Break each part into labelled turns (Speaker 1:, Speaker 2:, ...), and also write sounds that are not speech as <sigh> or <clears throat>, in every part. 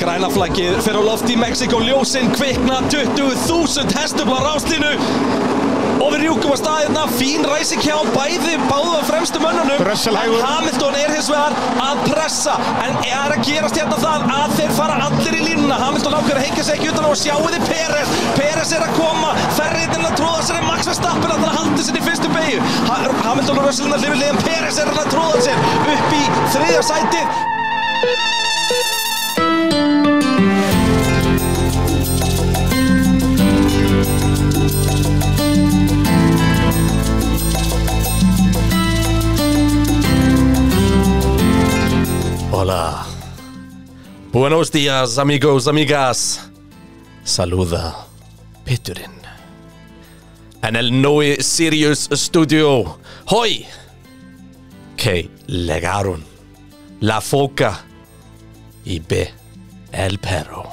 Speaker 1: Grænaflaggið fer á loft í Mexiko ljósinn kvikna 20.000 hestublar ráslinu og við rjúkum að staðirna fín ræsing hjá bæði báða fremstu mönnunum
Speaker 2: Russell hægur.
Speaker 1: en Hamilton er hins vegar að pressa en er að gerast hérna það að þeir fara allir í línuna Hamilton ákveður að heikja sig ekki utan á og sjáuði Peres Peres er að koma, ferriðin að tróða sér en Max Verstappen að það haldi sér í fyrstu beigju ha Hamilton og Russell er að lifi liðan Peres er að tróða sér upp í þriðja sætið
Speaker 3: Hola. Buenos días, amigos, amigas. Saluda, Peturinn. En el noi Sirius Studio. Hoy. Que legaron la foca y be el perro.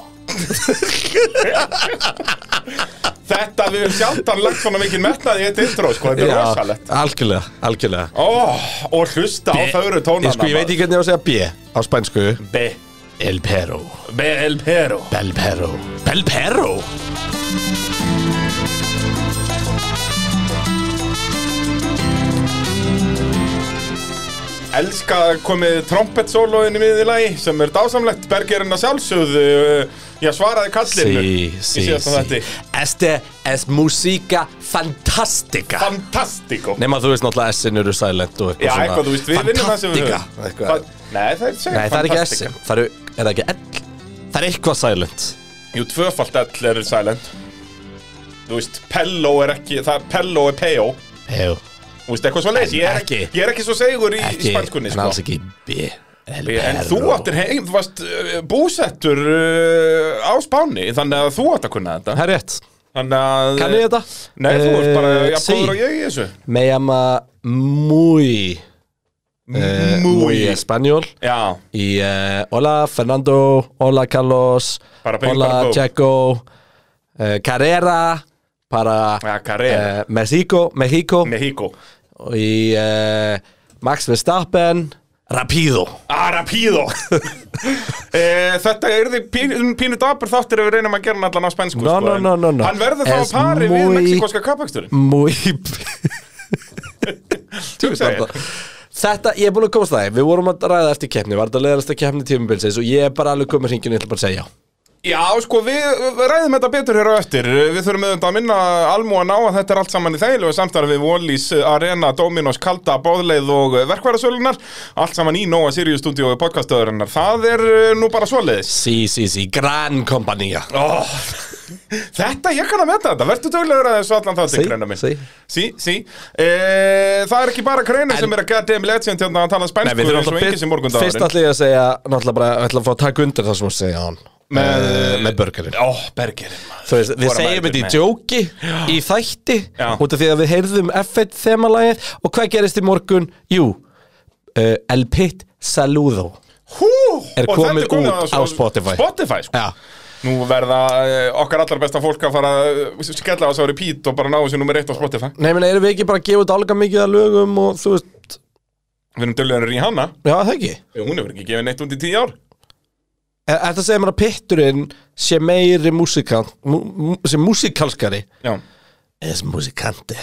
Speaker 2: Þetta við höfum sjaldan lagt svona mikið metnaði í þetta intro, sko, þetta er rosalegt.
Speaker 3: algjörlega, algjörlega.
Speaker 2: Ó, og hlusta á fögru tónana.
Speaker 3: Ég, sko, ég veit ekki hvernig ég á að segja B á spænsku.
Speaker 2: Be,
Speaker 3: El perro.
Speaker 2: be el pero.
Speaker 3: Bel perro. Bel perro?
Speaker 2: Elska að komið trompetsólóin í miðilagi sem er dásamlegt, bergerinn að sjálfsögðu, uh, já svaraði kallinu
Speaker 3: Sí,
Speaker 2: í
Speaker 3: sí,
Speaker 2: síðasta
Speaker 3: sí.
Speaker 2: þætti.
Speaker 3: Este es música fantástica.
Speaker 2: Fantastíko.
Speaker 3: Nefn að þú veist náttúrulega S-in eru silent og eitthvað
Speaker 2: Já, eitthvað, þú veist, við vinnum það sem við
Speaker 3: Fantastica, eitthvað.
Speaker 2: Fa- Nei, það er segja
Speaker 3: Nei, það er ekki S-in. Það eru, er það ekki L? Það er eitthvað silent.
Speaker 2: Jú, tvöfalt all er silent Þú veist, pello er ekki, það pello er peo
Speaker 3: Jú.
Speaker 2: Þú veist, eitthvað svo leiðis, ég, er
Speaker 3: Ekki.
Speaker 2: ekki- ég er ekki svo segur í, í
Speaker 3: Ekki,
Speaker 2: spanskunni,
Speaker 3: en
Speaker 2: sko
Speaker 3: alls ekki B. El
Speaker 2: En þú
Speaker 3: Perro.
Speaker 2: áttir heim, þú varst uh, búsettur uh, á Spáni, þannig að þú átt að kunna þetta
Speaker 3: Það er rétt.
Speaker 2: Þannig að eh,
Speaker 3: Kann ég þetta?
Speaker 2: Nei, þú ert bara,
Speaker 3: Eh,
Speaker 2: já,
Speaker 3: sí.
Speaker 2: góður og ég í þessu
Speaker 3: Me llama muy, eh, muy
Speaker 2: Múi
Speaker 3: español.
Speaker 2: Já,
Speaker 3: Y eh, hola Fernando, hola Carlos,
Speaker 2: Para ping,
Speaker 3: hola
Speaker 2: para pong.
Speaker 3: Checo, eh, Carrera para
Speaker 2: Ja, Carrera.
Speaker 3: eh, México, México
Speaker 2: Mexico
Speaker 3: y eh, Max Verstappen, rápido.
Speaker 2: Arapido <laughs> e, Þetta er því pínu, pínu dabur þáttir ef við reynum að gera hann allan á spænsku sko,
Speaker 3: No, no, no, no, no.
Speaker 2: Hann verður þá
Speaker 3: Es
Speaker 2: að pari við
Speaker 3: muy-
Speaker 2: mexikoska kappaksturinn
Speaker 3: Muy... <laughs> Þú
Speaker 2: Hugsaðu þér.
Speaker 3: þetta. Þetta, ég er búin að komast það, við vorum að ræða eftir keppni, var þetta leðalasta keppni tímabilsins og ég er bara alveg komið hringinu, ég ætla bara að segja já.
Speaker 2: Já, sko, við við ræðum þetta betur hér á eftir Við þurfum auðvitað að minna almúan á að þetta er allt saman í þægilegu samstarfi við Wallis, Arena, Dominos, Kalda, Bóðleið og verkværasölunar Allt saman í Nóa Sirius stúdíu og podcastöðurinnar Það er eh, nú bara svoleiðis
Speaker 3: Sí, sí, sí, gran kompanía.
Speaker 2: Ó, <laughs> Þetta, ég kann að metta þetta, verður duglegur að þessu allan þátti,
Speaker 3: Sí,
Speaker 2: greina minn
Speaker 3: sí.
Speaker 2: sí, sí. E, Það er ekki bara greina sem er að gera dem legend hérna að tala
Speaker 3: Nei,
Speaker 2: spænsku
Speaker 3: við þurfum
Speaker 2: eins og
Speaker 3: alltaf
Speaker 2: engi sem
Speaker 3: fyrst, fyrst
Speaker 2: morgundagurinn
Speaker 3: ætla ég að segja náttúrulega bara, ég ætla að fá að taka undir það sem hún segja á hann
Speaker 2: Með-
Speaker 3: Eh, með burgerinn
Speaker 2: Ó, bergerinn maður.
Speaker 3: Þú veist, við
Speaker 2: Vorum
Speaker 3: segjum
Speaker 2: mætir
Speaker 3: þetta í
Speaker 2: með.
Speaker 3: djóki í þætti,
Speaker 2: Já.
Speaker 3: út af því að við heyrðum F1 þemalagið og hvað gerist í morgun? Jú, uh, El Pit Saludo
Speaker 2: Hú,
Speaker 3: Er
Speaker 2: og þetta
Speaker 3: komið
Speaker 2: komið
Speaker 3: út á
Speaker 2: svo-
Speaker 3: Spotify.
Speaker 2: Spotify, sko
Speaker 3: Já,
Speaker 2: Nú verða eh, okkar allra besta fólk að fara að skella á þessu repeat og bara ná þessu nummer 1 á Spotify
Speaker 3: nei, menn, erum við ekki bara að gefa út álga mikið að lögum og þú veist,
Speaker 2: Við erum dölunir í hana
Speaker 3: já, það ekki
Speaker 2: Jú, Hún hefur ekki gefið neitt út í 10 ár
Speaker 3: Er er þetta að segja mér að pitturinn sé meiri músikal, mú, mú, sé músikalskari
Speaker 2: Já,
Speaker 3: eða músikanti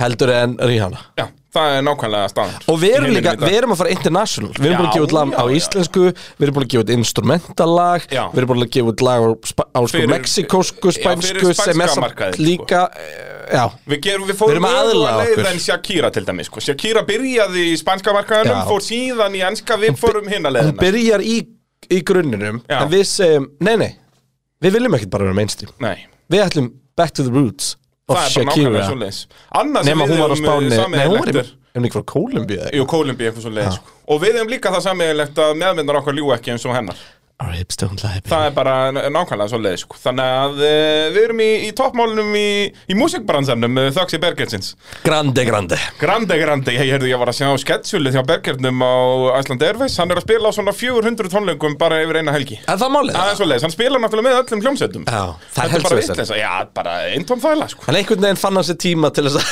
Speaker 3: heldur en Rihanna
Speaker 2: já það er nákvæmlega staðan
Speaker 3: Og við erum
Speaker 2: Í heiminum
Speaker 3: líka,
Speaker 2: í dag.
Speaker 3: við erum að fara international Við erum búin að
Speaker 2: Já,
Speaker 3: gefa út lag á
Speaker 2: já, já.
Speaker 3: íslensku Við erum búin að gefa út instrumentalag
Speaker 2: Já.
Speaker 3: Við erum búin að gefa út lag á, spa, á sko
Speaker 2: Fyrir-
Speaker 3: mexikósku,
Speaker 2: já, fyrir
Speaker 3: spænsku sem er
Speaker 2: spænska markaðinn,
Speaker 3: samt
Speaker 2: sko.
Speaker 3: líka eh, Já,
Speaker 2: Við, gerum, við
Speaker 3: Við erum
Speaker 2: fórum
Speaker 3: að
Speaker 2: öðruga
Speaker 3: aðlaga
Speaker 2: leið
Speaker 3: okkur.
Speaker 2: en Shakira til dæmis sko. Shakira byrjaði í spænska markaðanum
Speaker 3: Já.
Speaker 2: fór síðan í enska, við fórum hinn að
Speaker 3: hún
Speaker 2: leiðina
Speaker 3: byrjar í, í grunninum
Speaker 2: Já.
Speaker 3: En við segjum, nei nei Við viljum ekkert bara vera mainstream
Speaker 2: Nei,
Speaker 3: Við ætlum back to the roots of
Speaker 2: það er bara
Speaker 3: Shakira
Speaker 2: nákvæmlega svo leiðis Annars
Speaker 3: Nefn að hún var á
Speaker 2: eh,
Speaker 3: Spáni Nei, hún var í,
Speaker 2: sammeðilegt er
Speaker 3: er hún ekki frá Kólumbíu eða eitthvað?
Speaker 2: Jú, Kólumbíu eitthvað svo leiðis sko. Og við hefum líka það sammeðilegt að meðmyndar okkar ljú ekki eins og hennar
Speaker 3: Our hips don't lie baby.
Speaker 2: Það er bara n- nákvæmlega svo leiðis sko. Þannig að e, við erum í, í toppmálunum í, í músikbransanum Þöks í Bergelsins
Speaker 3: Grande, grande
Speaker 2: Grande, grande, ég heyrði ég var að sjá sketsjúlið hjá Bergernum á Iceland Airways Hann er að spila á svona 400 tónleikum bara yfir eina helgi
Speaker 3: Er það málið?
Speaker 2: aðeins svoleiðis, hann spilar náttúrulega með öllum hljómsveitum
Speaker 3: Já, það er
Speaker 2: Þetta
Speaker 3: helst
Speaker 2: bara
Speaker 3: vesen.
Speaker 2: vitleisa, já, bara eintóm þvæla sko.
Speaker 3: En einhvern veginn fann hann sér tíma til þess að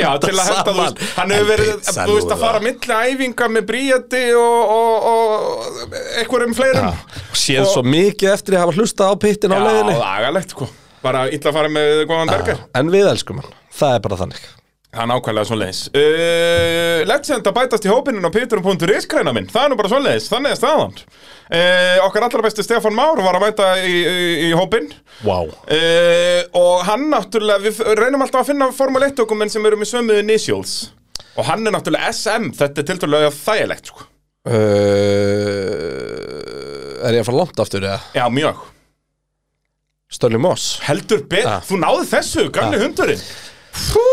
Speaker 2: Já, til að henda, þú veist, hann hefur verið, þú veist, að fara milli æfinga með bríjandi og, og, og einhverjum fleirum.
Speaker 3: Séð
Speaker 2: Og-
Speaker 3: svo mikið eftir að hafa hlustað á pittin á leiðinni
Speaker 2: Já, lagalegt, sko. Bara illa að fara með góðan berger.
Speaker 3: En við elskum hann, það er bara þannig
Speaker 2: Það er nákvæmlega svo leiðis. Uh, Legend að bætast í hópinin á piturum.is kræna minn. Það er nú bara svo leiðis, þannig er staðan. Uh, okkar allra besti Stefán Már var að mæta í, í, í hópin.
Speaker 3: Vá
Speaker 2: Uh, og hann náttúrulega, við reynum alltaf að finna Formule 1 dokumenn sem eru með sömu initials Og hann er náttúrulega SM, þetta er tiltölulega þægilegt sko
Speaker 3: Eh, Er ég að fara langt aftur eða?
Speaker 2: Já, mjög
Speaker 3: Stölli Moss
Speaker 2: Heldur bet,
Speaker 3: Ja.
Speaker 2: þú náði þessu, gamli hundurinn Fú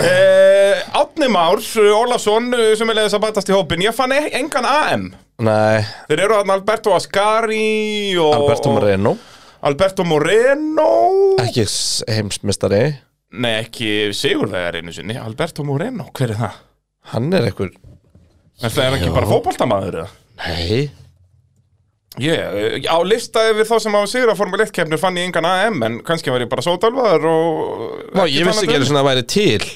Speaker 2: Eh, Átni Már, Ólafsson, eh, sem er leiðis að batast í hópin Ég fann e engan AM
Speaker 3: Nei,
Speaker 2: Þeir eru þarna Alberto Ascari og,
Speaker 3: Alberto Moreno
Speaker 2: og Alberto Moreno
Speaker 3: Ekki s- heimsmeistari
Speaker 2: Nei, ekki Sigurvegar einu sinni Alberto Moreno, hver er það?
Speaker 3: Hann er einhver
Speaker 2: Er það ekki
Speaker 3: Já.
Speaker 2: bara fótboltamaður eða?
Speaker 3: Nei
Speaker 2: Yeah, á lista yfir þá sem á sigra Formule 1 keppnir fann ég engan AM en kannski var ég bara sótalvaður og...
Speaker 3: Vá, ég vissi ekki einu sinni að það væri til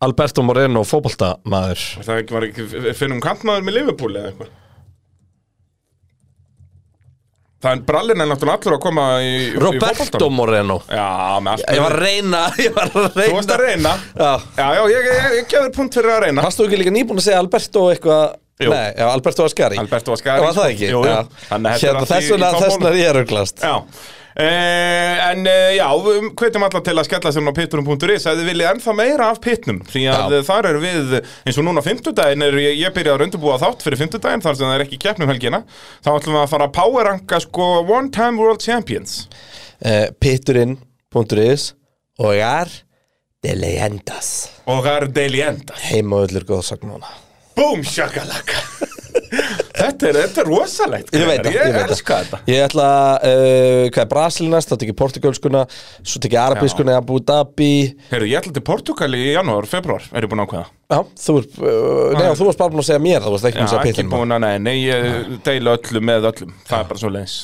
Speaker 3: Alberto Moreno fótboltamaður
Speaker 2: Það ekki var ekki finnum kantmaður um með Liverpool eða eitthvað Það er brallin er náttúrulega allur að koma í í
Speaker 3: Roberto
Speaker 2: fótboltanum.
Speaker 3: Moreno
Speaker 2: Já, með allt
Speaker 3: Ég var að reyna <laughs> Ég var að
Speaker 2: Þú varst að
Speaker 3: reyna
Speaker 2: reyna
Speaker 3: Já.
Speaker 2: Já, já, ég, ég, ég gefur punkt fyrir að reyna
Speaker 3: Varst þú ekki líka nýbúin að segja Alberto eitthvað
Speaker 2: Jú.
Speaker 3: Nei, já, Alberto Ascari
Speaker 2: Alberto Ascari,
Speaker 3: Var það
Speaker 2: sko.
Speaker 3: ekki?
Speaker 2: Jú, jú.
Speaker 3: Já.
Speaker 2: Þannig að þetta er
Speaker 3: Hérna,
Speaker 2: allt í-
Speaker 3: Þess
Speaker 2: í
Speaker 3: vegna
Speaker 2: toppmálum.
Speaker 3: þess vegna er ég röglast
Speaker 2: Já Uh, en uh, já, við hvetjum alla til að skella sér á pitturum.is að þið viljið ennþá meira af pitnum því að
Speaker 3: Já.
Speaker 2: þar erum við eins og núna fimmtudaginn er ég, ég byrjaði að röndubúa þátt fyrir fimmtudaginn þar sem það er ekki keppnum helgina þá ætlum við að fara að powerranka sko one time world champions
Speaker 3: uh, Pitturinn.is Og er De leyendas
Speaker 2: og það eru daily enda
Speaker 3: Heim og öllur góðsagnuna
Speaker 2: Boom shakalaka <laughs> þetta, er, þetta er rosalegt
Speaker 3: Ég veit það,
Speaker 2: ég,
Speaker 3: ég veit
Speaker 2: elska þetta
Speaker 3: Ég ætla, uh, hvað er Brasilinast, þá tekið portugalskuna, svo tekið arabískuna í Abu Dhabi
Speaker 2: Heru, ég ætla til Portugal í janúar, februar er ég búin að ákveða
Speaker 3: Já, þú er, uh, nei, þú varst bara búin að segja mér, þú varst ekki búin að
Speaker 2: Já,
Speaker 3: segja
Speaker 2: ekki
Speaker 3: pittin
Speaker 2: búin að, nei, nei, ég deila öllum með öllum, það er bara svo leins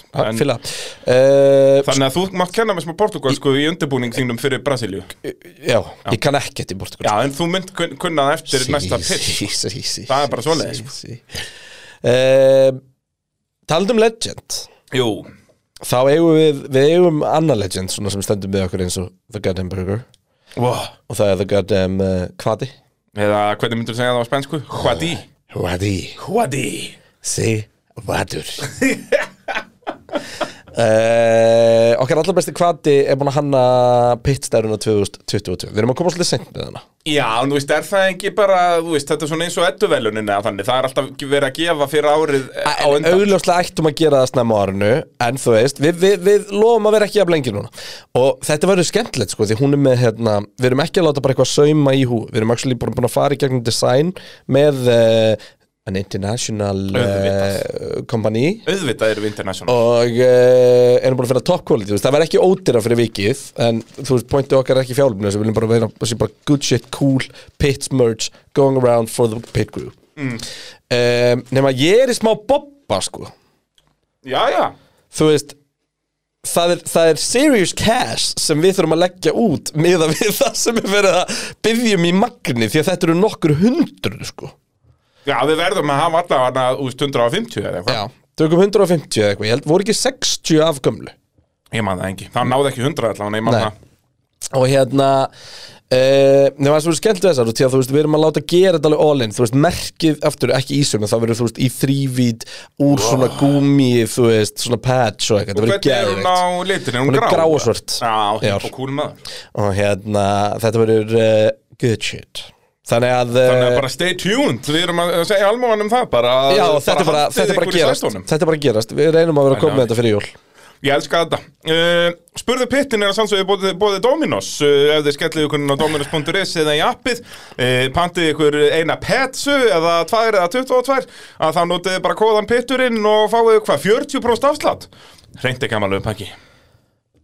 Speaker 3: Fylla uh,
Speaker 2: Þannig að þú mátt kenna mér smá portugalsku í undirbúning þínum fyrir Brasilíu
Speaker 3: Já, ég kann ekkert í
Speaker 2: Já,
Speaker 3: portugalsku
Speaker 2: en þú mynd kun- kunna það eftir næsta pitch
Speaker 3: sí, sí, sí,
Speaker 2: Það er bara svoleiðis, sko.
Speaker 3: sí, sí. uh, Talandi um legend
Speaker 2: Jú,
Speaker 3: Þá eigum við, við eigum annað legend Svona sem stendur með okkur eins og The Goddamn Burger
Speaker 2: wow.
Speaker 3: Og það er The Goddamn uh, Kvati
Speaker 2: eða hvernig myndur segja það á spænsku? Hvadi
Speaker 3: Hvati
Speaker 2: Hvadi
Speaker 3: Sí, vadur uh, Okkar allar besti kvati er búin að hanna pittstæruna 2022 Við erum að koma svolítið seint með hana
Speaker 2: Já, en þú veist, er það ekki bara, þú veist, þetta er svona eins og edduvelunin eða þannig, það er alltaf verið að gefa fyrir árið eh, á
Speaker 3: En
Speaker 2: undan
Speaker 3: augljóslega ættum að gera það snemma á árinu En þú veist, við, við, við lofum að vera ekki af lengi núna Og þetta verður skemmtilegt sko Því hún er með, hérna, við erum ekki að láta bara eitthvað sauma í hú Við erum actually búin, búin að fara í gegnum design Með uh, an international uh,
Speaker 2: Auðvitað.
Speaker 3: company
Speaker 2: Auðvitað erum við international
Speaker 3: og uh, erum búin að finna top quality þú veist, það verður ekki ódýra fyrir vikið en þú veist, pointið okkar er ekki fjálfinu við viljum bara vera það sé bara good shit, cool pits merch, going around for the pit crew mm. um, nema ég er í smá bobba sko
Speaker 2: Já, já,
Speaker 3: þú veist það er, það er serious cash sem við þurfum að leggja út miða við <laughs> það sem við verðum að byggjum í magni því að þetta eru nokkur hundru sko
Speaker 2: já, við verðum að hafa allavega hana, þú veist, 150 eða eitthvað
Speaker 3: já, tökum 150 eða eitthvað ég held, voru ekki 60 afgömlu
Speaker 2: Ég man það engi, það náði ekki 100 allavega, ég man
Speaker 3: Nei.
Speaker 2: það
Speaker 3: og hérna Uh, nefnum að það er skemmt við þessar og því að þú veist við erum að láta gera þetta alveg all in þú veist merkið aftur ekki ísum en það verður þú veist í þrývít úr svona gúmi þú veist svona patch og eitthvað það verður
Speaker 2: Hvernig er hún á
Speaker 3: geðveikt
Speaker 2: litin? Er hún,
Speaker 3: Hún er
Speaker 2: grá?
Speaker 3: grá og svört.
Speaker 2: Já,
Speaker 3: Já.
Speaker 2: hipp og kúl maður
Speaker 3: og hérna þetta verður uh, good shit þannig að, uh,
Speaker 2: Þannig að bara stay tuned, við erum að segja almóan um það bara að-
Speaker 3: já þetta er bara,
Speaker 2: haldið
Speaker 3: þetta er bara
Speaker 2: ykkur í
Speaker 3: gerast
Speaker 2: sætunum.
Speaker 3: þetta er bara gerast við reynum að vera að koma
Speaker 2: Þannig
Speaker 3: með þetta fyrir jól
Speaker 2: Ég elska þetta uh, Spurðu pittin er að sannsögðu bóðið bóði Dominos uh, ef þið skellið ykkur inn á dominos.is eða í appið uh, pantið ykkur eina petsu eða tvær eða 22 að þá notið þið bara kóðan pitturinn og fáið ykkur hvað 40% afslátt Reyndi ekki amalegu pakki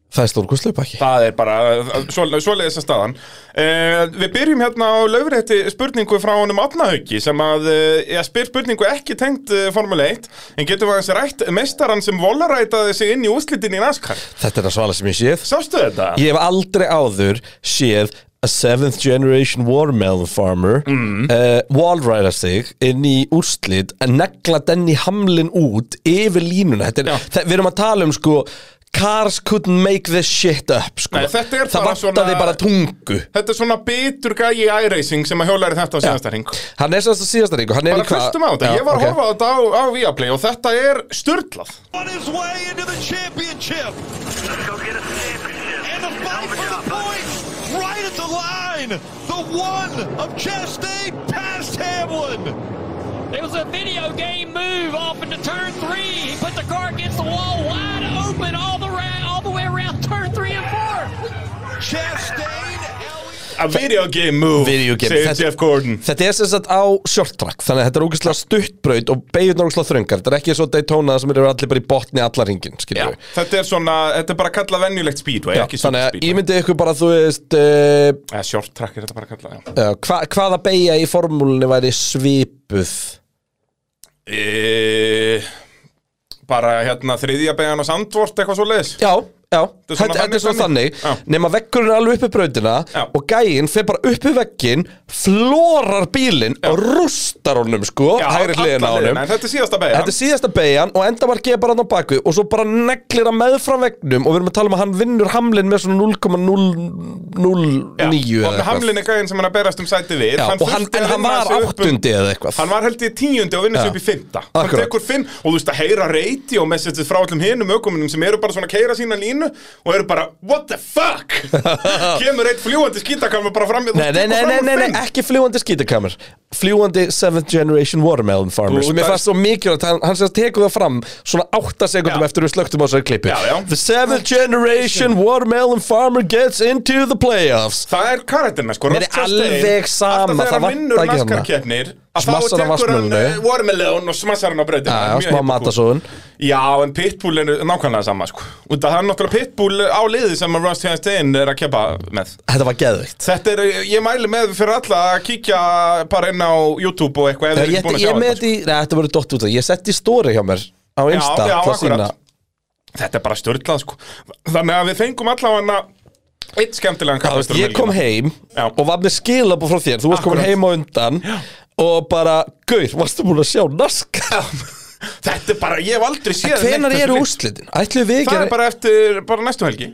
Speaker 3: það er stórkustlega pakki
Speaker 2: Það er bara uh, svo- svoleiðis að staðan uh, Við byrjum hérna á lögrétti spurningu frá honum Atnahauki sem að uh, ég spyr spurningu ekki tengt uh, Formule 1 en getum við aðeins rætt meistaran sem volarætaði sig inn í úslitin í NASCAR
Speaker 3: þetta er að svala sem ég séð
Speaker 2: Sástu þetta?
Speaker 3: Ég hef aldrei áður séð a seventh generation watermelon farmer mm. wallrider sig inn í úrslit að negla Denny Hamlin út yfir línuna Þetta er,
Speaker 2: Já.
Speaker 3: það, við erum að tala um sko cars couldn't make this shit up sko.
Speaker 2: Nei, þetta er
Speaker 3: það
Speaker 2: bara
Speaker 3: vantaði
Speaker 2: svona-
Speaker 3: bara tungu
Speaker 2: Þetta er svona bitur gæi í iRacing sem að hjólæri þetta á síðasta hring
Speaker 3: hann er sérst að síðasta ringu hann er
Speaker 2: Bara
Speaker 3: í hvað
Speaker 2: hlustum á þetta,
Speaker 3: Já,
Speaker 2: ég var að
Speaker 3: ok.
Speaker 2: horfa á þetta á, á Viaplay og þetta er sturlað
Speaker 1: On his way into the championship.
Speaker 4: Let's go get us a championship.
Speaker 1: And the
Speaker 4: Hell
Speaker 1: fight
Speaker 4: of a
Speaker 1: for
Speaker 4: job,
Speaker 1: the
Speaker 4: bud.
Speaker 1: points right at the line. The one of Chastain past Hamlin.
Speaker 5: It was a video game move off into turn three. He put the car against the wall, wide open all the ra- all the way around turn three and four.
Speaker 1: Chastain, Elliott.
Speaker 2: A video game move,
Speaker 3: Video game,
Speaker 2: segir
Speaker 3: þetta-
Speaker 2: Jeff Gordon
Speaker 3: Þetta er sem sagt á short track Þannig að þetta er ógeðslega stuttbraut og beigjurnar ógeðslega þröngar Þetta er ekki svo Daytona sem eru allir bara í botni allar ringin
Speaker 2: Já. Þetta er svona, þetta er bara kallað venjulegt speedway, ekki
Speaker 3: Þannig að
Speaker 2: superspeedway
Speaker 3: ímyndið ykkur bara þú veist uh,
Speaker 2: Eða short track er þetta bara kallað, eh, já
Speaker 3: uh, hva, Hvaða beigja í formúlunni væri svipuð
Speaker 2: e... Bara hérna þriðja beigjan á Sandvort, eitthvað svo leiðis
Speaker 3: Já, já, þetta
Speaker 2: er svona
Speaker 3: þetta er
Speaker 2: þannig,
Speaker 3: svona
Speaker 2: þannig.
Speaker 3: þannig
Speaker 2: Já.
Speaker 3: Nefn að veggurinn er alveg uppi brautina
Speaker 2: Já.
Speaker 3: Og gæinn fer bara uppi veggin Flórar bílinn og rústar honum sko Hægri hliðin á honum
Speaker 2: En þetta er síðasta beigjan
Speaker 3: Þetta er síðasta beigjan og endamarkið er bara hann á bakvið og svo bara neglir hann með fram vegnum og við erum að tala um að hann vinnur hamlin með svona 0,009 eða
Speaker 2: Já, og
Speaker 3: eitthvað.
Speaker 2: Hamlin er gæðin sem hann er að berast um sæti við
Speaker 3: Já, og hann,
Speaker 2: þurfti
Speaker 3: en
Speaker 2: að
Speaker 3: hann
Speaker 2: vinna
Speaker 3: var
Speaker 2: sig upp um-
Speaker 3: áttundi eða eitthvað
Speaker 2: Hann var held í tíundi og
Speaker 3: Já.
Speaker 2: vinnur sig upp í fymta Hann
Speaker 3: Akkurat.
Speaker 2: tekur fimm og þú veist að heyra reyti og messages frá allum hinum ökumunum sem eru bara svona að keira sína línu og eru bara what the
Speaker 3: <laughs>
Speaker 2: fuck kemur eitt fljúandi skítakamur bara fram
Speaker 3: Nei, nei, nei, nei, nei, nei, ekki fljúandi skítakamur Fljúandi 7th Generation Watermelon Farmer
Speaker 2: Ú,
Speaker 3: Mér
Speaker 2: það-
Speaker 3: fannst svo mikilvægt, hann, hann sérst tekur það fram Svona 8 sekundum
Speaker 2: Já.
Speaker 3: eftir við slögtum á þessari klippu
Speaker 2: Já, já.
Speaker 3: The 7th Generation Watermelon Farmer gets into the playoffs
Speaker 2: Það er karakterna sko
Speaker 3: Mér er alveg sama, það
Speaker 2: það
Speaker 3: vantar
Speaker 2: vinnur
Speaker 3: ekki hana.
Speaker 2: naskarkeppnir að þá
Speaker 3: Smassar hann
Speaker 2: tekur hann
Speaker 3: vatnsmölinu.
Speaker 2: eh, Watermelon og smassar hann á breytina
Speaker 3: Já, smá matasóðun
Speaker 2: Já, en Pitbull er nákvæmlega sama sko Út að það er náttúrulega Pitbull á liði sem að Rust Chastain er að keppa með
Speaker 3: Þetta var geðvikt
Speaker 2: Þetta er, eh, ég mæli með fyrir alla að kíkja bara inn á YouTube og eitthvað ef
Speaker 3: Ég,
Speaker 2: þið eru
Speaker 3: ég,
Speaker 2: ekki búin að sjá
Speaker 3: ég með
Speaker 2: þetta. sko.
Speaker 3: þetta í, neða þetta voru dott út af Ég setti stóri hjá mér á Insta
Speaker 2: já,
Speaker 3: til að
Speaker 2: akkurat.
Speaker 3: sýna.
Speaker 2: sko. Þetta er bara störtlað sko. Þannig að við fengum allavega eitt skemmtilegan
Speaker 3: Já, þú veist,
Speaker 2: kapastur
Speaker 3: Ég kom heim
Speaker 2: Já.
Speaker 3: og var með skilabóð frá þér Þú varst komin
Speaker 2: Akkurat.
Speaker 3: heim á undan Og bara, gaur, varstu búin að sjá naska?
Speaker 2: Þetta er bara, ég hef aldrei séð
Speaker 3: Hvenar
Speaker 2: neitt
Speaker 3: eru
Speaker 2: þessu
Speaker 3: úrslitin? Ætlum við
Speaker 2: lið.
Speaker 3: ekki
Speaker 2: Það
Speaker 3: að
Speaker 2: er bara eftir, bara næstu helgi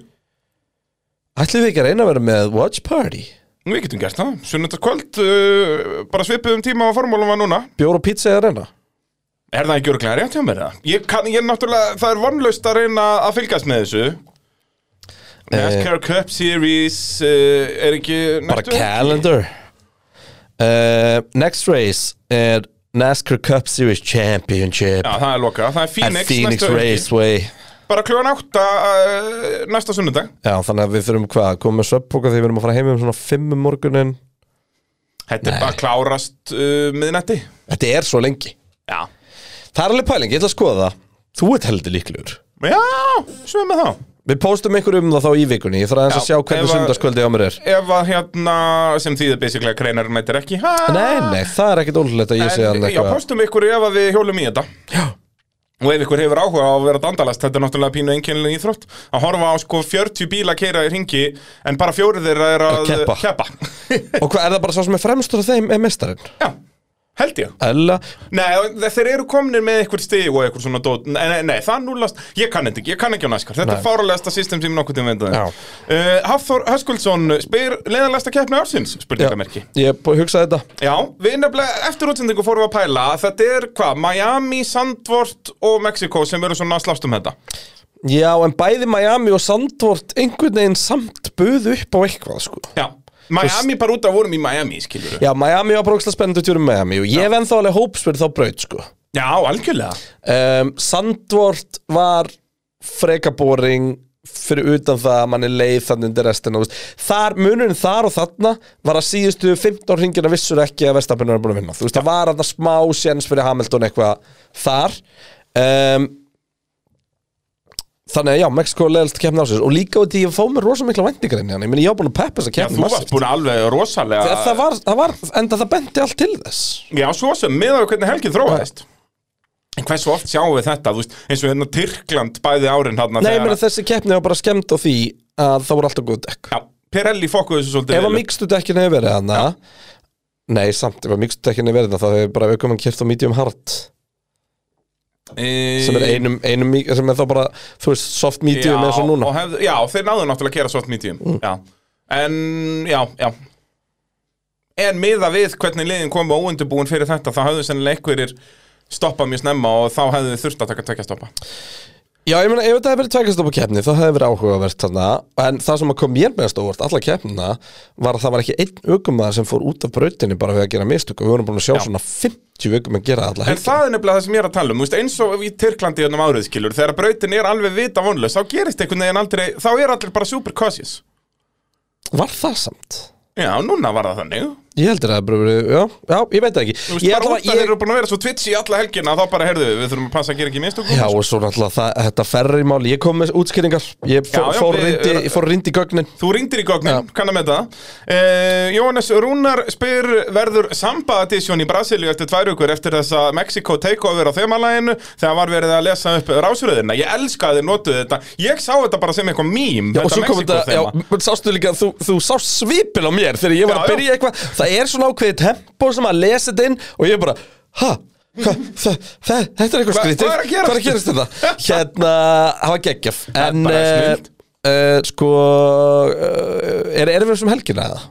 Speaker 3: Ætlum við ekki að reyna að vera með Watch Party?
Speaker 2: Við getum gert það, sunnundaskvöld uh, bara svipið um tíma á formúlum var núna
Speaker 3: Bjór og pizza eða reyna?
Speaker 2: Er það ekki örglega rétt hjá mér það? Ég kann, ég náttúrulega, það er vonlaust að reyna að fylgjast með þessu NASCAR Cup Series uh, er ekki
Speaker 3: Bara
Speaker 2: næstu helgi?
Speaker 3: calendar uh, Next race er NASCAR Cup Series Championship
Speaker 2: Já, það er loka, það er
Speaker 3: At
Speaker 2: Phoenix,
Speaker 3: Phoenix
Speaker 2: næsta helgi.
Speaker 3: Raceway
Speaker 2: Bara kljóðan átta uh, næsta sunnudag
Speaker 3: Já, þannig að við þurfum hvað, komum með svefnpoka þegar við erum að fara heim um svona fimm um morgunin
Speaker 2: Þetta er bara að klárast uh, miðnætti
Speaker 3: Þetta er svo lengi
Speaker 2: Já
Speaker 3: Það er alveg pæling, ég ætla að skoða það Þú ert heldur líklegur
Speaker 2: Já, svöðum með þá
Speaker 3: Við póstum einhverju um það þá í vikunni Ég þarf aðeins að
Speaker 2: Já,
Speaker 3: sjá hvernig
Speaker 2: ef að-
Speaker 3: sundarskvöldi á mér er
Speaker 2: Ef að hérna, sem þýðir basically að kreinar mætir ekki ha,
Speaker 3: Nei, nei, það er ekkit ólulegt að ég sé hann
Speaker 2: en, Já,
Speaker 3: eitthvað
Speaker 2: postum ykkur ef að við hjólum í þetta Já Og ef ykkur hefur áhuga á að vera dandalast, þetta er náttúrulega pínu einkennileg íþrótt Að horfa á sko 40 bíla keira í ringi En bara fjórið þeirra er að,
Speaker 3: Að keppa. Og hvað, er það bara svo sem er fremstur af þeim er mestarinn?
Speaker 2: <laughs> Já, held ég
Speaker 3: Ella,
Speaker 2: Nei, þe- þeir eru komnir með eitthvað stig og eitthvað svona dót Nei, nei, nei það núlast, ég kann þetta ekki, ég kann ekki á næskar Þetta
Speaker 3: Nei.
Speaker 2: er fáralegasta system sem ég nokkuð til að venda
Speaker 3: Já.
Speaker 2: þeim uh, Hafþór Höskuldsson spyr leiðanlegasta keppni ársins,
Speaker 3: já,
Speaker 2: spurningamerki Já,
Speaker 3: ég bú- hugsaði þetta
Speaker 2: við nefnilega eftir útsendingu fórum við að pæla að Þetta er hvað, Miami, Sandvort og Mexiko sem eru svona að slást um þetta
Speaker 3: Já, en bæði Miami og Sandvort einhvern veginn samt buðu upp á eitthvað sko.
Speaker 2: Já, Miami bara út af vorum í Miami, skilur við
Speaker 3: Já, Miami var bara ókslega spennandi tjúrum Miami og ég venn þá alveg hópsverð þá braut sko.
Speaker 2: Já, algjörlega
Speaker 3: um, Sandvort var frekaboring fyrir utan það að mann er leið þannig undir restina þú veist. þar, munurinn þar og þarna var að síðustu 15 ringina vissur ekki að Vestapinn var búin að vinna þú veist, það var að smá séns fyrir Hamilton eitthvað þar um, þannig að já, Mexiko leðast kemna á sér og líka út í að fá mér rosa mikla vendingar inn í hann ég meni, ég var búin að peppa þess að
Speaker 2: Já,
Speaker 3: kemna
Speaker 2: þú varst búin alveg rosalega
Speaker 3: það, það, var, það var, enda það benti allt til þess
Speaker 2: Já, svo sem, með að hvernig helgin þróaðist En hversu oft sjáum við þetta, þú veist, eins og hérna Tyrkland bæði árin hann
Speaker 3: Nei, ég meina þessi keppni var bara skemmt á því að það voru alltaf góð dekk
Speaker 2: Já, Pirelli fokkuðu þessu svolítið
Speaker 3: Ef að
Speaker 2: vel upp.
Speaker 3: mikstu dekkin hefur verið hana Nei, samt, ef að mikstu dekkin hefur verið hana þá hefur bara við komum kert á medium hard
Speaker 2: E, Eh,
Speaker 3: sem er einum, einum mí- sem er þá bara, þú veist, soft medium eins og núna Mm.
Speaker 2: og hefðu, Já, þeir náðu náttúrulega að kera svart medium já. En, já, já En miða við hvernig liðin komu óundubúin fyrir þetta þá hefðu sennilega einhverjir stoppað mjög snemma og þá hefðu þurft að taka tvekja stoppa
Speaker 3: Já, ég meina, ef þetta hefði verið tveggjastoppa keppni þá hefði verið áhugavert þarna en það sem að kom mér meðast óvart, alla keppnina var að það var ekki einn aukumæður sem fór út af brautinni bara við að gera mistök og við vorum búin að sjá svona 50 aukum að gera alla
Speaker 2: En
Speaker 3: helgina.
Speaker 2: það er nefnilega það sem ég er að tala um þú veist, eins og í Tyrklandi hennum árið skilur þegar brautin er alveg vita vonlaus þá gerist einhvern veginn aldrei þá er allir bara super cautious
Speaker 3: Var það samt?
Speaker 2: Já, núna var það þannig
Speaker 3: Ég heldur að það bara verið, já, já, ég veit það ekki
Speaker 2: Þú veist,
Speaker 3: Ég
Speaker 2: bara
Speaker 3: ætla
Speaker 2: út að
Speaker 3: að
Speaker 2: þeir
Speaker 3: ég
Speaker 2: eru búin að vera svo twitch í alla helgina þá bara, heyrðu, við þurfum að passa að gera ekki mistök
Speaker 3: Já, og svo náttúrulega það, þetta ferri máli, ég kom með útskýringar Ég fór,
Speaker 2: Já, já,
Speaker 3: fór,
Speaker 2: við-
Speaker 3: rindi, ég fór rindi í gögnin
Speaker 2: Þú ringdir í gögnin, kann að með það uh, Jóhannes Rúnar spyr verður Samba Edition í Brasilíu eftir tvær ukur eftir þessa Mexico takeover á þemalæginu þegar var verið að lesa upp rásröðina Ég elska að þið notuðu þetta Ég sá þetta bara sem eitthvað mím
Speaker 3: Já, og svo
Speaker 2: þetta
Speaker 3: kom
Speaker 2: Mexíkó
Speaker 3: þetta, já,
Speaker 2: þema.
Speaker 3: menn sástu líka að þú, þú sást svipin á mér þegar ég var að
Speaker 2: Já, já.
Speaker 3: byrja eitthvað Það er svona ákveðið tempo sem að lesa þetta inn og ég bara, ha, hva, þa, þa, þetta er eitthvað
Speaker 2: Hva-
Speaker 3: skrítið
Speaker 2: hvað er að gerast?
Speaker 3: Hvað er að gerast
Speaker 2: <laughs>
Speaker 3: þetta? Hérna, það var geggjaf En,
Speaker 2: bara
Speaker 3: eh,
Speaker 2: snilld.
Speaker 3: eh, sko, eh, er erfið sem helgina eða?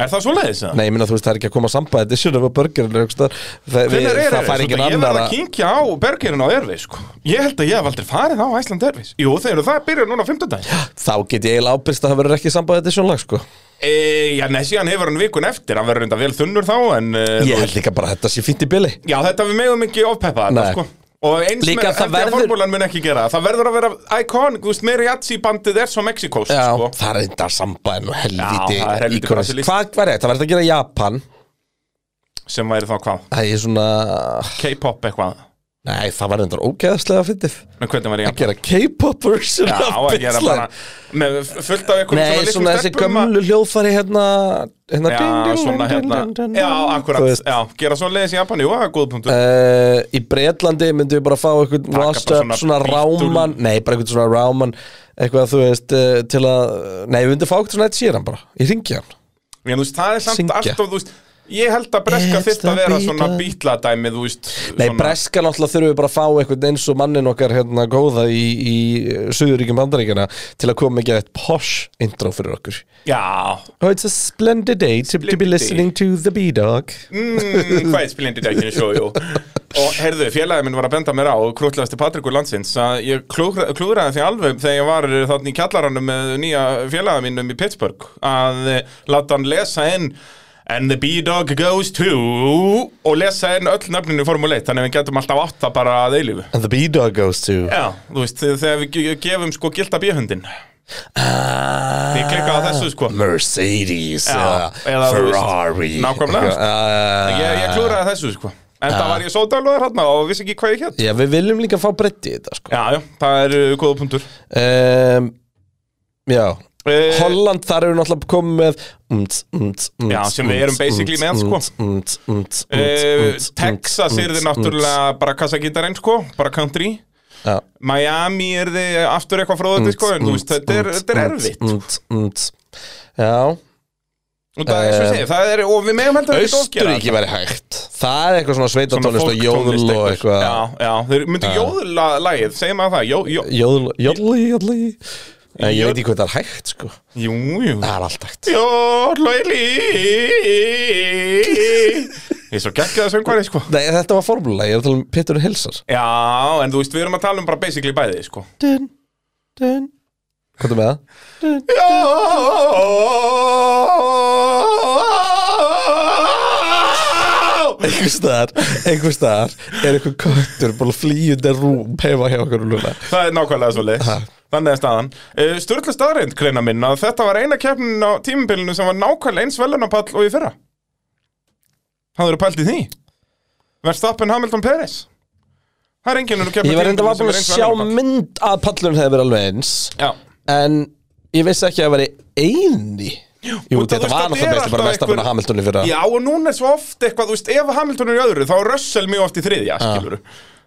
Speaker 2: Er það svo leiðis það?
Speaker 3: Nei, ég minna þú veist, það er ekki að koma samba edition of a burger eða eitthvað staðar. Það, við,
Speaker 2: Hvenær er
Speaker 3: það fær
Speaker 2: Airways?
Speaker 3: engin
Speaker 2: Ég
Speaker 3: annar
Speaker 2: verð að
Speaker 3: að
Speaker 2: kynkja á bergerinn á Airways sko. Ég held að ég hef aldrei farið á Æsland Airways Jú, þeir eru það byrjar núna á fimmtudaginn
Speaker 3: <gasps> Þá get ég eiginlega ábyrst að það verður ekki samba edition lag, sko
Speaker 2: e, Já, nei, síðan hefur hann vikun eftir Hann verður enda vel þunnur þá en, e,
Speaker 3: Ég held líka bara að þetta sé fínt í bili
Speaker 2: Já, þetta við megum ekki ofpeppa þetta,
Speaker 3: Nei.
Speaker 2: sko Og eins
Speaker 3: Líka
Speaker 2: með,
Speaker 3: það
Speaker 2: held ég að
Speaker 3: verður-
Speaker 2: formúlan mun ekki gera það. Það verður að vera iconic, þú veist, meiri jatsi bandið er svo Mexikós,
Speaker 3: Já,
Speaker 2: sko
Speaker 3: það er enda samba en og helviti
Speaker 2: Já, það er helviti
Speaker 3: íkonist.
Speaker 2: brasilískt.
Speaker 3: Hvað var þetta? Það var þetta að gera Japan
Speaker 2: Sem væri þá hvað,
Speaker 3: Það er svona
Speaker 2: K-pop eitthvað
Speaker 3: Nei, það var enda ógeðslega fyndið
Speaker 2: Men hvernig væri
Speaker 3: Að
Speaker 2: ég
Speaker 3: gera K-pop version
Speaker 2: Já, að
Speaker 3: af
Speaker 2: gera
Speaker 3: Bitslag
Speaker 2: bara með fullt af ykkur
Speaker 3: Nei, svona þessi gömlu hljóðfari hérna hérna
Speaker 2: Já,
Speaker 3: ding, ding,
Speaker 2: svona
Speaker 3: ding, ding,
Speaker 2: hérna
Speaker 3: ding, ding,
Speaker 2: Já,
Speaker 3: ding.
Speaker 2: akkurat,
Speaker 3: Þú veist,
Speaker 2: já, gera svo leiðis í Japan, jú, það er góð punktur
Speaker 3: eh, Í Bretlandi myndum við bara fá eitthvað
Speaker 2: bara
Speaker 3: washed up,
Speaker 2: svona
Speaker 3: svona
Speaker 2: bíl-
Speaker 3: ráman Nei, bara eitthvað svona ráman eitthvað þú veist eh, til að Nei, við myndum fá eitthvað svona eitt sér hann bara Ég ringi hann
Speaker 2: En þú veist, það er samt
Speaker 3: syngja.
Speaker 2: alltaf, þú veist Ég held að breska
Speaker 3: It's
Speaker 2: þyrft
Speaker 3: the
Speaker 2: að vera svona
Speaker 3: Beatles.
Speaker 2: bítladæmi, þú veist
Speaker 3: Nei,
Speaker 2: svona-
Speaker 3: breska náttúrulega þurfum við bara að fá einhvern eins og mannin okkar hérna góða í, í eh, Suðuríkjum bandaríkjana til að koma ekki að eitt posh intro fyrir okkur
Speaker 2: Já,
Speaker 3: Oh, it's a splendid day to, to be
Speaker 2: Splendid
Speaker 3: listening to the B-Dog
Speaker 2: mm, hvað er spiljandi dækinu sjó, jú og heyrðu, félagið minn var að benda mér á og krútlegasti Patrikur landsins að ég klúra, klúraði því alveg þegar ég var þannig í kjallaranum með nýja félagið mínum í Pittsburgh að eh, láta hann lesa inn And the B-Dog goes to og lesa inn öll nöfninu í Formule 1 þannig að við getum alltaf átt það bara að eilífu
Speaker 3: And the B-Dog goes to
Speaker 2: Já, þú veist, þegar við ge- gefum sko gilda bíhundin
Speaker 3: ah,
Speaker 2: Ég klikkaði á þessu, sko.
Speaker 3: Mercedes
Speaker 2: Já,
Speaker 3: eða
Speaker 2: eða þú veist,
Speaker 3: Ferrari
Speaker 2: nákvæmlega, sko.
Speaker 3: Ah.
Speaker 2: Ég, ég klúraði þessu sko En það var ég sódalóður hérna og vissi ekki hvað ég hétt
Speaker 3: Já, við viljum líka fá breytti í þetta sko.
Speaker 2: Já, já, það er uh, góða punktur
Speaker 3: um, Já
Speaker 2: Eh,
Speaker 3: Holland, þar eru náttúrulega komið með umt, umt, umt,
Speaker 2: Já, sem við erum basically með, sko.
Speaker 3: umt, umt, umt,
Speaker 2: Uh,
Speaker 3: umt,
Speaker 2: Texas
Speaker 3: umt,
Speaker 2: er þið
Speaker 3: umt,
Speaker 2: náttúrulega bara kassagitarinn sko, bara country
Speaker 3: Já.
Speaker 2: Miami er þið aftur eitthvað fróðandi sko, en þú veist, þetta er, þetta er erfitt
Speaker 3: umt, umt, umt. Já,
Speaker 2: og það er, svo ég segi, það er, og við megum heldur ekki ofgera
Speaker 3: Austuríki væri hægt Það er eitthvað svona
Speaker 2: Svona
Speaker 3: sveitatónlist og
Speaker 2: fólktónlist
Speaker 3: jóðl og
Speaker 2: eitthvað.
Speaker 3: eitthvað
Speaker 2: Já, já, þeir myndu jóðla lagið, segjum að það, jó, jó
Speaker 3: Jóðl, jóðli, jóðli En ég
Speaker 2: Jóðl-
Speaker 3: veit ekki hvað það er hægt, sko
Speaker 2: Jú, jú
Speaker 3: Það er allt hægt
Speaker 2: Jóðla lí Ég er svo geggjaði að söngvari sko
Speaker 3: Nei, þetta var formúla, ég er að tala um Pétur Hilsar
Speaker 2: Já, en þú veist, við erum að tala um bara basically bæði sko
Speaker 3: Dun, dun Hvað er með það?
Speaker 2: Já
Speaker 3: einhver staðar, einhver staðar er einhver köttur bara flýjandi rúm heima hjá okkur núna
Speaker 2: Það er nákvæmlega svo leið Þannig er staðan uh, Sturla staðarind greina minn að þetta var eina keppnin á tímabilinu sem var nákvæmlega eins velunapall og í fyrra Hafður þú pælt í því? Verstappen Hamilton Peres Það er enginn úr keppnin
Speaker 3: Ég var reynda var búin að sjá mynd að pallun hefði verið alveg eins
Speaker 2: Já
Speaker 3: en ég vissi ekki að það væri eini Jú,
Speaker 2: út af,
Speaker 3: þetta
Speaker 2: þú
Speaker 3: var
Speaker 2: veist, það
Speaker 3: náttúrulega
Speaker 2: er
Speaker 3: best bara mest
Speaker 2: alltaf
Speaker 3: að
Speaker 2: einhver-
Speaker 3: finna Hamiltoni fyrir að
Speaker 2: Já og núna er svo oft eitthvað, þú veist, ef Hamilton er í öðru þá er Russell mjög oft í þriðja, skilur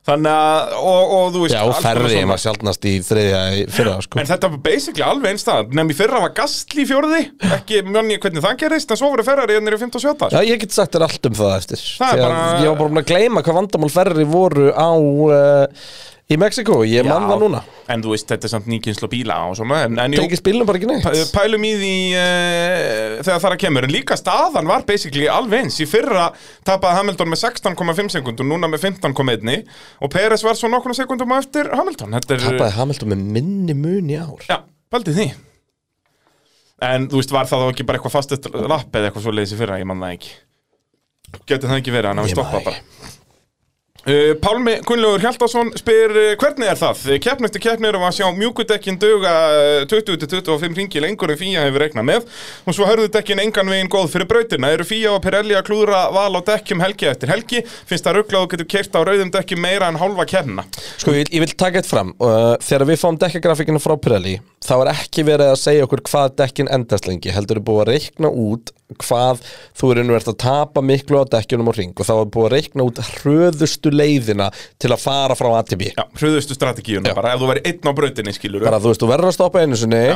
Speaker 2: þannig að, og, og þú veist
Speaker 3: Já,
Speaker 2: alls konar
Speaker 3: ferri
Speaker 2: svona.
Speaker 3: maður sjaldnast í þriðja í fyrra, sko
Speaker 2: En þetta var basically alveg einstað Nefn í fyrra var gastli í fjórði Ekki mjönni hvernig það gerist En svo voru ferrari ennir í 15 og 17
Speaker 3: Já, ég get sagt þér allt um það eftir
Speaker 2: Það er
Speaker 3: Því að
Speaker 2: bara-
Speaker 3: Ég var bara búin að gleyma hvað vandamál ferri voru á uh, í Mexiko, ég mann það núna
Speaker 2: En þú veist, þetta er samt nýkynslu bíla og svona En, en jú,
Speaker 3: Tekist bílnum bara ekki
Speaker 2: p-
Speaker 3: neitt
Speaker 2: pælum í því uh, þegar það kemur En líka staðan var basically alveg eins Í fyrra tapaði Hamilton með 16,5 sekund Og núna með 15,1 Og Peres var svo nokkuna sekundum á eftir Hamilton Þetta er
Speaker 3: Tappaði Hamilton með minni mun í ár
Speaker 2: Já, pældi því En þú veist, var það þá ekki bara eitthvað fastið lapp eða eitthvað svo leiðis í fyrra, ég man það ekki Geti það ekki verið, hann hafi
Speaker 3: Ég man
Speaker 2: stoppað
Speaker 3: það
Speaker 2: bara Uh, Pálmi Gunnlaugur Hjaldarsson spyr uh, hvernig er það? Keppn eftir keppn erum við að sjá mjúkudekkin duga uh, 20-25 ringi lengur en fíja hefur reiknað með og svo hörðu dekkin engan veginn góð fyrir brautina eru fíja og Pirelli að klúðra val á dekkjum helgi eftir helgi finnst það rugglað og getur keirt á rauðum dekkjum meira en hálfa keppna
Speaker 3: Sko, ég, vil- ég vil taka eitt fram uh, Þegar við fáum dekkagrafikina frá Pirelli þá er ekki verið að segja okkur hvað dekkin endast lengi heldur er búið að reikna út hvað þú er innverð að tapa miklu á dekkjunum og ring og þá er búið að reikna út hröðustu leiðina til að fara frá ATB
Speaker 2: Já, hruðustu strategíuna
Speaker 3: Já.
Speaker 2: bara ef þú verið einn á brautinni skilur
Speaker 3: bara þú veist, þú verður að stoppa einu sinni
Speaker 2: Já.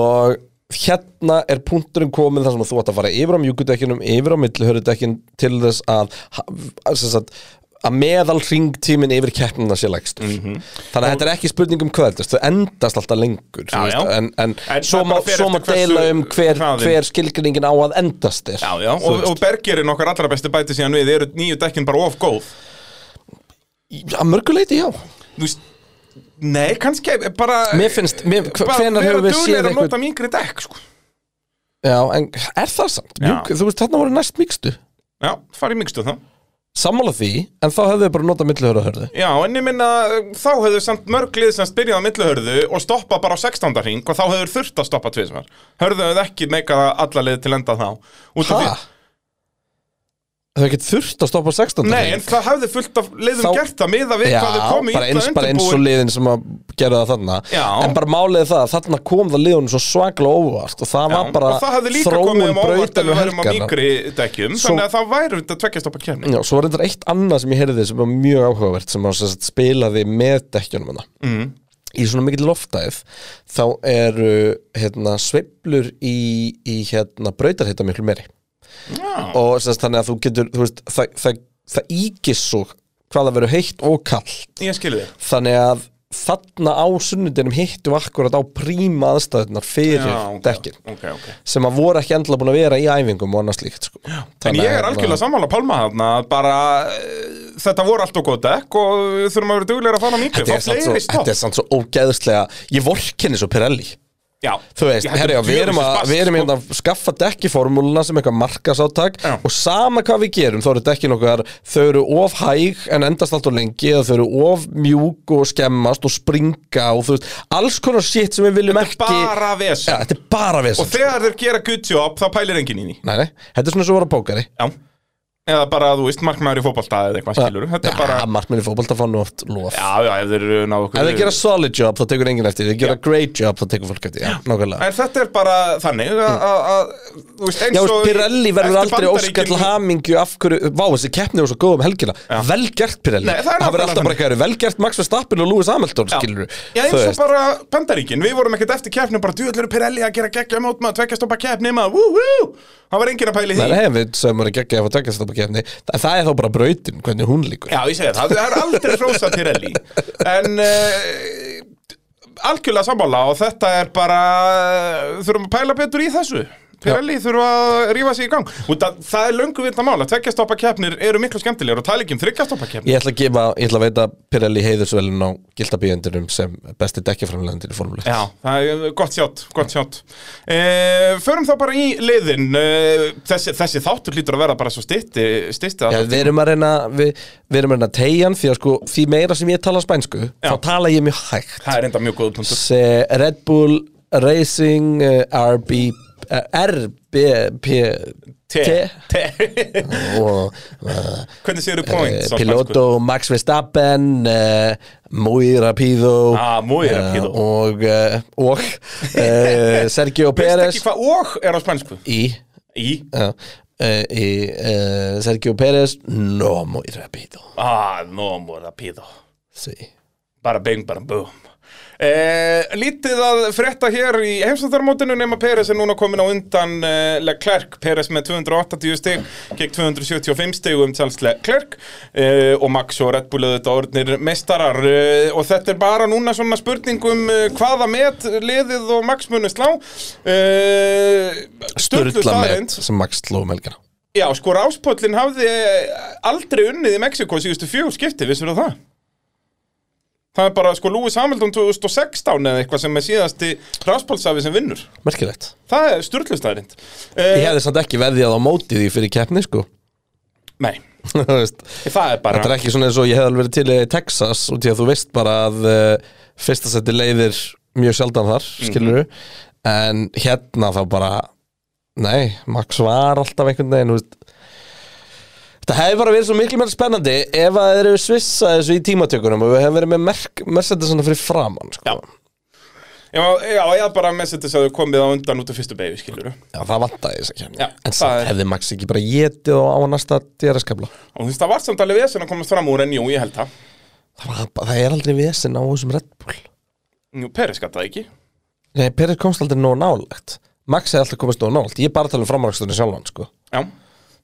Speaker 3: og hérna er punkturinn komin þar sem þú ætti að fara yfir á mjúkudekkinum yfir á millihörudekkin til þess að, að, sem sagt, að meðal ringtímin yfir keppnina sé lægstur
Speaker 2: Mhm.
Speaker 3: þannig að þetta er ekki spurning um hvað eldast, þau endast alltaf lengur þú
Speaker 2: Já,
Speaker 3: veist,
Speaker 2: já.
Speaker 3: en, en,
Speaker 2: En
Speaker 3: svo
Speaker 2: það
Speaker 3: má,
Speaker 2: bara fer
Speaker 3: svo má
Speaker 2: eftir hversu
Speaker 3: deila um hver,
Speaker 2: hraðinn.
Speaker 3: hver skilgreiningin á að endast er
Speaker 2: Já, já,
Speaker 3: Þú
Speaker 2: og,
Speaker 3: veist.
Speaker 2: og bergerinn okkar allra besti bæti síðan við eru nýju dekkin bara of góð
Speaker 3: að mörguleiti já
Speaker 2: Þú veist, nei, kannski bara eh,
Speaker 3: Mér finnst- mér- hv-
Speaker 2: bara
Speaker 3: hvenær
Speaker 2: vera
Speaker 3: höfum við séð
Speaker 2: duglegir að
Speaker 3: einhvern-
Speaker 2: nota mingri dekk, sko
Speaker 3: já, en er það samt?
Speaker 2: Já.
Speaker 3: Mjúk, þú veist, þarna voru næst mikstu
Speaker 2: Já, farið mikstu þá
Speaker 3: sammála því, en þá hefðu þau bara notað millihörudekkin
Speaker 2: Já, en ég minna, þá hefur samt mörglið sem byrjað á milluhörðu og stoppa bara á 16. ring og þá hefur þurft að stoppa tvisvar Hörðu hefur ekki meikað alla leið til enda þá Út af
Speaker 3: Hæ?
Speaker 2: því-
Speaker 3: Þau hafði ekkert þurft að stoppa á 16.
Speaker 2: Nei, en það hefði fullt af leiðum
Speaker 3: Þá-
Speaker 2: gert það miða við
Speaker 3: Já,
Speaker 2: hvað þau komu
Speaker 3: bara
Speaker 2: illa
Speaker 3: eins, bara eins og
Speaker 2: undirbúin.
Speaker 3: liðin sem að gera það þarna
Speaker 2: Já.
Speaker 3: En bara málið er það að þarna kom það liðunum svo svaklega óvart Og það
Speaker 2: Já,
Speaker 3: var bara
Speaker 2: og það hefði líka komið
Speaker 3: þróun
Speaker 2: um óvart ef
Speaker 3: brautan
Speaker 2: við
Speaker 3: og
Speaker 2: verðum á
Speaker 3: helgarna
Speaker 2: mingri dekkjum
Speaker 3: Svo-
Speaker 2: þannig að það væri þetta tveggjast oppa kemni
Speaker 3: Já, svo var reyndar eitt annað sem ég heyrði sem var mjög áhugavert sem að spilaði með dekkjunum hana mm. Í svona mikill loftæð þá eru hérna, sveiflur í, í hérna, brautarhita miklu meiri og sérst, þannig að þú getur þú veist, það, það, það ígis svo hvað það verður heitt og kallt
Speaker 2: Ég skilði þig
Speaker 3: þannig að þarna á sunnudinum hittum við akkurat á príma aðstæðunar fyrir
Speaker 2: Já, ok,
Speaker 3: dekkin
Speaker 2: ok, ok.
Speaker 3: sem að voru ekki endilega búin að vera í æfingum og annars líkt sko.
Speaker 2: En ég er algjörlega sammála Pálma þarna að bara eh, þetta voru allt og góð dekk og við þurfum að vera duglegar að fara á mikið
Speaker 3: þetta er,
Speaker 2: Fá
Speaker 3: samt svo,
Speaker 2: fleiri stopp
Speaker 3: þetta er samt svo ógeðslega ég vorkenni svo Pirelli
Speaker 2: Já,
Speaker 3: þú veist,
Speaker 2: Ég held
Speaker 3: herri,
Speaker 2: að
Speaker 3: við erum að,
Speaker 2: djöfulsins
Speaker 3: við erum
Speaker 2: basl,
Speaker 3: hérna að skaffa dekkiformúluna sem eitthvað markasáttak
Speaker 2: Já.
Speaker 3: og sama hvað við gerum, þá eru dekkin okkar þau eru of hæg en endast allt og lengi eða þau eru of mjúk og skemmast og springa og þú veist alls konar shit sem við viljum
Speaker 2: Þetta er
Speaker 3: ekki
Speaker 2: bara vesen.
Speaker 3: Já, þetta er bara
Speaker 2: sko.
Speaker 3: vesen
Speaker 2: Og þegar þeir gera good job þá pælir enginn í því
Speaker 3: nei, nei, þetta er svona svo að vera pókari
Speaker 2: Já Eða bara, þú veist, markmaður í fótbolta eða eitthvað skilur Þetta er bara
Speaker 3: ja, markmenni fótbolta fá nú oft lof
Speaker 2: Já, já, ef þeir ná okkur
Speaker 3: Ef þeir gera solid job, þá tekur enginn eftir því. Ef þeir gera great job, þá tekur fólk eftir því. Já, nákvæmlega
Speaker 2: En þetta er bara þannig að- að, að, þú veist, eins
Speaker 3: Mm. Já,
Speaker 2: og
Speaker 3: veist,
Speaker 2: í-
Speaker 3: Pirelli verður
Speaker 2: eftir
Speaker 3: aldrei óskall
Speaker 2: Bandaríkin-
Speaker 3: hamingju af hverju, vá, þessi keppni var svo góð um helgina Vel gert Pirelli,
Speaker 2: Nei, það er
Speaker 3: verður
Speaker 2: nákvæmlega
Speaker 3: alltaf bara
Speaker 2: þannig.
Speaker 3: eitthvað vel gert Max Verstappen og Lewis Hamilton,
Speaker 2: Já.
Speaker 3: skilur
Speaker 2: Já, eins og bara Bandaríkin, við vorum ekkert eftir keppnum bara djúðlur Pirelli að gera geggja mót maður, tvekja stoppa keppni maður, wú, wú, það var enginn að pæli
Speaker 3: Nei,
Speaker 2: því
Speaker 3: nei, við sem eru geggja ef að tekja þetta keppni En það er þá bara brautin, hvernig hún líkur
Speaker 2: Já, ég segi það, það er aldrei frósa Pirelli En uh, algjörlega sammála og þetta er bara þurfum að pæla betur í þessu Pirelli þurfa að rífa sig í gang og það, það er löngu vitna mála, tveggjastoppa keppnir eru miklu skemmtilegur og tala ekki um þryggjastoppa keppnir
Speaker 3: Ég ætla að gefa, ég ætla að veita Pirelli heiðursvelin á gildabíjendinum sem besti dekkjaframlendir í formule 1.
Speaker 2: Já, það er eh, gott sjátt, gott sjátt. E, förum þá bara í liðin. E, þessi, þessi þáttur lítur að vera bara svo stytti, stytti
Speaker 3: Já,
Speaker 2: að
Speaker 3: við erum að reyna, við, við erum að reyna tegjan því að sko, því meira sem ég tala spænsku þá tala ég mjög hægt
Speaker 2: það er enda mjög góð punktur.
Speaker 3: Se Red Bull Racing eh, RB eh, RBP
Speaker 2: T. T. <laughs>
Speaker 3: og eh,
Speaker 2: Hvernig séu þið points? á
Speaker 3: Piloto Max Verstappen uh, Muy Rapido
Speaker 2: Ah, muy
Speaker 3: eh,
Speaker 2: rápido.
Speaker 3: og, uh, og
Speaker 2: <laughs>
Speaker 3: uh, Sergio
Speaker 2: spænsku? Veist
Speaker 3: Pérez
Speaker 2: ekki hvað og er á spænsku?
Speaker 3: í,
Speaker 2: Í.
Speaker 3: uh, í uh, Sergio Pérez eh, no muy Rapido
Speaker 2: Ah, no more rapido.
Speaker 3: því
Speaker 2: bara bing, bara boom Eh, lítið að frétta hér í heimsvættarmótinu nema Peres er núna komin á undan eh, Leclerc, Peres með 280 stig gegn 275 stig um Charles Leclerc eh, og Max og Red Bull auðvitað orðnir meistarar eh, og þetta er bara núna svona spurning um eh, hvaða met liðið og Max munu slá eh, sturlu
Speaker 3: Sturla
Speaker 2: staðreynd.
Speaker 3: með sem Max sló um helgina
Speaker 2: Já, sko Ráspöllin hafði aldrei unnið í Mexiko síðustu fjögur skipti, vissir þú það? Það er bara, sko, Lewis Hamilton 2016 eða eitthvað sem er síðasti Ráspöllsafi sem vinnur.
Speaker 3: Merkilegt
Speaker 2: Það er styrlustæðrind.
Speaker 3: Ég
Speaker 2: Uh,
Speaker 3: hefði samt ekki veðjað á móti því fyrir keppni sko <laughs>
Speaker 2: nei,
Speaker 3: Þú veist,
Speaker 2: það er bara...
Speaker 3: Þetta er ekki svona eins og ég hefði alveg verið til í Texas út í að þú veist bara að uh, fyrsta seti leiðir mjög sjaldan þar
Speaker 2: Mhm.
Speaker 3: skilur en hérna þá bara nei, Max var alltaf einhvern veginn þú veist. Þetta hefði bara verið svo miklu meira spennandi ef að þeir eru svissa þessu í tímatökunum og við hefðum verið með merk, Mercedes svona fyrir framann sko. já.
Speaker 2: Já, já, já, bara Mercedes hafði komið á undan út af fyrstu beigvi, skilur þú.
Speaker 3: það vantaði þess að kemja
Speaker 2: Já,
Speaker 3: en
Speaker 2: það
Speaker 3: samt
Speaker 2: er-
Speaker 3: hefði Max ekki bara getið og á næsta DRS-kabla
Speaker 2: Og þú veist, það var samt alveg vesen að komast fram úr en jú, ég held það.
Speaker 3: það, var bara- það er aldrei vesen á þessum Red Bull
Speaker 2: Jú, Peres gat það ekki.
Speaker 3: Nei, Peres komst aldrei nóg nálægt Max hefði alltaf komist nóg nálægt Ég er bara að tala um framrækstunni sjálfan sko.
Speaker 2: Já.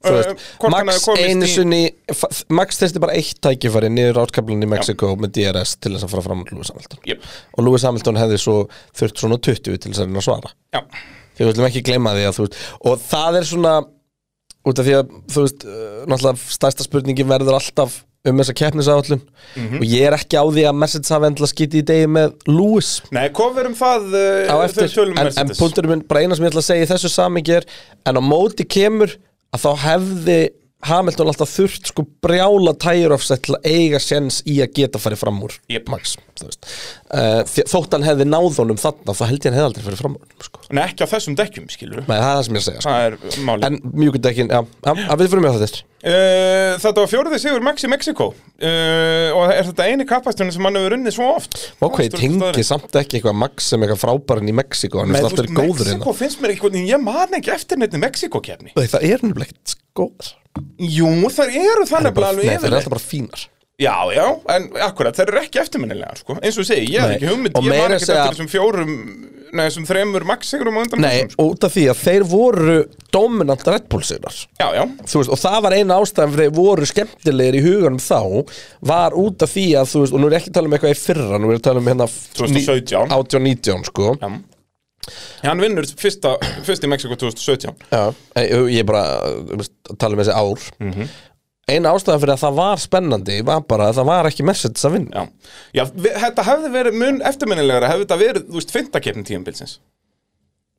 Speaker 3: Þú
Speaker 2: Eh,
Speaker 3: veist,
Speaker 2: hvort hann
Speaker 3: Max
Speaker 2: hefði komist
Speaker 3: einu
Speaker 2: í-
Speaker 3: sinni fa- Max þurfti bara eitt tækifæri niður átkablan í Mexiko með DRS til þess að fara fram á Lewis Hamilton
Speaker 2: Jep.
Speaker 3: og Lewis Hamilton hefði svo þurft svona 20 til þess að reyna að svara
Speaker 2: Já.
Speaker 3: því við ætlum ekki gleyma því að þú veist og það er svona út af því að þú veist uh, náttúrulega stærsta spurningin verður alltaf um þessa keppnisáallun
Speaker 2: Mhm.
Speaker 3: og ég er ekki á því að Mercedes hafi endla skiti í degi með Lewis
Speaker 2: Nei, kofurum það eh,
Speaker 3: á
Speaker 2: þegar
Speaker 3: eftir
Speaker 2: við tölum um
Speaker 3: en, en
Speaker 2: Mercedes.
Speaker 3: punkturinn minn, bara eina sem ég ætla að segja í þessu samingi er en á móti kemur að þá hefði Hamilton alltaf þurft sko brjála tire offset til að eiga séns í að geta farið fram úr
Speaker 2: Jep.
Speaker 3: Max, þú veist. uh, því- þótt hann hefði náð honum þarna þá held ég hann hefði aldrei farið fram úr honum, sko.
Speaker 2: Nei, ekki á þessum dekkjum, skilur
Speaker 3: Nei, það er það sem ég er að segja sko.
Speaker 2: Það er málið.
Speaker 3: en mjúkundekkin, já, já, já, við fyrir mig á þetta
Speaker 2: Uh, þetta var fjórði sigur Max í Mexiko uh, og er þetta eini kappastunni sem hann hefur runnið svo oft
Speaker 3: Ok, ég tengi samt ekki eitthvað Max sem eitthvað frábærinn í Mexiko hann er alltaf verið góður hérna
Speaker 2: Mexiko finnst mér eitthvað, ég man ekki eftir neitt Mexiko kefni
Speaker 3: Nei, Það er nefnilega ekkert góður
Speaker 2: Jú, þær eru
Speaker 3: Nei,
Speaker 2: þannig bara
Speaker 3: það
Speaker 2: alveg
Speaker 3: er
Speaker 2: yfir
Speaker 3: alltaf bara fínar
Speaker 2: Já, já, en akkurat, þær eru ekki eftirminnilegar sko. eins og ég segi, ég hef
Speaker 3: Nei,
Speaker 2: ekki hugmynd
Speaker 3: og
Speaker 2: ég
Speaker 3: meira
Speaker 2: man
Speaker 3: að
Speaker 2: ekki
Speaker 3: segja-
Speaker 2: eftir þessum fjórum Nei, þessum þremur Max sigurum á undan
Speaker 3: Nei,
Speaker 2: þessum, sko.
Speaker 3: og út af því að þeir voru dominant Red Bull sigrar
Speaker 2: Já, já,
Speaker 3: Þú veist, og það var eina ástæðan fyrir þeir voru skemmtilegir í huganum þá var út af því að, þú veist, og nú er ég ekki að tala um eitthvað í fyrra, nú er ég að tala um hérna
Speaker 2: 2017.
Speaker 3: 18-19, sko
Speaker 2: já Hann vinnur fyrsta, fyrst í Mexiko 2017
Speaker 3: Já, ég ég er bara þú veist, að tala um þessi ár eina ástæðan fyrir að það var spennandi var bara að það var ekki Mercedes að vinna
Speaker 2: Já, já vi- þetta hefði verið mun eftirminnilegra hefði þetta verið, þú veist, fintakefni tíumbilsins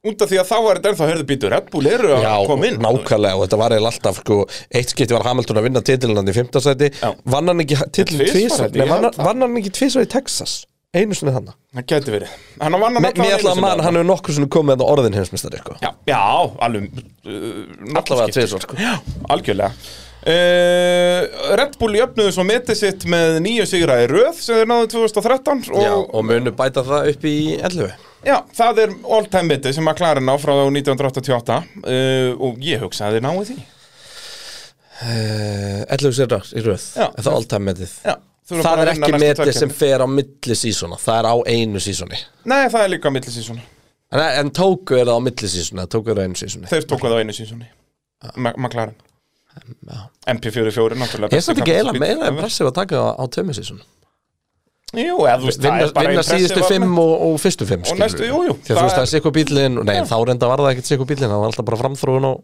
Speaker 2: út af því að þá var þetta ennþá hörðu býtu Red Bull eru að koma inn
Speaker 3: nákvæmlega og þetta var eiginlega alltaf sko, eitt skipti var Hamilton að vinna titilin í 15 sæti,
Speaker 2: Já.
Speaker 3: vann hann ekki titilin
Speaker 2: Tvisvar,
Speaker 3: tvisar,
Speaker 2: held ég,
Speaker 3: nei, vann,
Speaker 2: ég held það.
Speaker 3: vann hann ekki tvisar í Texas einu sinni þannig
Speaker 2: Það gæti verið Hann vann hann
Speaker 3: Mér mér ætla að mann, hann hefur nokkur sinni komið að orðin heimsmyndstari, sko
Speaker 2: Já, já alveg uh,
Speaker 3: Allavega
Speaker 2: nokkrum
Speaker 3: tvisvar, sko.
Speaker 2: skiptum. Já, algjörlega Uh, Red Bull jöfnuðu svo metið sitt með nýju sigra í röð sem þeir náðu 2013 og,
Speaker 3: Já, og munu bæta það upp í 11
Speaker 2: já, það er all time metið sem að klara ná frá 1988 uh, og ég hugsa að þeir náu því
Speaker 3: uh, 11 sérar í röð,
Speaker 2: Já.
Speaker 3: Er það er alltaf metið
Speaker 2: Já, þú eru
Speaker 3: Það
Speaker 2: bara að
Speaker 3: er
Speaker 2: vinna
Speaker 3: ekki
Speaker 2: næstu tvær
Speaker 3: metið sem
Speaker 2: keppnir.
Speaker 3: fer á milli sísona Það er á einu sísoni
Speaker 2: Nei, það er líka millisísona
Speaker 3: En, en tóku er það á milli sísoni, tóku er á einu sísoni
Speaker 2: Þeir tóku það á einu sísoni
Speaker 3: Ah.
Speaker 2: McLaren MP44 náttúrulega
Speaker 3: Ég er samt ekki eila meira
Speaker 2: en
Speaker 3: impressiv að taka það á tömmu sísoni
Speaker 2: Jú, eða þú veist, það
Speaker 3: Vinna,
Speaker 2: er bara
Speaker 3: vinna síðustu
Speaker 2: impressive
Speaker 3: fimm
Speaker 2: almennt.
Speaker 3: og, og fyrstu fimm skilurðu.
Speaker 2: næstu- jú, jú,
Speaker 3: Því að
Speaker 2: það
Speaker 3: þú veist
Speaker 2: er-
Speaker 3: það er sikku bílinn Nei, þá reynda var það ekkert sikku bílinn Það var alltaf bara framþróun og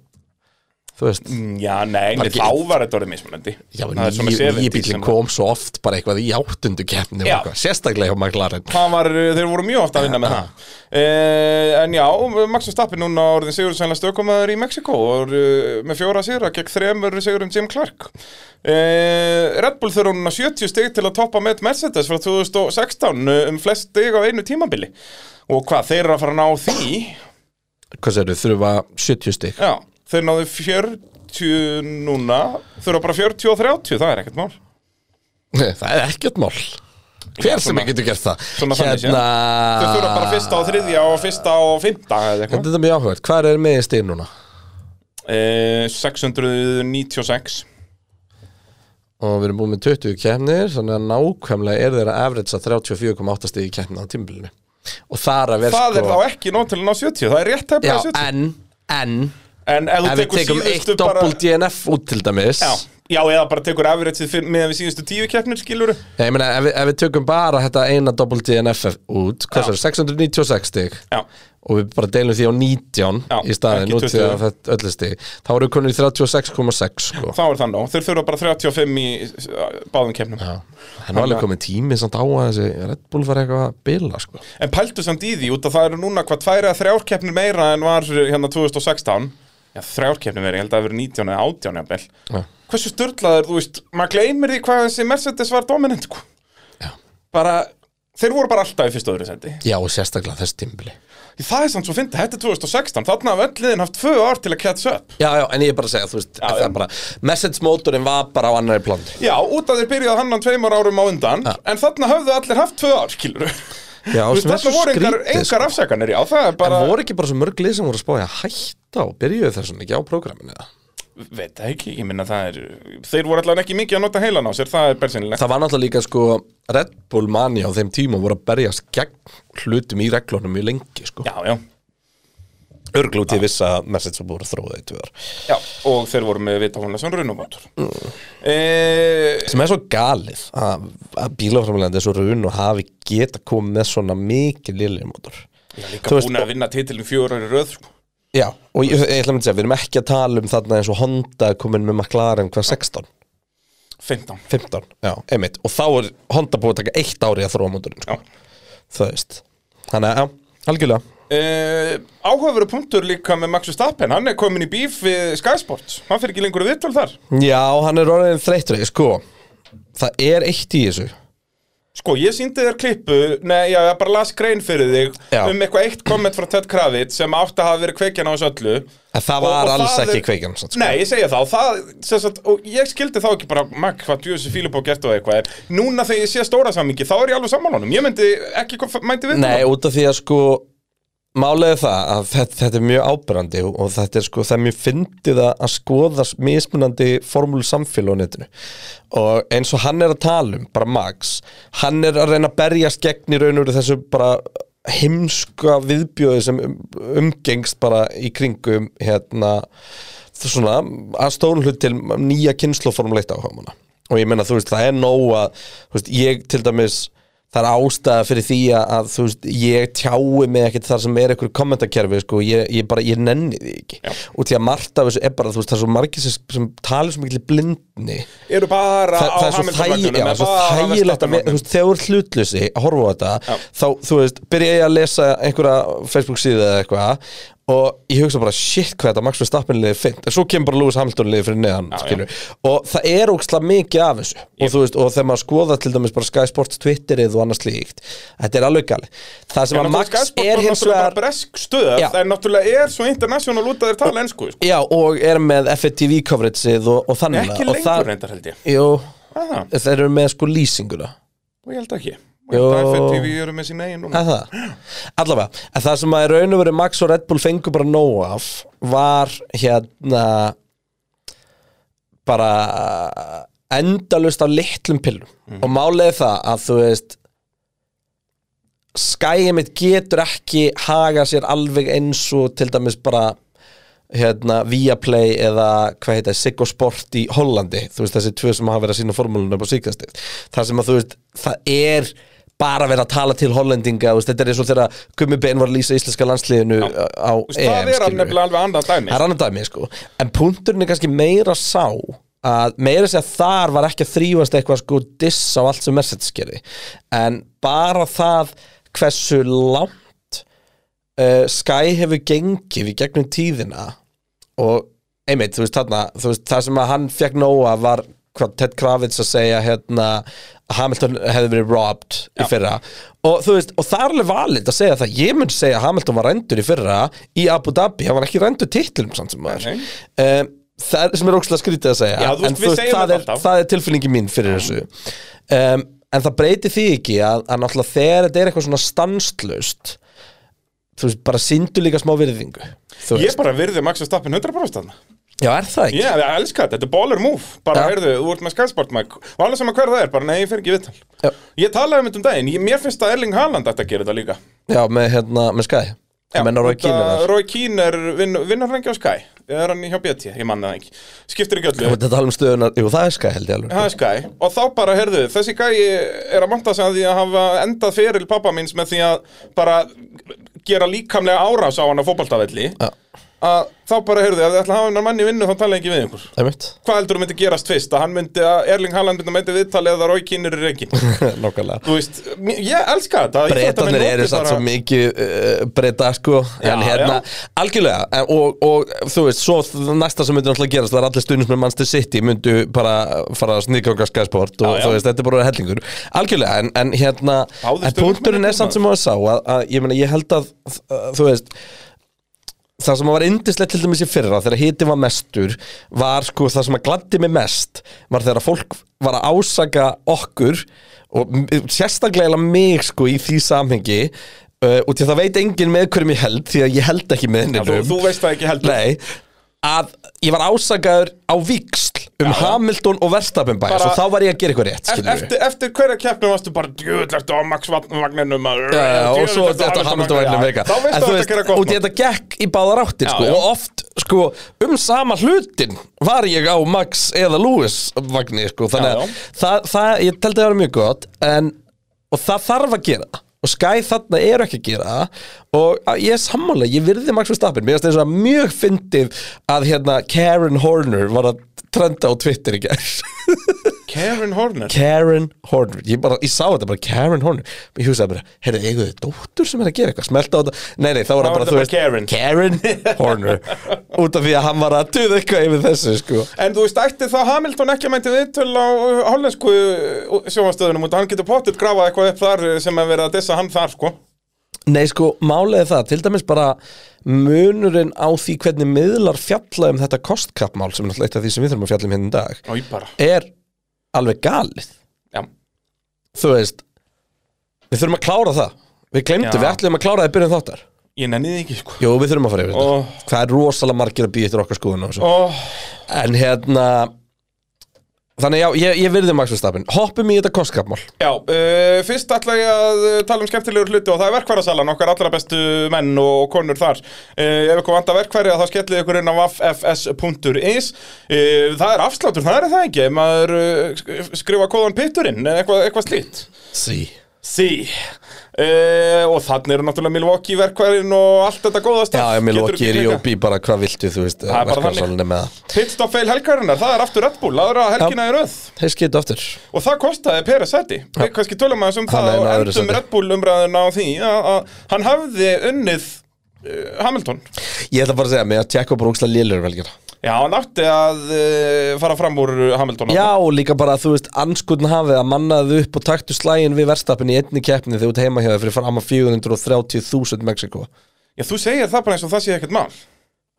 Speaker 3: Þú veist
Speaker 2: Já, nei,
Speaker 3: Bara
Speaker 2: nei
Speaker 3: ekki-
Speaker 2: þá var þetta orðið mismunandi
Speaker 3: Já,
Speaker 2: Mm. Það er svona
Speaker 3: nýju
Speaker 2: 70
Speaker 3: nýju bílinn
Speaker 2: sem-
Speaker 3: kom svo oft bara eitthvað í áttundu keppni og
Speaker 2: Já.
Speaker 3: eitthvað, Sérstaklega hjá McLaren
Speaker 2: Það var, eh, þeir voru mjög ofta að vinna með það eh, En já, Max Verstappen núna orðin Sigur sænlega stökumæður í Mexiko og eh, með fjóra sigra gegn þremur sigurum Jim Clark eh, Red Bull þurfa núna 70 stig til að toppa með Mercedes frá 2016 um flest stig á einu tímabili og hvað, þeir eru að fara að ná því
Speaker 3: Hvað segir þau, þurfa 70 stygg
Speaker 2: Já, þeir náðu 40 núna þurfa bara 40 og 30, það er ekkert mál
Speaker 3: Það er ekkert mál Hver sem
Speaker 2: svona-
Speaker 3: ekki getur gert það
Speaker 2: svona þannig séð.
Speaker 3: Hérna
Speaker 2: Þeir þurfa bara fyrsta og þriðja og fyrsta og fymta eða eitthvað
Speaker 3: Þetta er mjög áhugað, hvað er með í stig núna?
Speaker 2: Eh, 696
Speaker 3: og við erum búin með 20 keppnir þannig að nákvæmlega er þeirra average að 34,8 stig í keppnina á tímabilinu og þar sko- að vera
Speaker 2: Það er þá ekki nóg til að ná 70 Það er rétt
Speaker 3: já,
Speaker 2: hefnað 70
Speaker 3: en, en
Speaker 2: En ef
Speaker 3: ef
Speaker 2: þú
Speaker 3: við
Speaker 2: tekur
Speaker 3: tekum eitt
Speaker 2: síðustu bara
Speaker 3: doppel DNF út til dæmis
Speaker 2: Já, já, eða bara tekur afrætsið meðan við síðustu tíu keppnir skilur Já,
Speaker 3: Nei, ég meina, ef, við- ef við tökum bara þetta eina doppel DNF út, hvað
Speaker 2: Já.
Speaker 3: er 696 stig og við bara deilum því á 19
Speaker 2: Já,
Speaker 3: í staðin
Speaker 2: ekki
Speaker 3: út því
Speaker 2: 20.
Speaker 3: að þetta öllu stig þá erum við konur í 36,6 sko.
Speaker 2: þá er það nóg Þeir þurfa bara 35 í uh, báðum keppnum
Speaker 3: Já, það er nú alveg komið tími samt á að þessi Red Bull var eitthvað að bila sko.
Speaker 2: En pæltu samt í því, út að það eru núna hvað tvær eða þrjár keppnir meira en var uh, hérna 2016 Já, þrjár keppnir meira, ég held að það hafi verið 19 eða 18 jafnvel
Speaker 3: Já.
Speaker 2: Hversu störlaður, þú veist, maður gleymir því hvað þessi Mercedes var dominant sko.
Speaker 3: Já.
Speaker 2: Bara, þeir voru bara alltaf í fyrst og öðru sendi
Speaker 3: Já, og sérstaklega þessi tímbili
Speaker 2: Það er samt svo fyndið, þetta er 2016, þarna hafa öll liðin haft tvö ár til að catch up
Speaker 3: Já, já, en ég er bara að segja, þú veist,
Speaker 2: Já,
Speaker 3: það
Speaker 2: já.
Speaker 3: er bara Message motorinn var bara á annari plan
Speaker 2: Já, út að þeir byrjaði hann tveimur árum á undan
Speaker 3: Já.
Speaker 2: En þarna höfðu allir haft tvö ár, skilur
Speaker 3: Já,
Speaker 2: Þú veist,
Speaker 3: sem er
Speaker 2: þarna
Speaker 3: svo
Speaker 2: voru engar,
Speaker 3: skrítið,
Speaker 2: engar
Speaker 3: sko.
Speaker 2: afsakanir, já, það er bara
Speaker 3: En voru ekki bara svo mörg lið sem voru að spája að hætta og byrjuðu þessum ekki á prógraminu eða?
Speaker 2: Veit það ekki, ég minna það er Þeir voru allavega ekki mikið að nota heilan á sér, það er bersinilegt
Speaker 3: Það var náttúrulega líka sko Red Bull mani á þeim tíma voru að berjast gegn hlutum í reglunum mjög lengi sko.
Speaker 2: Já, já,
Speaker 3: Örglúti viss að message voru þróðið í tvöðar
Speaker 2: já, og þeir voru með vitafónlega sem runumótur mm. e,
Speaker 3: sem er svo galið að, að bílaframlegandi svo raun og hafi geta komið með svona mikið liðlega mótor
Speaker 2: Líka búin að vinna titilin fjórar í röð sko.
Speaker 3: Já, og ég, ég ætla að myndi segja, við erum ekki að tala um þarna eins og Honda er komin með McLaren hvað 16,
Speaker 2: 15
Speaker 3: 15 Já, einmitt, og þá er Honda búið að taka eitt ári að þróa mótorinn,
Speaker 2: Já.
Speaker 3: sko. það veist Þannig að, já, algjörlega
Speaker 2: e, Áhugaveru punktur líka með Maxu Stappen Hann er komin í bíf við Sky Sports Hann fyrir ekki lengur að vittal þar
Speaker 3: Já, hann er orðin þreyttur, sko Það er eitt í þessu
Speaker 2: Sko, ég síndi þér klippu, nei, já, ég bara las grein fyrir þig
Speaker 3: Já.
Speaker 2: um eitthvað eitt komment frá Ted Kravitz sem átti að hafa verið kveikjan á þessu öllu.
Speaker 3: En það var
Speaker 2: Og- og
Speaker 3: alls
Speaker 2: það
Speaker 3: ekki
Speaker 2: er-
Speaker 3: kveikjan samt, sko.
Speaker 2: Nei, ég segja þá, það, sem sagt, og ég skildi þá ekki bara, makk, hvað djúsi Fílip og gert og eitthvað er. Núna þegar ég sé stóra sammingi, þá er ég alveg sammálunum. Ég myndi ekki, kom- mændi við
Speaker 3: Nei, út af því að sko Málega það að þetta, þetta er mjög ábyrrandi og og þetta er sko, það er mjög fyndið að að skoða mismunandi formúlu samfélag á netinu og eins og hann er að tala um, bara Max hann er að reyna að berjast gegn í raun og veru þessu bara heimska viðbjóði sem um- umgengst bara í kringum hérna svona að stóru hlut til nýja kynnslóformuleitt áhugamana og ég meina þú veist það er nóg að þú veist, ég til dæmis það er ástæða fyrir því að, að þú veist ég tjái mig ekkert þar sem er einhver kommentakerfi sko, ég, ég bara, ég nenni því ekki Já. og því að margt af þessu er bara þú veist það er svo margir sem, sem talir svo mikil blindni
Speaker 2: Eru bara
Speaker 3: Þa,
Speaker 2: á
Speaker 3: það er svo, þægi,
Speaker 2: Hamilton-vagnunum,
Speaker 3: já,
Speaker 2: eða
Speaker 3: svo
Speaker 2: bara á
Speaker 3: þægilegt að við, þú
Speaker 2: Verstappen-vagnunum?
Speaker 3: veist, þegar þú ert hlutlusi að horfa á þetta,
Speaker 2: Já.
Speaker 3: þá, þú veist, byrja ég að lesa einhverja Facebook síðu eða eitthvað og ég hugsa bara, shit, hvað þetta Max Verstappen liðið fint, en svo kemur bara Lewis Hamilton liðið fyrir neðan,
Speaker 2: Já,
Speaker 3: skilur, og það er ókslega mikið af þessu, og þú veist, og þegar maður skoða til dæmis bara Sky Sports Twitterið og annars líkt, þetta er alveg gali það sem
Speaker 2: Já,
Speaker 3: að
Speaker 2: náttúrulega Sky
Speaker 3: Max
Speaker 2: Sports var
Speaker 3: er hins
Speaker 2: náttúrulega bara
Speaker 3: vegar
Speaker 2: bresk stöð,
Speaker 3: Já.
Speaker 2: en náttúrulega er svo international út að þeir tala ennsku, sko.
Speaker 3: já, og er með FTV coveragið og, og þannig
Speaker 2: Ekki
Speaker 3: og það-
Speaker 2: lengur reyndar held ég.
Speaker 3: Jú,
Speaker 2: Aha.
Speaker 3: þeir eru með sko lýsinguna
Speaker 2: Og ég held ekki Og
Speaker 3: Jó.
Speaker 2: ég held að FNTV eru með sín eigin núna
Speaker 3: Að það? Allavega, að það sem að í raun og veru Max og Red Bull fengu bara nóg af var hérna bara endalust af litlum pillum og málið er það að þú veist skæið mitt getur ekki haga sér alveg eins og til dæmis bara hérna Viaplay eða hvað heita Siggo Sport í Hollandi þú veist þessi tvö sem hafa verið að sína formúlunum upp á síkastið þar sem að þú veist það er bara verið að tala til hollendinga þú veist, þetta er eins og þegar Gummi Ben var að lýsa íslenska landsliðinu á
Speaker 2: Þú veist,
Speaker 3: EM
Speaker 2: Það er
Speaker 3: skilurðu.
Speaker 2: nefnilega alveg annað dæmi
Speaker 3: Það er annað dæmi sko En punkturinn er kannski meira sá að meira sér þar var ekki að þrýfast eitthvað sko diss á allt sem message gerði en bara það hversu langt uh, Sky hefur gengið í gegnum tíðina og einmitt, þú veist, þarna, þú veist það sem að hann fekk nóa var hvað Ted Kravitz að segja hérna að Hamilton hefði verið robbed í fyrra og þú veist, og það er alveg valid að segja það, ég mun segja að Hamilton var rendur í fyrra í Abu Dhabi, hann var ekki rendur titlum samt sem maður
Speaker 2: Nei.
Speaker 3: um, það er sem er ókslega skrítið að segja
Speaker 2: Já, þú veist,
Speaker 3: en
Speaker 2: við segjum
Speaker 3: það,
Speaker 2: þetta
Speaker 3: er,
Speaker 2: alltaf.
Speaker 3: það er tilfinningi mín fyrir þessu um, en það breytir því ekki að, að náttúrulega þegar þetta er eitthvað svona stanslust þú veist, bara síndu líka smá virðingu þú
Speaker 2: Ég bara virði Max Verstappen 100% þarna
Speaker 3: Já, er það ekki?
Speaker 2: Já, ég elska þetta, þetta er baller move Bara,
Speaker 3: Já.
Speaker 2: heyrðu, þú ert með Skysport Mike Og alveg sama hver það er, bara nei, ég fer ekki í viðtal
Speaker 3: Já.
Speaker 2: Ég talaði um þetta um daginn, ég, mér finnst að Erling Haaland ætti að gera þetta líka
Speaker 3: Já, með hérna, með Sky Já, menn á Rói Kína þar
Speaker 2: Rói Kín er vin, vinnar hann ekki á Sky Er hann hjá BT, ég manna það ekki Skiptir ekki
Speaker 3: Þú
Speaker 2: öllu
Speaker 3: veit að tala um stöðuna, jú það er Sky held ég alveg
Speaker 2: Það er Sky Og þá bara, heyrðu, þessi gæi er að monta sig að því að hafa endað feril pappa míns með því að bara gera líkamlega árás á hann á fótboltavelli
Speaker 3: Já,
Speaker 2: að þá bara, heyrðu, ef þið ætla að hafa hennar manni í vinnu þá tala ég ekki við ykkur
Speaker 3: það er mitt <laughs>
Speaker 2: Hvað heldur þú myndi gerast fyrst? Að hann myndi, að Erling Haaland myndi að myndi viðtalið eða Rói Kín er í
Speaker 3: <laughs>
Speaker 2: reikin
Speaker 3: Nákvæmlega
Speaker 2: Þú veist, mér- ég elska þetta
Speaker 3: Bretarnir
Speaker 2: Íþróttamenn noti
Speaker 3: eru satt
Speaker 2: bara-
Speaker 3: svo mikið uh, breyta sko En
Speaker 2: Já,
Speaker 3: hérna,
Speaker 2: já.
Speaker 3: algjörlega en- og, og þú veist, svo þ- næsta sem myndi náttúrulega gerast Það er allir stundins með Manchester City Myndu bara fara að sniðganga Sky Sport Og
Speaker 2: Já, já.
Speaker 3: þú veist, þetta er bara hellingur Algjörlega, en, en hérna En
Speaker 2: Báðir
Speaker 3: punkturinn
Speaker 2: stuðningsmennirnir,
Speaker 3: er samt sem maður sá að, að, Ég meina, ég held að, að þú veist það sem var indislegt til dæmis í fyrra þegar hiti var mestur var sko það sem að gladdi mig mest var þegar fólk var að ásaka okkur og m- sérstaklega eiginlega mig sko í því samhengi uh, og til það veit enginn með hverjum ég held því að ég held ekki með
Speaker 2: Já, þú,
Speaker 3: neinum
Speaker 2: þú veist það ekki heldur
Speaker 3: Nei, að ég var ásakaður á viksl um Hamilton og Verstappen bæs
Speaker 2: Bara-
Speaker 3: og þá var ég að gera eitthvað rétt
Speaker 2: Eft-
Speaker 3: skilurðu.
Speaker 2: Eftir, eftir hverja keppnum varstu bara djöðlegt á Max Vagninum
Speaker 3: Já, já, og svo þetta Hamilton vagnin veika
Speaker 2: Þá
Speaker 3: En
Speaker 2: veistu
Speaker 3: þú
Speaker 2: að
Speaker 3: veist,
Speaker 2: þetta gera
Speaker 3: og
Speaker 2: gott
Speaker 3: þetta gekk í báðar áttir
Speaker 2: Já,
Speaker 3: sko,
Speaker 2: já.
Speaker 3: og oft, sko, um sama hlutin var ég á Max eða Lewis vagni, sko, þannig
Speaker 2: Já,
Speaker 3: að
Speaker 2: já.
Speaker 3: það, það, ég teldi að það var mjög gott en, og það þarf að gera það. og Sky þarna er ekki að gera það og að- ég er sammála, ég virði Max Verstappen mér finnst þess að mjög fyndið að hérna Karen Horner var að trenda á Twitter í gær <laughs>
Speaker 2: Karen Horner
Speaker 3: Karen Horner ég, bara, ég sá þetta bara Karen Horner ég hugsaði bara, heyrðu, eigum þið dóttur sem er að gera eitthvað smelta á þetta, nei, nei, þá var
Speaker 2: Þá
Speaker 3: það bara,
Speaker 2: var
Speaker 3: þú
Speaker 2: þetta
Speaker 3: veist
Speaker 2: bara
Speaker 3: Karen
Speaker 2: <laughs>
Speaker 3: Horner út af því að hann var að duða eitthvað yfir þessu, sko
Speaker 2: En þú veist, ætti þá Hamilton ekki að mænti viðtöl á uh, hollensku uh, sjónastöðunum og hann getur pottitt grafað eitthvað upp þar uh, sem að vera að dissa hann þar, sko
Speaker 3: nei, sko, málega það, til dæmis bara munurinn á því hvernig miðlar fjalla um þetta kostkappmál sem er náttúrulega eitt af því sem við þurfum að fjalla um hérna í dag
Speaker 2: Í bara
Speaker 3: er alveg galið
Speaker 2: Já,
Speaker 3: þú veist, við þurfum að klára það við glemdum,
Speaker 2: Já.
Speaker 3: við ætlum að klára það í byrjun þáttar
Speaker 2: ég nenni þið ekki, sko
Speaker 3: Jú, við þurfum að fara yfir þetta
Speaker 2: Oh.
Speaker 3: Það er rosalega margir að býja eftir okkar skoðun á þessu
Speaker 2: oh,
Speaker 3: En hérna Þannig já, ég, ég virði Max Verstappen Hoppum í þetta kostkapmál
Speaker 2: Já, uh, fyrst ætla ég að uh, tala um skemmtilegur hluti og það er verkværasalan, okkar allra bestu menn og konur þar. Uh, ef ykkur vantar verkværi þá skellið ykkur inn á ffs.is. Uh, það er afslátur, það er það ekki, ef maður uh, sk- skrifa kóðan pitturinn eða eitthvað, eitthvað slíkt.
Speaker 3: Sí
Speaker 2: Sí. Uh, og þannig eru náttúrulega Milwaukee verkværin og allt þetta góða
Speaker 3: Já,
Speaker 2: stað.
Speaker 3: ég með loki er í og bý bara hvað viltu Þú veist,
Speaker 2: er bara
Speaker 3: verkvæðarsalinn er með það
Speaker 2: Pitstop fail helgarinnar, það er aftur Red Bull, aðra helgina í röð.
Speaker 3: Þeir skitu aftur
Speaker 2: Og það kostaði Peres sæti Við kannski tölum aðeins um
Speaker 3: Hann
Speaker 2: það
Speaker 3: er
Speaker 2: og
Speaker 3: náður í
Speaker 2: endum
Speaker 3: sæti.
Speaker 2: Red Bull umræðuna á því að að hann hafði unnið uh, Hamilton
Speaker 3: Ég ætla bara að segja mig að Tjekko bara um úkslega lélur velgjara
Speaker 2: Já, hann átti að uh, fara fram úr Hamilton
Speaker 3: Já, og líka bara að þú veist, anskotn hafið að mannaðu upp og taktu slægin við verstappin í einni keppni þegar þú ert heima hjá þér fyrir fram að 430.000 Mexiko
Speaker 2: Já, þú segir það bara eins og það sé ekkert mál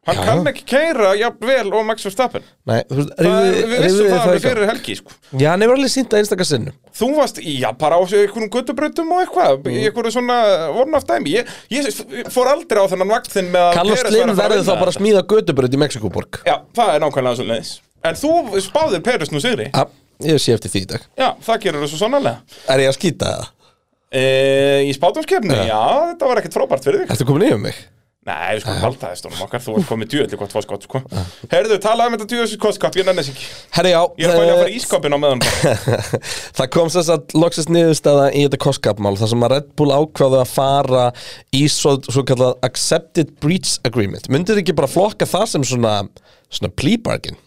Speaker 2: Hann
Speaker 3: Já.
Speaker 2: kann ekki keira jafnvel og Max Verstappen
Speaker 3: Nei, þú veist,
Speaker 2: Það er-
Speaker 3: rífið
Speaker 2: Við vissum
Speaker 3: þið
Speaker 2: það
Speaker 3: það
Speaker 2: alveg
Speaker 3: eitthvað
Speaker 2: fyrir helgi sko.
Speaker 3: Já, hann hefur alveg sínt að einstaka sinnum
Speaker 2: Þú varst, já, bara á sig einhverjum guttubrautum og eitthvað
Speaker 3: Mm.
Speaker 2: í einhverju svona vornaft dæmi ég, ég fór aldrei á þennan vakt þinn með að
Speaker 3: Carlos
Speaker 2: Perez væri
Speaker 3: Slim
Speaker 2: að fara að
Speaker 3: verður þá
Speaker 2: vinna
Speaker 3: bara að
Speaker 2: þetta.
Speaker 3: smíða gödubröð í Mexikoborg
Speaker 2: Já, það er nákvæmlega svo En þú spáðir Peres nú sigri
Speaker 3: Já, ég sé eftir því í dag
Speaker 2: Já, það gerur það svo sannarlega
Speaker 3: Er ég að skýta það?
Speaker 2: e,
Speaker 3: Eh,
Speaker 2: Í spátumskefni, já. þetta var ekkert frábært fyrir þig
Speaker 3: Ertu komin yfir mig?
Speaker 2: Nei, við sko
Speaker 3: Eh.
Speaker 2: valda þess stónum okkar, þú ert komið djöðli gott fóskott sko. Herðu, talaðu um þetta djöðlis kostkap, ég nenni þess ekki
Speaker 3: Herri já,
Speaker 2: Ég er að bæja að fara í
Speaker 3: eh,
Speaker 2: ískapin á meðan bara.
Speaker 3: <laughs> það kom sem sagt loksist niðurstaða í þetta kostkapmál þar sem að Red Bull ákvaðu að fara í svo, svo kallað Accepted Breach Agreement Myndir ekki bara flokka það sem svona, svona plea bargain?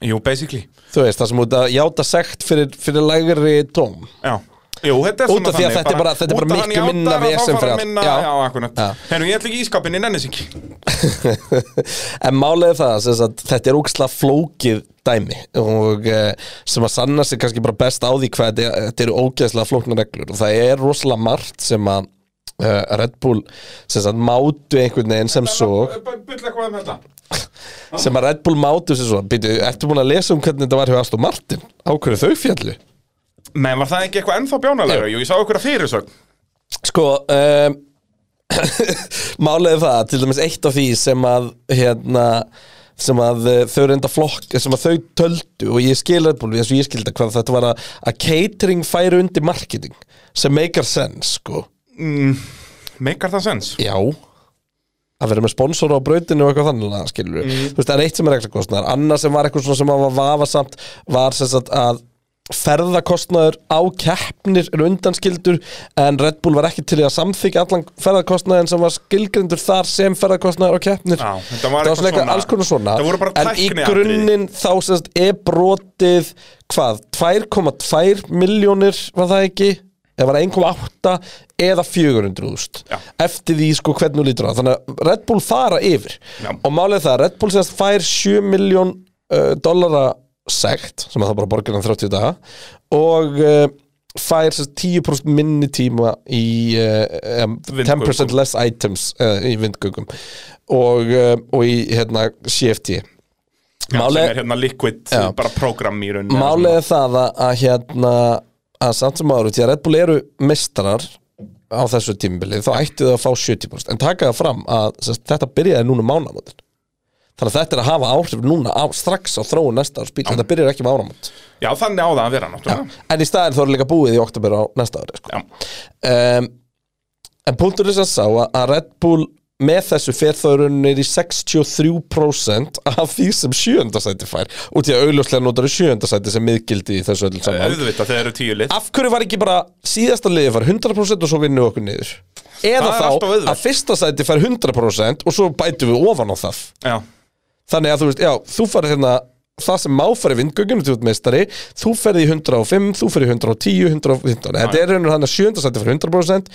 Speaker 2: Jú, basically
Speaker 3: Þú veist, það sem út að játa sekt fyrir, fyrir lægri tóm
Speaker 2: Já Jú, þetta er
Speaker 3: Út
Speaker 2: svona
Speaker 3: af því að
Speaker 2: þannig,
Speaker 3: þetta er bara- þetta er
Speaker 2: út
Speaker 3: bara
Speaker 2: af hann
Speaker 3: miklu
Speaker 2: játar
Speaker 3: minna
Speaker 2: að þá
Speaker 3: vesen
Speaker 2: fara
Speaker 3: fyrir
Speaker 2: að
Speaker 3: alla.
Speaker 2: minna-
Speaker 3: Já.
Speaker 2: Já, akkurat
Speaker 3: Já.
Speaker 2: Herru, ég ætla ekki í ískapin, ég nenni þess ekki
Speaker 3: En málega það sem sagt, þetta er óksla flókið dæmi og eh, sem að sanna sig kannski bara best á því hvað þetta, er- þetta eru ógeðslega flóknar reglur og það er rosalega margt sem að eh, Red Bull sem sagt, mátu einhvern veginn sem svo
Speaker 2: Bull eitthvað um þetta
Speaker 3: sem að Red Bull mátu sem svo Býtu, ertu búin að lesa um hvernig þetta var hjá Aston Martin á hverju þau fjallu?
Speaker 2: Men var það ekki eitthvað ennþá bjánalega? Jú, ég sá okkur að fyrirsögn
Speaker 3: Sko <laughs> um, Málega það, til dæmis eitt af því sem að hérna, sem að eh, þau reynda flokk sem að þau töldu og ég skil Red Bull eins og ég skildi þetta, hvað þetta var að, að catering færi undir marketing sem make sense sko
Speaker 2: Meikar það sens?
Speaker 3: Já að vera með sponsor á brautinu og eitthvað þannig að skilur við,
Speaker 2: Mm.
Speaker 3: þú veist, það er eitt sem er reglakostnaðar annað sem var eitthvað svona sem var vafasamt var sem sagt að ferðakostnaður á keppnir er undanskildur en Red Bull var ekki til í að samþykja allan ferðakostnaðin sem var skilgrindur þar sem ferðakostnaður á keppnir
Speaker 2: Já, þetta
Speaker 3: það
Speaker 2: var
Speaker 3: var
Speaker 2: eitthvað
Speaker 3: svona eitthvað
Speaker 2: svona-
Speaker 3: alls konar svona
Speaker 2: Það voru bara
Speaker 3: en í
Speaker 2: tækniatriði.
Speaker 3: grunninn þá sem sagt er brotið hvað, 2,2 miljónir var það ekki eða var það 1,8 eða 400.000
Speaker 2: Já.
Speaker 3: eftir því sko hvernig þú lítur á það. þannig að Red Bull fara yfir
Speaker 2: Já.
Speaker 3: og málið er það að Red Bull sérst fær 7 miljón uh, dollara sekt sem að það bara borgar hann 30 daga og uh, fær sérst 10% minni tíma í uh, um, 10% less items uh, í vindgöngum og, uh, og í hérna CFT
Speaker 2: Já,
Speaker 3: Máli-
Speaker 2: sem er hérna liquid,
Speaker 3: Já.
Speaker 2: bara program í rauninni
Speaker 3: Málið er það að, að hérna að samt sem áður, því að Red Bull eru mistrar á þessu tímbilið þá ættu þau að fá 70% en taka það fram að sem sagt, þetta byrjaði núna mánamótin þannig að þetta er að hafa áhrif núna á, strax á þróun næsta árs bíl, þetta byrjar ekki mánamót
Speaker 2: Já, þannig á það að vera náttúrulega
Speaker 3: en í staðin þá er líka búið í oktober á næsta ári sko.
Speaker 2: Já.
Speaker 3: um, en punktur þess að sá að að Red Bull með þessu fer þá raunir í 63% af því sem sjöndasæti fær út í að augljóslega notar sjöndasæti sem miðgildi í þessu öll saman
Speaker 2: Auðvitað, þeir eru tíu lið
Speaker 3: af hverju var ekki bara síðasta liði fær 100% og svo vinnum við okkur niður eða
Speaker 2: Það er
Speaker 3: þá
Speaker 2: alltaf auðvelt.
Speaker 3: að fyrsta sæti fær 100% og svo bætum við ofan á það
Speaker 2: Já,
Speaker 3: þannig að þú veist, já, þú farið hérna það sem má farið vindgönginu til útmeistari þú ferði í 105, þú ferði í 110 115, þetta er raunur hann að sjönda sæti fyrir 100%,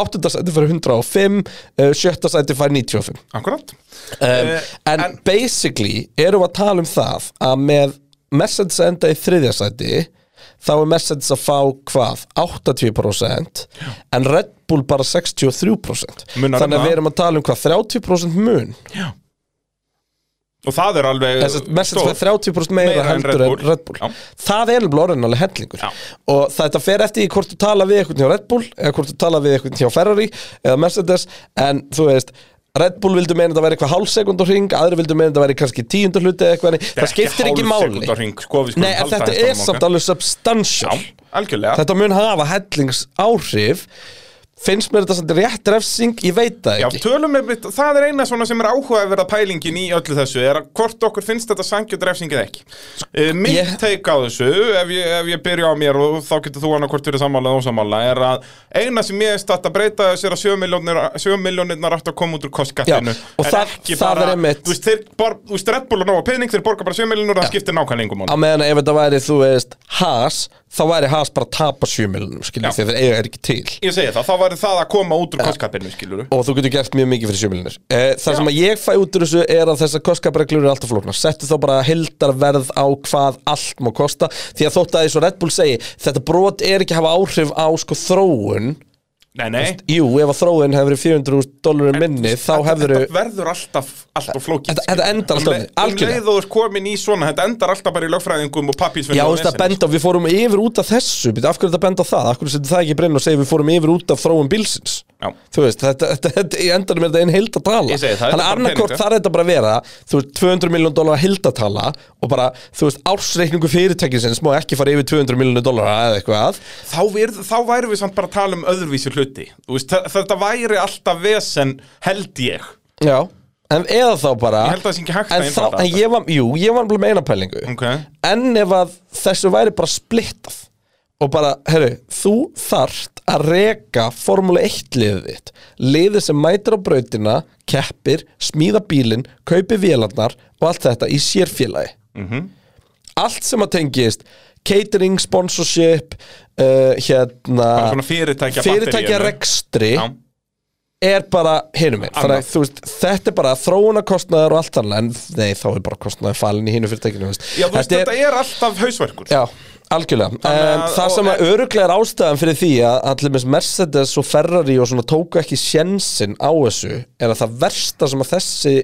Speaker 3: áttunda sæti fyrir 105 eh, sjötta sæti fyrir 95
Speaker 2: akkurat
Speaker 3: um,
Speaker 2: Eh,
Speaker 3: en,
Speaker 2: en-
Speaker 3: basically erum við að tala um það að með Mercedes að enda í þriðja sæti þá er Mercedes að fá hvað 80% en Red Bull bara 63%
Speaker 2: Munar um
Speaker 3: þannig að
Speaker 2: það.
Speaker 3: við erum að tala um hvað 30% mun
Speaker 2: Og það er alveg
Speaker 3: Þess að Mercedes
Speaker 2: stór-
Speaker 3: fær 30% meira,
Speaker 2: Meira en
Speaker 3: heldur
Speaker 2: Red
Speaker 3: en
Speaker 2: Bull.
Speaker 3: Red Bull
Speaker 2: Já.
Speaker 3: Það er alveg orðin alveg hellingur
Speaker 2: Já.
Speaker 3: og þetta fer eftir í hvort þú tala við eitthvað hjá Red Bull eða hvort þú tala við eitthvað hjá Ferrari eða Mercedes en þú veist Red Bull vildu meina þetta væri eitthvað hálfsekundur hring aðri vildu meina þetta væri kannski tíundur hluti eða eitthvað en það
Speaker 2: ekki
Speaker 3: skiptir ekki máli
Speaker 2: hálfsekúnda hring, sko, við skulum
Speaker 3: Nei, en
Speaker 2: halda
Speaker 3: þetta
Speaker 2: þetta á
Speaker 3: er samt
Speaker 2: móka.
Speaker 3: alveg substantial
Speaker 2: Já, algjörlega
Speaker 3: Þetta mun hafa hellings áhrif finnst mér þetta samt rétt refsing ég veit það
Speaker 2: Já,
Speaker 3: ekki
Speaker 2: tölum er, það er eina svona sem er áhugaverða pælingin í öllu þessu er að hvort okkur finnst þetta sangjöld refsingið ekki uh,
Speaker 3: Sko,
Speaker 2: Mitt
Speaker 3: Ég-
Speaker 2: teik á þessu ef ég, ef ég byrja á mér og þá getur þú annað hvort fyrir sammála og ósammála er að eina sem ég veist að breyta þessu er að 7 miljónir, 7 miljónirnar átt að koma út úr kostkattinu
Speaker 3: Já, og það- það er einmitt-
Speaker 2: Þú veist, þeir bor, þú veist, Red Bull og nóga pening þeir borga bara 7 miljónir og það skiptir nákvæmlega engum
Speaker 3: á
Speaker 2: máli
Speaker 3: meðan að ef þetta væri, þú veist, Haas þá væri Haas bara að tapa 7 miljonum
Speaker 2: Já.
Speaker 3: skiljum því að þeir eiga er ekki til
Speaker 2: Ég segi það, þá væri það að koma út úr kostkattinu skilur
Speaker 3: og þú getur gert mjög mikið fyrir 7 miljonir eh, það sem að ég fæ út úr þessu er að þessar kostkapreglur eru alltaf flóknar settu þá bara heldarverð á hvað allt má kosta því að þótt að eins og Red Bull segi þetta brot er ekki að hafa áhrif á sko þróun
Speaker 2: Nei, nei
Speaker 3: jú, ef að þróun hefur verið 400 dólarum minni þá hefur
Speaker 2: Þetta verður alltaf, alltaf flókið
Speaker 3: Þetta-
Speaker 2: skilur.
Speaker 3: þetta endar alltaf
Speaker 2: Um leið-
Speaker 3: þannig, algjörlega.
Speaker 2: Um leið og þú ert komin í svona, þetta endar alltaf bara í lögfræðingum og pappísvinnu
Speaker 3: Já, þú veist að
Speaker 2: sko.
Speaker 3: benda, á- við fórum yfir út af þessu Býtu, Af hverju þetta benda á það? Af hverju setur það ekki í brinn og segir við fórum yfir út af þróun bílsins?
Speaker 2: Já.
Speaker 3: Þú veist, þetta, þetta, þetta, ég endanum er þetta einn hildatala
Speaker 2: Ég segi það, þetta er bara
Speaker 3: annarkort
Speaker 2: peningar.
Speaker 3: þarf þetta bara að vera Þú veist, 200 miljón dólar hildatala Og bara, þú veist, ársreikningu fyrirtækisins Má ekki fara yfir 200 miljónu dólar eða eitthvað
Speaker 2: þá, er, þá væri við samt bara að tala um öðruvísi hluti Þú veist, þe- Þetta væri alltaf vesen held ég
Speaker 3: Já En eða þá bara
Speaker 2: Ég held að það sé ekki hægt að
Speaker 3: en þá, En
Speaker 2: einfalda þetta.
Speaker 3: ég var, jú, ég var bara með eina pælingu
Speaker 2: Ok.
Speaker 3: En ef að þessu væri bara splittað Og bara, herru, þú þarft að reka Formule 1 liðið þitt Liðið sem mætir á brautina, keppir, smíða bílinn, kaupi vélarnar Og allt þetta í sérfélagi
Speaker 2: Mhm.
Speaker 3: -hmm. Allt sem að tengist Catering, sponsorship uh, Hérna
Speaker 2: Bara svona fyrirtækja
Speaker 3: Fyrirtækja
Speaker 2: batteríinu.
Speaker 3: rekstri
Speaker 2: Já,
Speaker 3: er bara hinum einn þannig að
Speaker 2: Annað.
Speaker 3: þú veist, þetta er bara þróunarkostnaður og allt annað, en nei, þá er bara kostnaður falin í hinu fyrirtækinu, þú veist
Speaker 2: já þú veist, þetta er, alltaf hausverkur
Speaker 3: Já, algjörlega
Speaker 2: Þannig
Speaker 3: um,
Speaker 2: að-
Speaker 3: Það
Speaker 2: og-
Speaker 3: sem að öruglega er ástæðan fyrir því að allir með Mercedes og Ferrari og svona tóku ekki sjensin á þessu er að það versta sem að þessi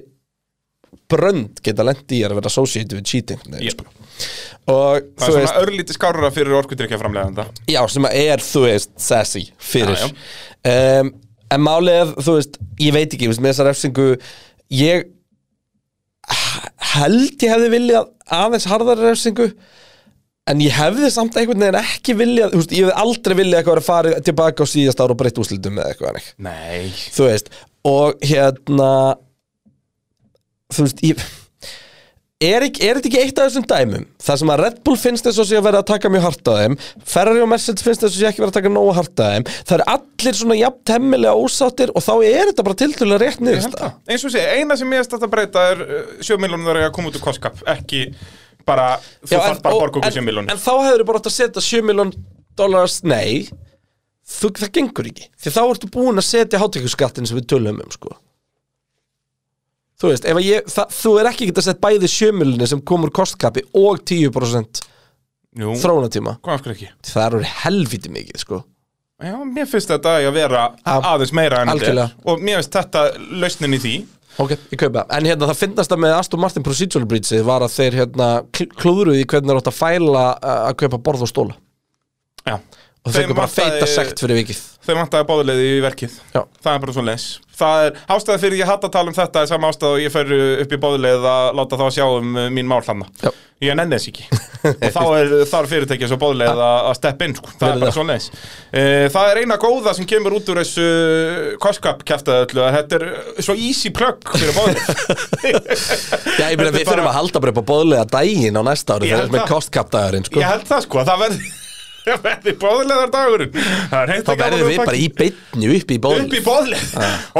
Speaker 3: brönd geta lendi í er að vera associated with cheating nei,
Speaker 2: Yep.
Speaker 3: og
Speaker 2: Það
Speaker 3: sko, þú
Speaker 2: er
Speaker 3: veist
Speaker 2: svona örlítið skárra fyrir orkudrykja framleganda
Speaker 3: Já, sem að er, þú veist, sassy fyrir
Speaker 2: Já,
Speaker 3: Um, En málið, er, þú veist, ég veit ekki, þú veist, með þessa refsingu Ég h- held ég hefði viljað aðeins harðari refsingu en ég hefði samt einhvern veginn ekki viljað þú veist, ég hefði aldrei viljað eitthvað að fara tilbaka á síðast ára og breytt úslitum eða eitthvað þannig.
Speaker 2: Nei
Speaker 3: þú veist, og hérna þú veist, ég Er, ekki, er þetta ekki eitt af þessum dæmum Það sem að Red Bull finnst þess að sé að vera að taka mjög hart að þeim Ferrari og Mercedes finnst þess að sé ekki vera að taka nógu hart að þeim Það eru allir svona jafn temmilega ósáttir Og þá er þetta bara tiltölulega rétt
Speaker 2: Ég held
Speaker 3: niðursta
Speaker 2: það. eins og sé, eina sem ég er stætt að breyta er uh, sjömiljónur að koma út úr kostskap ekki bara, þú þarf bara að borga okkur
Speaker 3: en,
Speaker 2: sjömiljónur
Speaker 3: en þá hefur bara átt að setja 7 miljón dólaras Nei, þú, það gengur ekki Því þá ertu búin að setja hátekjuskattin sem við tölum um sko. Þú veist, ef að ég, það, þú er ekki getað sett bæði 7 miljóni sem komur kostkapi og 10%
Speaker 2: Jú,
Speaker 3: þróunatíma
Speaker 2: hvað af hverju ekki?
Speaker 3: Það eru helviti mikið sko
Speaker 2: Já, mér finnst þetta að vera
Speaker 3: Já,
Speaker 2: aðeins meira en þetta
Speaker 3: algjörlega.
Speaker 2: er og mér finnst þetta lausnin í því
Speaker 3: Ok, ég kaupa En hérna það finnast það með Aston Martin Procedural Breachið var að þeir hérna kl- klúðruðu í hvernig þeir átt að fæla uh, að kaupa borð og stóla
Speaker 2: Já
Speaker 3: og þeir fengur bara feita sekt fyrir vikið
Speaker 2: Þeir vantaði báðulegði í verkið
Speaker 3: Já.
Speaker 2: Það er bara svona leis Það er ástæða fyrir ég hatt að tala um þetta er sama ástæða og ég fer upp í báðulegð að láta þá sjá um uh, mín mál hlanna
Speaker 3: Já.
Speaker 2: Ég nenni þess ekki Og þá er þar fyrirtækja svo báðulegð að steppa inn sko. Það
Speaker 3: Verið
Speaker 2: er bara
Speaker 3: það.
Speaker 2: svona leis Það er eina góða sem kemur út úr þessu kostkap kæftaði öllu að þetta er uh, svo easy plug fyrir báðulegð
Speaker 3: <laughs> Já, ég meina
Speaker 2: Þetta er
Speaker 3: við þurfum
Speaker 2: bara-
Speaker 3: að halda bara upp á boðlega daginn á næsta ári
Speaker 2: Ég held
Speaker 3: þegar með
Speaker 2: það.
Speaker 3: kostkapdagurinn sko
Speaker 2: Ég held það sko að það verði <laughs> Það verði bóðlegar dagurinn Það er
Speaker 3: Þá
Speaker 2: heitt að gaman
Speaker 3: verðum
Speaker 2: um
Speaker 3: við
Speaker 2: það.
Speaker 3: bara í beinni upp í
Speaker 2: upp í
Speaker 3: boðlega
Speaker 2: bóðleð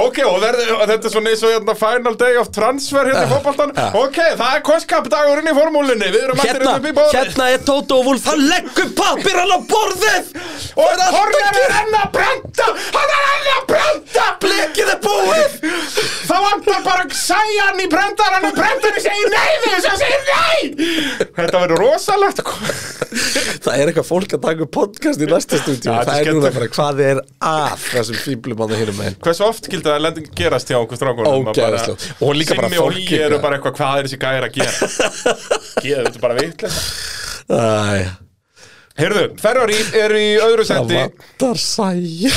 Speaker 2: ok, og, verði, og þetta er svona eins og hérna, final day of transfer hérna í fótboltan
Speaker 3: Já.
Speaker 2: ok, það er kostkap dagurinn í formúlunni við erum allir
Speaker 3: Hérna,
Speaker 2: hérna, upp í bóðleð
Speaker 3: hérna er Tóta og Vúl Það leggur pappirann á borðið
Speaker 2: og Kornel er enn að brenda hann er enn að brenda
Speaker 3: Blekið er búið
Speaker 2: þá vantar bara sæjan í brendaran og brendarinn segir nei við þess að segir nei þetta verður rosalegt
Speaker 3: Það er eitthvað fólk að taka upp podcast í næsta stúdíu
Speaker 2: Já, þetta er
Speaker 3: Það er núna
Speaker 2: skemmtilegt.
Speaker 3: bara hvað er að þessum fíblum á það hinum meginn
Speaker 2: hversu oft gildi það lending gerast hjá okkur strákunum að bara-
Speaker 3: Ógeðslegt. Og líka bara
Speaker 2: Simmi og
Speaker 3: fólk
Speaker 2: Líi eru
Speaker 3: eitthvað.
Speaker 2: bara eitthvað hvað er þessi gæri að gera
Speaker 3: <laughs>
Speaker 2: geða þetta er bara vitlega
Speaker 3: Æ,
Speaker 2: Heyrðu, Ferrari er í öðru
Speaker 3: það
Speaker 2: sendi
Speaker 3: vantar sæjan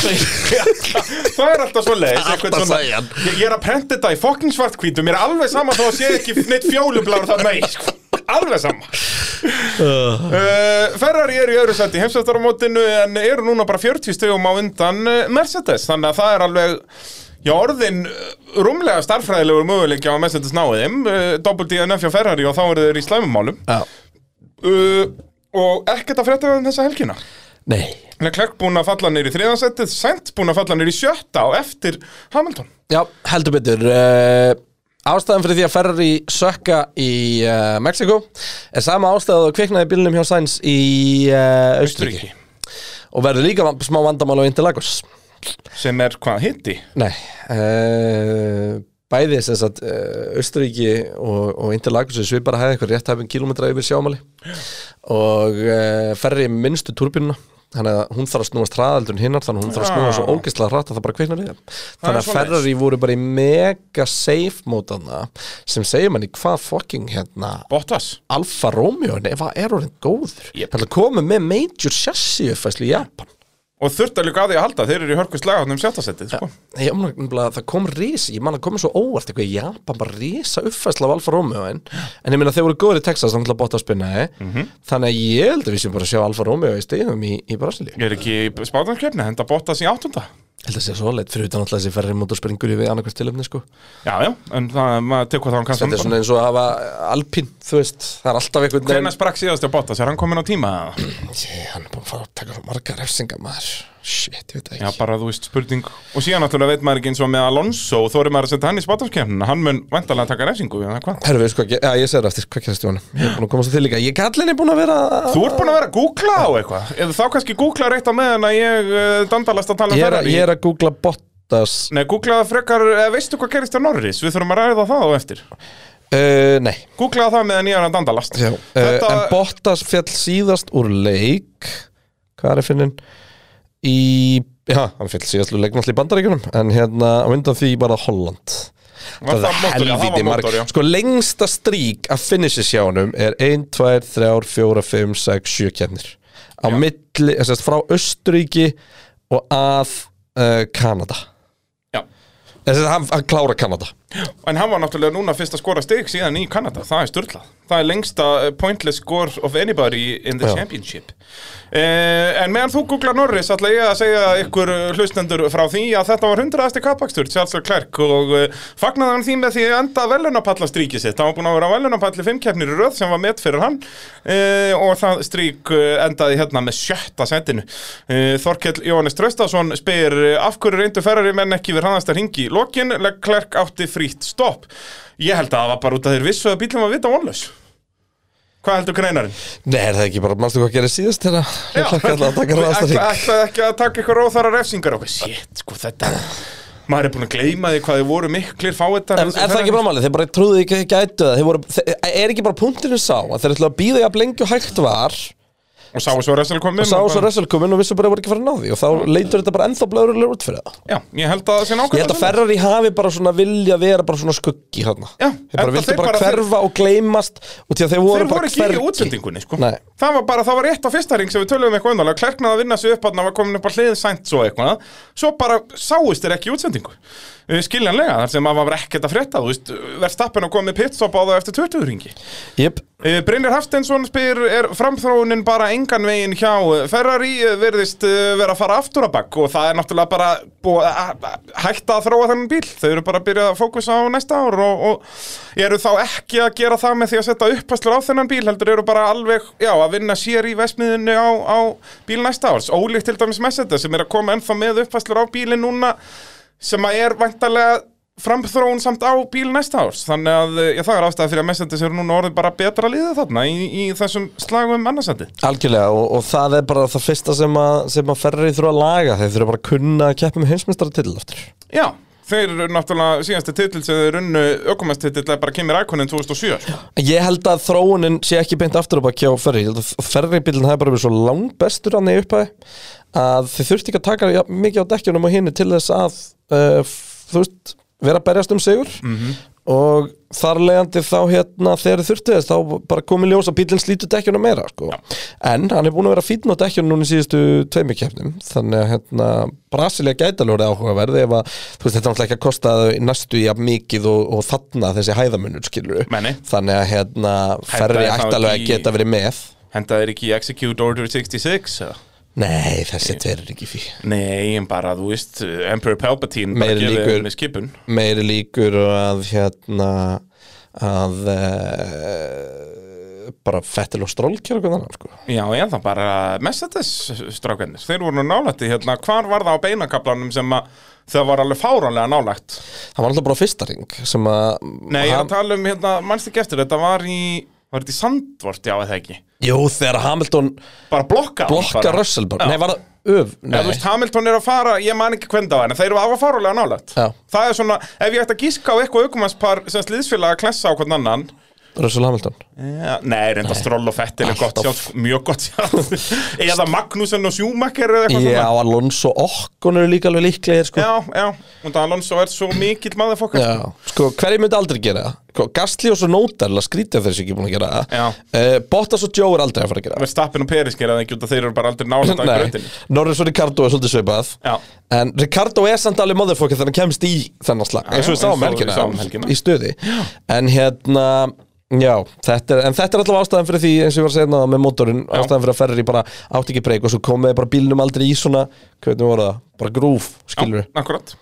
Speaker 2: Það er alltaf svo leiðis
Speaker 3: Alltaf sæjan.
Speaker 2: ég, ég er að prenta þetta í fokkin svartkvítum Mér er alveg sama þó að sé ekki neitt fjólubláru þarna í sko. Alveg sama uh, Ferrari er í öðru sendi Heimsvæftaramótinu en eru núna bara 40 stegum á undan eh, Mercedes Þannig að það er alveg Já, orðin eh, rúmlega starffræðilegur möguleikja á Mercedes Uh, náðum Doppelt í NF hjá Ferrari og þá eru þeir í slæmumálum uh, Og ekkert að frétta um þessa helgina
Speaker 3: Nei
Speaker 2: Leclerc búinn að falla nýr í þriðansettið, Sainz búinn að falla nýr í sjötta og eftir Hamilton.
Speaker 3: Já, heldur betur uh, Ástæðan fyrir því að Ferrari sökka í uh, Mexiko er sama ástæða og kviknaði bílnum hjá Sainz í uh, Austuríki og verður líka van- smá vandamál á Interlagos
Speaker 2: Sem er hvað hitti?
Speaker 3: Nei uh, Bæði sem sagt uh, Austuríki og, og Interlagos er svipar að hefða eitthvað rétt hefum kilometra yfir sjámali og uh, Ferrari er með minnstu turbinuna Þannig að hún þarf að snúast hraðaldur en hinnar Þannig að hún þarf að snúast svo
Speaker 2: Já.
Speaker 3: ógeðslega hratt að það bara kviknar í þeim Þannig að
Speaker 2: svoleiðis.
Speaker 3: Ferrari voru bara í mega safe mótana sem segir manni hvað fucking hérna
Speaker 2: Bottas.
Speaker 3: Alfa Romeo, nei, hvað er orðin góður yep. Þannig að koma með major chassis uppfæslu í Japan
Speaker 2: Og þurft að líka að því að halda, þeir eru í hörku slagáttunum sjöttasettið, sko.
Speaker 3: Nei, Ég man nefnilega að það kom risa, ég man að koma svo óvart eitthvað í Japan, bara risa uppfærsla af Alfa Romeo en, en ég meina þeir voru góður í Texas þannig að botta að spinna, eh? þannig að ég held að við séum bara að sjá Alfa Romeo í stegum í, í Brasilíu.
Speaker 2: Ég er ekki í spáðanskjöfni, henda Bottas í áttunda.
Speaker 3: Held að sé svo leitt fyrir utan alltaf þessi ferri motorspringur við annarkvæmst tilöfni sko.
Speaker 2: Já, já, en það, maður tekur um það á
Speaker 3: Þetta er
Speaker 2: kannski.
Speaker 3: svona eins og að hafa alpín, þú veist, það er alltaf einhvern
Speaker 2: Hvernig sprakk síðast á Bottas? Er hann komin á tíma?
Speaker 3: <clears throat>
Speaker 2: eða?
Speaker 3: Ég, hann er búin að fara að taka svo marga refsingar maður, shit, ég veit það
Speaker 2: Já,
Speaker 3: ekki.
Speaker 2: bara þú veist, spurning. Og síðan náttúrulega veit maður ekki eins og með Alonso, þó eru maður að setja hann í spáðanskjöfnin. Hann mun vantarlega taka refsingu, eða hvað?
Speaker 3: Herru, við sko, ég, já, ég segir eftir, hvað gerast Jóhann? Ég er búin að komast til líka, ég kallin er búin að vera
Speaker 2: Þú ert búin að vera að googla á eitthvað. Eða Þá kannski googla rétt á meðan að ég eh, dandalast að tala um
Speaker 3: Ég er, að-
Speaker 2: Ferrari.
Speaker 3: ég er að googla Bottas
Speaker 2: Nei, googlaða frekar, eða veistu hvað gerist á Norris? Við þurfum að ræða það á eftir.
Speaker 3: Uh, nei
Speaker 2: Googlaða það meðan ég er að dandalast.
Speaker 3: uh, En Bottas fjall síðast úr leik Hvað er finnin? Í, já, hann fjall síðast úr leik Náttúrulega í bandaríkjunum En hérna, á undan því bara Holland
Speaker 2: Var það mótor, já, það var
Speaker 3: marg-
Speaker 2: mótor, já.
Speaker 3: Sko, lengsta strík að finnissi sjá honum Er 1, 2, 3, 4, 5, 6, 7 kefnir Á milli, þess að frá Östuríki Og að uh, Kanada
Speaker 2: Já.
Speaker 3: Þess að hann, hann klára Kanada
Speaker 2: En hann var náttúrulega núna fyrst að skora stig síðan í Kanada, það er sturlað. Það er lengsta eh, pointless score of anybody in the
Speaker 3: Já.
Speaker 2: championship. Eh, en meðan þú googlar Norris ætla ég að segja ykkur eh, hlustendur frá því að þetta var 100. kappakstur, Charles Leclerc og eh, fagnaði hann því með því að enda velunapalla stríkið sitt. Hann var búin að vera velunapalli fimmkeppnir í röð sem var met fyrir hann eh, og það strík eh, endaði hérna með sjötta sendinu. Eh, Þorkell Jóhannes Tröstason spyr eh, af hverju reyndu ferrari menn ekki við hannast að ringi í lokin, Leclerc átti frítt stopp. Ég held að það var bara út að þeir vissu að bílum var vita vonlaus. Hvað heldur greinarinn?
Speaker 3: Nei, er það ekki bara, mannstu hvað gerði síðast þegar Leclerc
Speaker 2: <laughs>
Speaker 3: ætlaði að taka ræðasta
Speaker 2: Ætla-
Speaker 3: ring
Speaker 2: ætlaði ekki að taka eitthvað róþara refsingar og eitthvað, shit, sko þetta maður er búin að gleyma því hvað þið voru miklir fáettar
Speaker 3: En er það ekki bara málið, þeir bara trúðu ekki að þeir gætu það Þeir voru, þeir, er ekki bara punktinu sá að þeir ætlaði að býða jafn lengi og hægt var og
Speaker 2: og sáu svo resel komið
Speaker 3: sá svo Russell komin og vissu bara að voru ekki að fara að ná því og þá leitur þetta bara ennþá blöðurlega út fyrir það
Speaker 2: já, ég held að það sé
Speaker 3: Ég
Speaker 2: nákvæmlega
Speaker 3: held að
Speaker 2: svona.
Speaker 3: Ferrari hafi bara svona vilja vera bara svona skuggi hérna
Speaker 2: Já,
Speaker 3: Þeir bara
Speaker 2: enda
Speaker 3: vildu
Speaker 2: þeir
Speaker 3: bara
Speaker 2: bara-
Speaker 3: hverfa og gleymast og því að þeir voru
Speaker 2: þeir
Speaker 3: bara
Speaker 2: voru ekki í
Speaker 3: hvergi.
Speaker 2: útsendingunni sko.
Speaker 3: Nei.
Speaker 2: það var bara, það var rétt á fyrsta ring sem við töluðum eitthvað um undanlega, klerknaði að vinna sig upp hann var komin upp á hliðið sænt svo eitthvað svo bara sáist þeir ekki í útsendingu Uh, skiljanlega, þar sem maður var ekkert að frétta þú veist, verðstappin að koma með pitstop á það eftir 20 ringi
Speaker 3: Jöp,
Speaker 2: Eh, Brynjar Hafstensson spyr, er framþróunin bara engan veginn hjá Ferrari eh, virðist eh, vera að fara aftur að bakk og það er náttúrulega bara búið að- að- að hætta að þróa þennan bíl, þau eru bara að byrja að fókusa á næsta ár og, og eru þá ekki að gera það með því að setja uppastur á þennan bíl, heldur eru bara alveg já, að vinna sér í vesmiðinu á, á bíl næsta árs, ólíkt til dæmis Mercedes sem er að koma ennþá með uppastur á bílin núna sem að er væntalega framþróun samt á bíl næsta árs þannig að eh, já, það er ástæða fyrir að Mercedes eru núna orðið bara betra liðið þarna í, í þessum slagum annarsætti
Speaker 3: algjörlega og, og það er bara það fyrsta sem að, sem að Ferrari þurfa að laga þeir þurfa bara að kunna að keppa með heimsmeistara til aftur
Speaker 2: Já, þeir eru náttúrulega síðasti titill sem þeir runnu ökumestitill er bara Kimi Rækonin 2007 sko.
Speaker 3: Ég held að þróunin sé ekki beint aftur á bakki á Ferrari Ég held að Ferrari-bílinn hafi bara verið svo langbestur hann í upphæði að þið þurfti ekki að taka ja, mikið á dekkjunum og hinni til þess að uh, f- þú veist, vera að berjast um sigur
Speaker 2: Mhm.
Speaker 3: og þar leiðandi þá hérna þegar þið þurfti þess þá bara komið ljós að bílinn slítur dekkjunum meira sko. en hann er búin að vera fítn á dekkjunum núna í síðustu tveimur keppnum þannig að hérna, Brasilia gæti alveg orðið áhugaverði ef að þú veist, þetta er náttúrulega ekki að kosta þau næstu í að mikið og, og þarna þessi hæðamunur skilur
Speaker 2: Nei, nei.
Speaker 3: þannig að hérna
Speaker 2: Þetta
Speaker 3: ferri
Speaker 2: er þá
Speaker 3: ættalega
Speaker 2: ekki-
Speaker 3: að geta verið með
Speaker 2: Henda þeir ekki í Execute Order 66 eða?
Speaker 3: Nei, þessi tveir er ekki fyrir
Speaker 2: Nei, en bara þú veist eh, Emperor Palpatine
Speaker 3: Meiri
Speaker 2: bara gefið
Speaker 3: líkur-
Speaker 2: henni skipun
Speaker 3: meiri líkur að hérna að uh, bara fettil og stról kjara hvernig annan sko.
Speaker 2: Já, ég það bara Mercedes strákennir þeir voru nú nálætti hérna, hvar var það á beinakablanum sem að það var alveg fáránlega nálægt
Speaker 3: það var alltaf bara á fyrsta ring sem að
Speaker 2: Nei, ég er
Speaker 3: Ham-
Speaker 2: að tala um, hérna, mannst ekki eftir, þetta var í, var þetta í Sandvort, já, eða ekki?
Speaker 3: Jú, þegar Hamilton
Speaker 2: Bara blokka hann
Speaker 3: blokka
Speaker 2: bara.
Speaker 3: Russell bara,
Speaker 2: Já.
Speaker 3: nei var það öf
Speaker 2: Eða, þú
Speaker 3: nei,
Speaker 2: veist, Hamilton er að fara, ég man ekki hvernig það var, en þeir eru að farulega nálægt.
Speaker 3: Já.
Speaker 2: Það er svona, ef ég ætti að gíska á eitthvað aukumannspar sem slíðsfélag að klessa á hvern annan,
Speaker 3: Russell Hamilton
Speaker 2: ja, nei, reynda stról og fettil er gott
Speaker 3: Alltaf.
Speaker 2: sjátt, sko, mjög gott sjátt. <laughs> eða Magnúsen og Sjúmakker eða eitthvað
Speaker 3: Já,
Speaker 2: svona.
Speaker 3: Alonso Okkon eru líka alveg líklegir sko.
Speaker 2: Já, já, og það Alonso er svo mikill maður fokkar.
Speaker 3: Já, sko, hverju myndi aldrei gera það? Sko, Gastli og svo Nótarla skrítið þeir sér ekki búin að gera
Speaker 2: Já.
Speaker 3: það uh, Bottas og Joe er aldrei að fara að gera það
Speaker 2: Verstappen og Peris gera það ekki út að þeir eru bara aldrei nálægt að
Speaker 3: Nei,
Speaker 2: grötinu.
Speaker 3: Norris og Ricardo er svolítið sveipað
Speaker 2: Já.
Speaker 3: En Ricardo er samt alveg motherfucker þegar hann kemst í þennan slag
Speaker 2: Já,
Speaker 3: eins og við
Speaker 2: já,
Speaker 3: sáum um
Speaker 2: eins og við
Speaker 3: helgina,
Speaker 2: sáum um helgina.
Speaker 3: í stuði En hérna, já, þetta er, en þetta er allavega ástæðan fyrir því eins og ég var að segja náða með mótorinn ástæðan fyrir að Ferrari bara átti ekki breyk og svo komið bara bílnum aldrei í svona hvernig voru það, bara grúf, skilur við
Speaker 2: Akkurat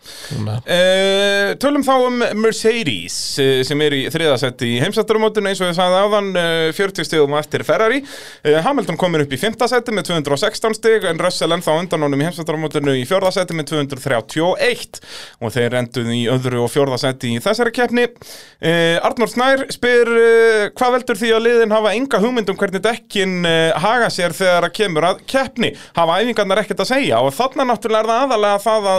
Speaker 2: uh, Tölum þá um Mercedes uh, sem er í þriðasetti í heimsættarumótinu eins og ég sagði áðan uh, 40 stegum eftir Ferrari uh, Hamilton komur upp í fimmtasetti með 216 steg en Russell ennþá undan honum í heimsættarumótinu í fjórðasetti með 231 og þeir enduðu í öðru og fjórðasetti í þessari keppni uh, Arnór Snær spyr uh, hvað veldur því að liðin hafa enga hugmynd um hvernig dekkin uh, haga sér þegar að kemur að keppni hafa æfingarnar ekkert að segja og þarna náttúrulega er það aðalega það að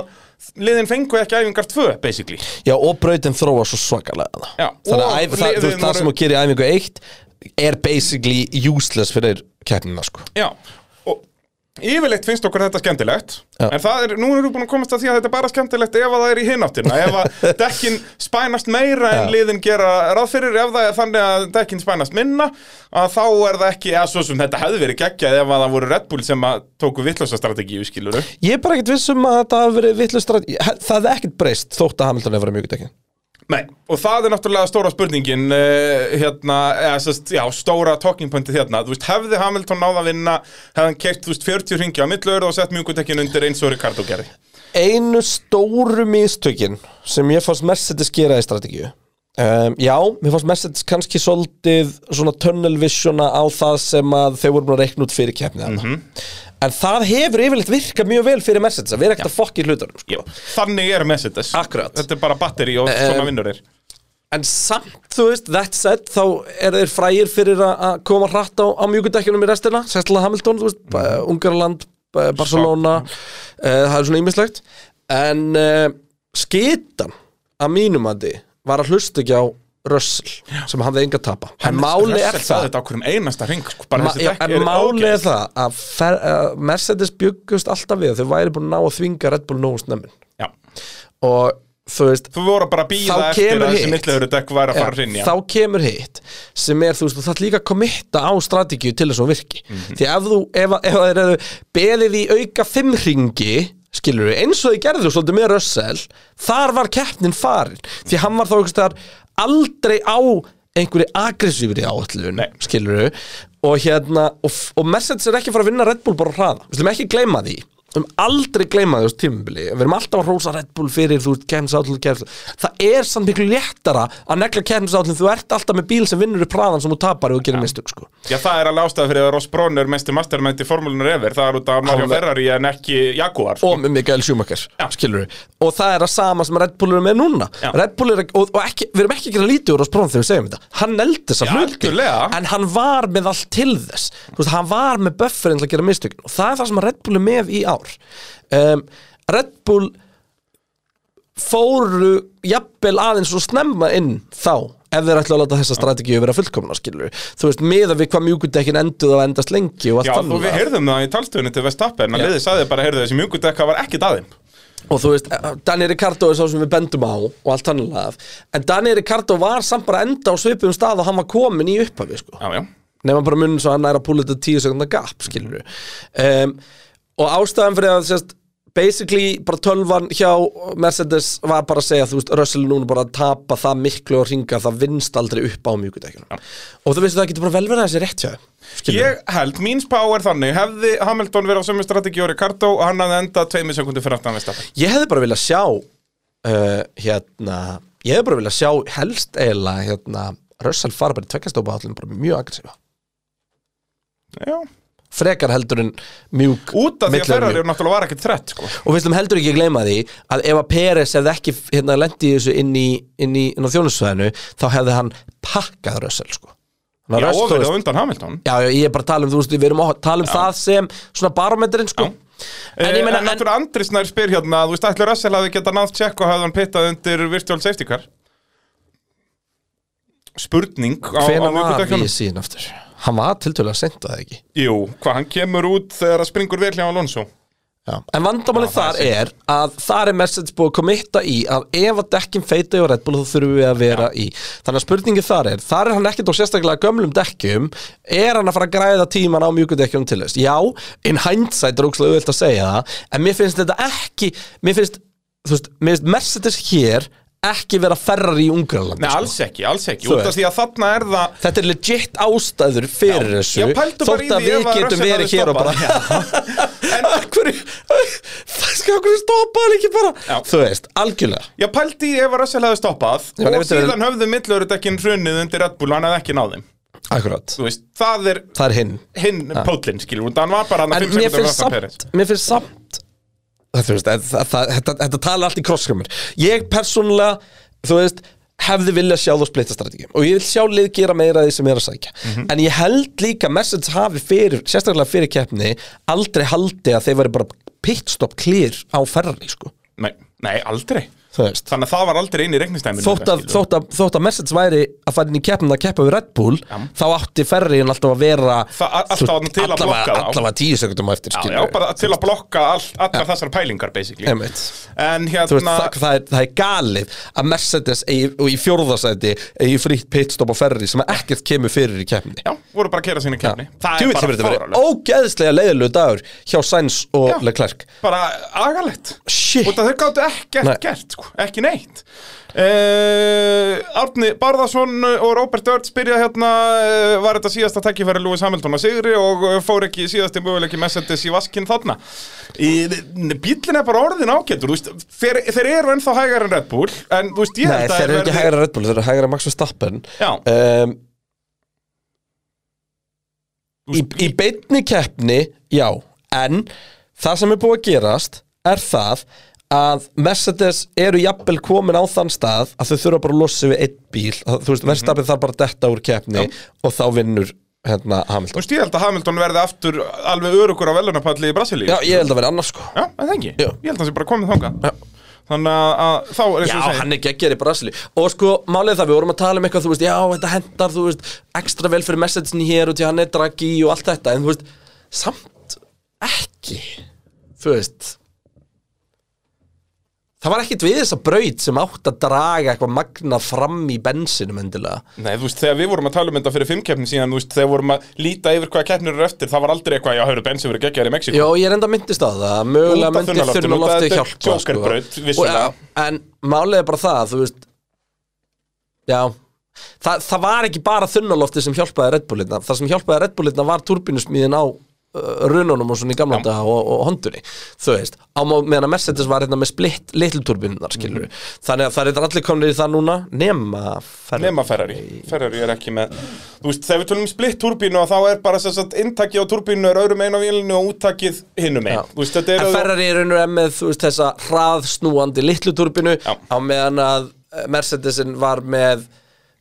Speaker 2: liðin fengu ekki æfingar tvö, basically
Speaker 3: Já, og brautin þróa svo svakalega
Speaker 2: Já,
Speaker 3: Þannig
Speaker 2: og
Speaker 3: að æf- það,
Speaker 2: liðin
Speaker 3: þú veist, það
Speaker 2: voru-
Speaker 3: sem þú gerir í æfingu eitt er basically useless fyrir keppnina sko
Speaker 2: Já, og yfirleitt finnst okkur þetta skemmtilegt
Speaker 3: Já.
Speaker 2: en það er, nú erum við búin að komast að því að þetta er bara skemmtilegt ef að það er í hináttina ef að
Speaker 3: <laughs>
Speaker 2: dekkin spænast meira en
Speaker 3: Já.
Speaker 2: liðin gera ráð fyrir ef það er þannig að dekkin spænast minna að þá er það ekki, eða svo sem þetta hefði verið geggjað ef að það voru Red Bull sem að tóku vittlösa strategíu, skiluru
Speaker 3: Ég er bara ekkert viss um að þetta hafi verið vittlust Það hefði ekkert breyst þótt að Hamilton hefur verið mjög dekkin
Speaker 2: Nei, og það er náttúrulega stóra spurningin uh, hérna, eða, sest, já, stóra talking pointi hérna, þú veist, hefði Hamilton náða að vinna, hefði hann keitt, þú veist, 40 ringi á millur og sett mjöngutekkin undir eins og Ricardo gerði.
Speaker 3: einu stóru mistökin sem ég fannst Mercedes gera í strategíu um, Já, mér fannst Mercedes kannski soldið svona tunnel visiona á það sem að þau voru búin að reikna út fyrir keppnið mm En það hefur yfirleitt virkað mjög vel fyrir Mercedes að vera ekkert að fokki í hlutunum sko.
Speaker 2: Þannig er Mercedes.
Speaker 3: Akkurat. Eh,
Speaker 2: Þetta er bara batteri og svona vinnur er.
Speaker 3: En samt, þú veist, that said þá er þeir frægir fyrir að að koma hratt á, á mjögundekjunum í restina Sessla Hamilton, þú veist, mm. Ungarland eh, Barcelona, uh, það er svona ýmislegt En uh, skitan að mínum að þið var að hlusta ekki á Russell sem hafði enga tapa En máli er
Speaker 2: Russell sagði
Speaker 3: það
Speaker 2: þetta á hverjum einasta ring, sko, bara
Speaker 3: Ma,
Speaker 2: þessi
Speaker 3: já,
Speaker 2: dekk
Speaker 3: en
Speaker 2: eru
Speaker 3: máli er
Speaker 2: ógeðsleg.
Speaker 3: það að fer, uh, Mercedes byggust alltaf við að þau væri búin að ná að þvinga Red Bull nógu snemmin
Speaker 2: Já,
Speaker 3: og þú veist,
Speaker 2: þú voru bara að býða
Speaker 3: Þá
Speaker 2: eftir
Speaker 3: kemur
Speaker 2: að þessi
Speaker 3: hitt.
Speaker 2: millur dekk væri að fara að
Speaker 3: Já,
Speaker 2: rinja.
Speaker 3: þá kemur hitt sem er, þú veist, þú þarf líka að kommitta á strategíu til þess að hún virki því ef þú, ef, ef þeir eru beðið í auka fimm ringi skilur við, eins og þið gerðu svolítið með Russell þar var keppnin farin því hann var þá einhvers staðar aldrei á einhverju agressífri áallun
Speaker 2: Nei.
Speaker 3: skilur við og hérna, og, f- og Mercedes er ekki að fara að vinna Red Bull bara á hraða, við slum ekki gleyma því við erum aldrei gleyma því á þessu tímabili við erum alltaf að rósa Red Bull fyrir þú kemst átlun, kemst það er samt miklu léttara að negla kemst átlun, þú ert alltaf með bíl sem vinnur upp hraðan sem þú tapar og gerir mistök sko.
Speaker 2: Já, það er alveg ástæða fyrir að Ross Brown er mestir mastermind í formúlunar efer, það er út af Mario
Speaker 3: Hann-
Speaker 2: Ferrari en ekki Jaguar. sko.
Speaker 3: og með Mikael Schumacher,
Speaker 2: Já.
Speaker 3: skilur við og það er að sama sem Red Bull eru með núna
Speaker 2: Já.
Speaker 3: Red Bull er, ekki- og, og ekki, við erum ekki að gera lítið úr á sprónum þegar við segjum þetta hann eldi þess
Speaker 2: Já,
Speaker 3: að hluti,
Speaker 2: algjörlega.
Speaker 3: en hann var með allt til þess, þú veist, hann var með bufferinn til að gera mistökin og það er það sem að Red Bull er með í ár um, Red Bull fóru jafnvel aðeins og snemma inn þá ef þeir ætla að láta þessa strategíu vera fullkomna skilur við, þú veist, miða við hvað mjúkudekkin enduð og endast lengi og allt
Speaker 2: Já, og við
Speaker 3: annað.
Speaker 2: heyrðum það í talstöðunni til Vestappen að liðið sagði bara, heyrðu þessi mjöngutekka var ekki daðinn
Speaker 3: og þú veist, eh, Daniel Ricardo er sá sem við bendum á og allt hann alveg en Daniel Ricardo var samt bara að enda á svipum stað og hann var komin í upphafi sko.
Speaker 2: Já, já,
Speaker 3: nema bara munum svo að hann er að púla þetta 10 sekundar gap skilur við um, og ástæðan fyrir að sérst, basically bara tölvan hjá Mercedes var bara að segja, þú veist, Russell er núna bara að tapa það miklu og ringa, það vinst aldrei upp á mjúkudekjunum og þú veist það getur bara vel verið að þessi rétt hjá þeim, skilurðu.
Speaker 2: Ég held, mín spá er þannig Hefði Hamilton verið á sömu strategi og Ricardo og hann hafði endað tveimur sekundu fyrir aftan Vestappen
Speaker 3: Ég hefði bara viljað sjá uh, hérna, ég hefði bara viljað sjá helst eiginlega hérna, Russell fara bara í tveggjastópa allir bara mjög aggressífa
Speaker 2: Já,
Speaker 3: frekar heldur en mjúk
Speaker 2: út af því að
Speaker 3: milli
Speaker 2: Ferrari
Speaker 3: mjúk.
Speaker 2: náttúrulega var ekkert þrett sko.
Speaker 3: og við slum heldur ekki að gleyma því að ef að Peres hefði ekki hérna, lendi í þessu inn í, inn í inn á þjónusvæðinu þá hefði hann pakkað Russell sko. Þannig að
Speaker 2: Já,
Speaker 3: Russell,
Speaker 2: og
Speaker 3: þú
Speaker 2: verið
Speaker 3: veist-
Speaker 2: á undan Hamilton
Speaker 3: já, já, ég er bara að tala um, þú veist, við erum að tala um það sem svona barometrin sko. en ég meina,
Speaker 2: Eh, En
Speaker 3: en,
Speaker 2: náttúrulega Andris nær spyr hérna Þú veist, ætli Russell hafði getað náð tjekk og hafði hann pittað undir virtual safety car Spurning á, á
Speaker 3: hvenær var
Speaker 2: mjúkudekjunum.
Speaker 3: við síðan aftur? Hann var tiltölulega sent að það ekki
Speaker 2: Jú, hvað hann kemur út þegar að springur vel hjá Alonso
Speaker 3: Já. En vandamálið
Speaker 2: Já, það
Speaker 3: þar er að þar er Mercedes búið að kommitta í að ef að dekkin feita og Red Bull þá þurfum við að vera í Þannig að spurningin þar er, þar er hann ekkert á sérstaklega gömlum dekkjum Er hann að fara að græða tíman á mjúkudekkjum til þess? Já, in hindsight er ókslega auðvelt að segja það En mér finnst þetta ekki, mér finnst, þú veist, mér finnst Mercedes hér ekki vera ferrar í
Speaker 2: Nei,
Speaker 3: Ungarlandi
Speaker 2: alls ekki, alls ekki,
Speaker 3: Sko. Þú
Speaker 2: út af
Speaker 3: veist.
Speaker 2: því að þarna er það
Speaker 3: Þetta er legit ástæður fyrir þessu
Speaker 2: Já, pældu bara í
Speaker 3: Þótt að
Speaker 2: því ef
Speaker 3: við
Speaker 2: að
Speaker 3: getum
Speaker 2: Russell
Speaker 3: verið
Speaker 2: hefði
Speaker 3: hér og bara
Speaker 2: <laughs>
Speaker 3: En að hverju Það <laughs> skal hverju stoppa hann ekki bara
Speaker 2: Já.
Speaker 3: Þú veist, algjörlega
Speaker 2: Já, pældi ef að Russell hefði stoppað
Speaker 3: Já, en
Speaker 2: og
Speaker 3: ef þetta er-
Speaker 2: síðan höfðu millurudekkin hrunnið undir Red Bull og hann hefði ekki náð þeim
Speaker 3: Akkurat,
Speaker 2: Þú veist, það er
Speaker 3: það er hinn
Speaker 2: hinn pólinn, skilur, og hann var bara hann að
Speaker 3: En
Speaker 2: 5
Speaker 3: mér
Speaker 2: sekundur
Speaker 3: finnst
Speaker 2: Rastan Peres
Speaker 3: samt Mér finnst samt það, þú veist, það, það, það, þetta, þetta tala allt í krosskjömmur Ég persónulega, þú veist hefði viljað sjá þú splitta strategíum og ég vil sjá lið gera meira af því sem er að sækja en ég held líka message hafi fyrir sérstaklega fyrir keppni aldrei haldi að þeir væri bara pitstop clear á ferrari sko
Speaker 2: Nei, nei, aldrei
Speaker 3: þú veist
Speaker 2: Þannig að það var aldrei inn í regnistæminu
Speaker 3: þótt að, þótt, að, þótt að message væri að fara inn í keppnum að keppa við Red Bull þá átti ferriðin alltaf að vera
Speaker 2: Það- a- alltaf átti hann til að
Speaker 3: allavega-
Speaker 2: blokka þá.
Speaker 3: allavega tíu sekundum á eftir
Speaker 2: Já,
Speaker 3: skilurðu.
Speaker 2: já, bara til að blokka all, allar þessar pælingar, basically
Speaker 3: Einmitt.
Speaker 2: En
Speaker 3: Þú veist,
Speaker 2: hérna,
Speaker 3: það, það, er, það er galið að Mercedes eigi, og í fjórðasæti eigi frýtt pitstop á ferri sem ekkert kemur fyrir í keppni
Speaker 2: já, voru bara að kera sína kefni Það
Speaker 3: Djúvill
Speaker 2: er
Speaker 3: hefur
Speaker 2: bara
Speaker 3: þetta verið
Speaker 2: fáralegt
Speaker 3: ógeðslega leiðilegu dagur hjá Sainz og
Speaker 2: Já.
Speaker 3: Leclerc
Speaker 2: Bara agalegt
Speaker 3: Shit.
Speaker 2: Út af þau gáttu ekkert
Speaker 3: Nei.
Speaker 2: gert, sko ekki neitt uh, Árni Barðarsson og Robert Örd spyrja hérna uh, var þetta síðasta tækifæri Lewis Hamilton að sigri og eh, fór ekki síðasti möguleiki Mercedes í vaskinn þarna í, bíllinn er bara orðin ágættur þú veist, þeir, þeir eru ennþá hægar en Red Bull en þú veist, ég
Speaker 3: Nei, þeir eru ekki hægra Red Bull, þeir eru hægra Max Verstappen
Speaker 2: Já.
Speaker 3: um, í, í beinni keppni, já En það sem er búið að gerast er það að Mercedes eru jafnvel komin á þann stað að þau þurfa bara að losa við einn bíl Það- Þú veist, Verstappen þarf bara að detta úr keppni og þá vinnur hérna
Speaker 2: Þú
Speaker 3: Hamilton
Speaker 2: veist, ég held að Hamilton verði aftur alveg örugur á velunarpalli í Brasilíu
Speaker 3: Já, ég held að vera annars sko
Speaker 2: Já, en það ekki,
Speaker 3: Já.
Speaker 2: ég held að það sé bara komið þanga Þannig að, að þá er eins
Speaker 3: Já,
Speaker 2: og segja
Speaker 3: hann er geggjær í Brasili Og sko, málið er það, við vorum að tala um eitthvað, þú veist, já, þetta hendar, þú veist, ekstra vel fyrir messagein hér og til hann er draggi og allt þetta En þú veist, samt ekki, þú veist Það var ekkit við þessa braut sem átt að draga eitthvað magna fram í bensinum endilega
Speaker 2: Nei, þú veist, þegar við vorum að tala um þetta fyrir fimmkeppni síðan Þú veist, þegar vorum að líta yfir hvaða keppnir eru eftir Það var aldrei eitthvað, já, hörðu, bensin verið geggjar í Mexiko
Speaker 3: Já, ég er enda myndist á það, að mögulega
Speaker 2: Út af
Speaker 3: myndi
Speaker 2: þunnaloftinu,
Speaker 3: þurrna loftið
Speaker 2: þetta er
Speaker 3: hjálpa sko.
Speaker 2: Jokerbraut,
Speaker 3: Og,
Speaker 2: vissulega.
Speaker 3: já, En málið er bara það, þú veist Já Þa, Það var ekki bara þunnaloftið sem hjálpaði Red Bullina Það sem hjálpaði Red Bullina var turbinusmiðin á uh, rununum og svona í gamla daga og, og hondunni Þú veist, á mó- meðan að Mercedes var hérna með splitt little turbinunar skilur
Speaker 2: Mhm.
Speaker 3: Þannig að það er þetta allir komnir í það núna nema ferð
Speaker 2: Nema Ferrari, Ferrari er ekki með Þú veist, þegar við tölum um splitt turbínu Þá er bara þess að inntaki á turbínu er öðrum einu á vélinu Og úttakið hinum einu Þú veist, þetta
Speaker 3: En
Speaker 2: eru
Speaker 3: Ferrari er unnur með þú veist, þessa hraðsnúandi litlu turbinu
Speaker 2: Já.
Speaker 3: á meðan að eh, Mercedesin var með,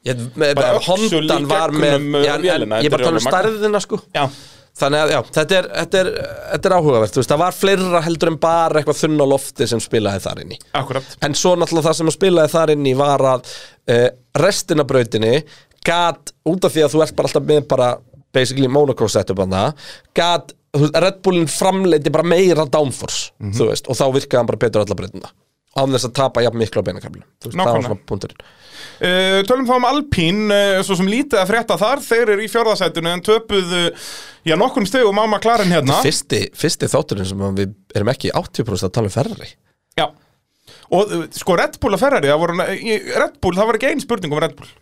Speaker 3: ég, með
Speaker 2: Bara öxul í
Speaker 3: Hondan var með
Speaker 2: gegnum, eh,
Speaker 3: en-
Speaker 2: vélina,
Speaker 3: en, ég
Speaker 2: þetta er
Speaker 3: bara tala um
Speaker 2: alveg magnað.
Speaker 3: stærðina sko
Speaker 2: Já,
Speaker 3: Þannig að já, þetta er, þetta er, þetta er áhugavert þú veist, það var fleira heldur en bara eitthvað þunn á lofti sem spilaði þar inn í
Speaker 2: akkurat
Speaker 3: En svo náttúrulega það sem að spilaði þar inn í var að uh, restina af brautinni gat, út af því að þú ert bara alltaf með bara basically Monaco setup hann það gat, þú veist, Red Bullin framleiti bara meira downforce, þú veist og þá virkaði hann bara betur alla brautina án þess að tapa jafn miklu á beinakaflinu Þú veist, það var
Speaker 2: Nákvæmlega.
Speaker 3: svona punkturinn
Speaker 2: Uh, tölum þá um Alpín, uh, svo sem lítið að frétta þar, þeir eru í fjórðasætinu en töpuðu, já, nokkrum stegum á McLaren hérna.
Speaker 3: fyrsti, fyrsti þátturinn sem að við erum ekki 80% að tala um ferri
Speaker 2: Já. Og uh, sko, Red Bull og Ferrari, það voru, eh, í- Red Bull, það var ekki ein spurning um Red Bull.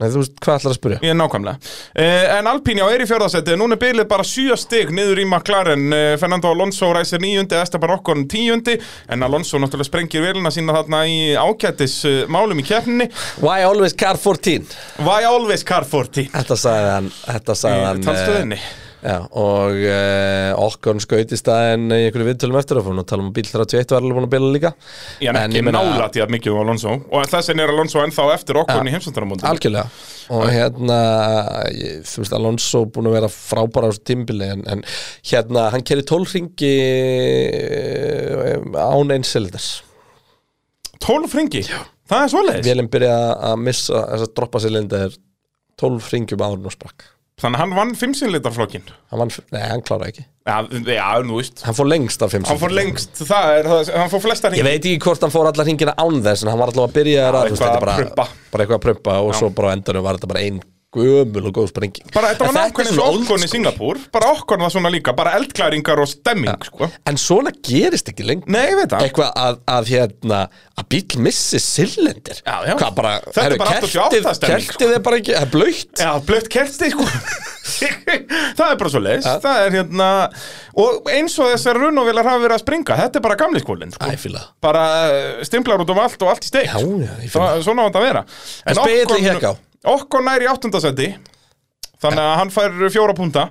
Speaker 3: Nei, þú veist, hvað ætlar að spyrja?
Speaker 2: Ég er nákvæmlega. Uh, en Alpín, já, er í fjórðasætinu, núna er bylið bara sjö steg niður í McLaren, uh, Fernando Alonso ræsir níundi, Estaban Okkon tíundi, en Alonso náttúrulega sprengir velina sína þarna í ákættis uh, málum í keppninni.
Speaker 3: Why always car 14?
Speaker 2: Why always car 14?
Speaker 3: Þetta sagði hann Þetta sagði
Speaker 2: Í
Speaker 3: hann
Speaker 2: talstöðinni.
Speaker 3: eh, Já, og uh, okkur skaut í staðin í einhverju viðtölum eftir að fórum að tala um að bíl 31 var alveg búin að bila líka
Speaker 2: Já, en ekki
Speaker 3: ég meina-
Speaker 2: nálætt í að mikið um Alonso og þess vegna er Alonso ennþá eftir okkur í heimsöndaramóndinu
Speaker 3: Algjörlega og hérna, ég, þú veist, Alonso búin að vera frábæra á þessu tímbili en, en hérna, hann keri tólringi eh, án einsilindars
Speaker 2: 12 ringi, það er svoleiðis
Speaker 3: Vélum byrjaði að missa þess að droppa silindar tólfringum án um og sprakk
Speaker 2: Þannig að hann vann 5 sinlitarflokkin
Speaker 3: hann, vann f- nei, hann kláraði ekki
Speaker 2: Já, já, nú veist
Speaker 3: Hann fór lengst af 5
Speaker 2: Hann fór lengst, það er, það- hann fór flesta
Speaker 3: Ég
Speaker 2: ringi
Speaker 3: veit ekki hvort hann fór alla hringina án þess en hann var allavega að byrja að þú veist,
Speaker 2: eitthvað
Speaker 3: þetta bara,
Speaker 2: að prumpa.
Speaker 3: bara eitthvað að prumpa og svo bara á endanum var þetta bara ein gömul og góð sprenging
Speaker 2: Bara
Speaker 3: En
Speaker 2: þetta var nákvæmlega eins og
Speaker 3: old
Speaker 2: okkur í
Speaker 3: school.
Speaker 2: Singapúr Bara okkur var svona líka, bara eldklæringar og stemming sko.
Speaker 3: En svona gerist ekki lengur
Speaker 2: Nei, ég veit það
Speaker 3: Eitthvað að, að hérna að bíl missi silendir
Speaker 2: Já, já.
Speaker 3: Hvað bara,
Speaker 2: Þetta er
Speaker 3: herru,
Speaker 2: bara 88
Speaker 3: kertið-
Speaker 2: stemning, sko.
Speaker 3: Kertið er bara ekki, það er blöytt
Speaker 2: Já, blött kerti sko <laughs> Það er bara svo leis Það er hérna Og eins og þessar runovélar hafa verið að springa Þetta er bara gamli skólinn sko.
Speaker 3: Æ, fíla það.
Speaker 2: Bara eh, stimplar út um allt og allt í steik
Speaker 3: Já, já, ég finn
Speaker 2: Þa, Svona á þetta að vera
Speaker 3: En spegillinn
Speaker 2: Ocon-
Speaker 3: hékk á.
Speaker 2: Ocon nær í áttundasetti Þannig að hann fær fjóra púnta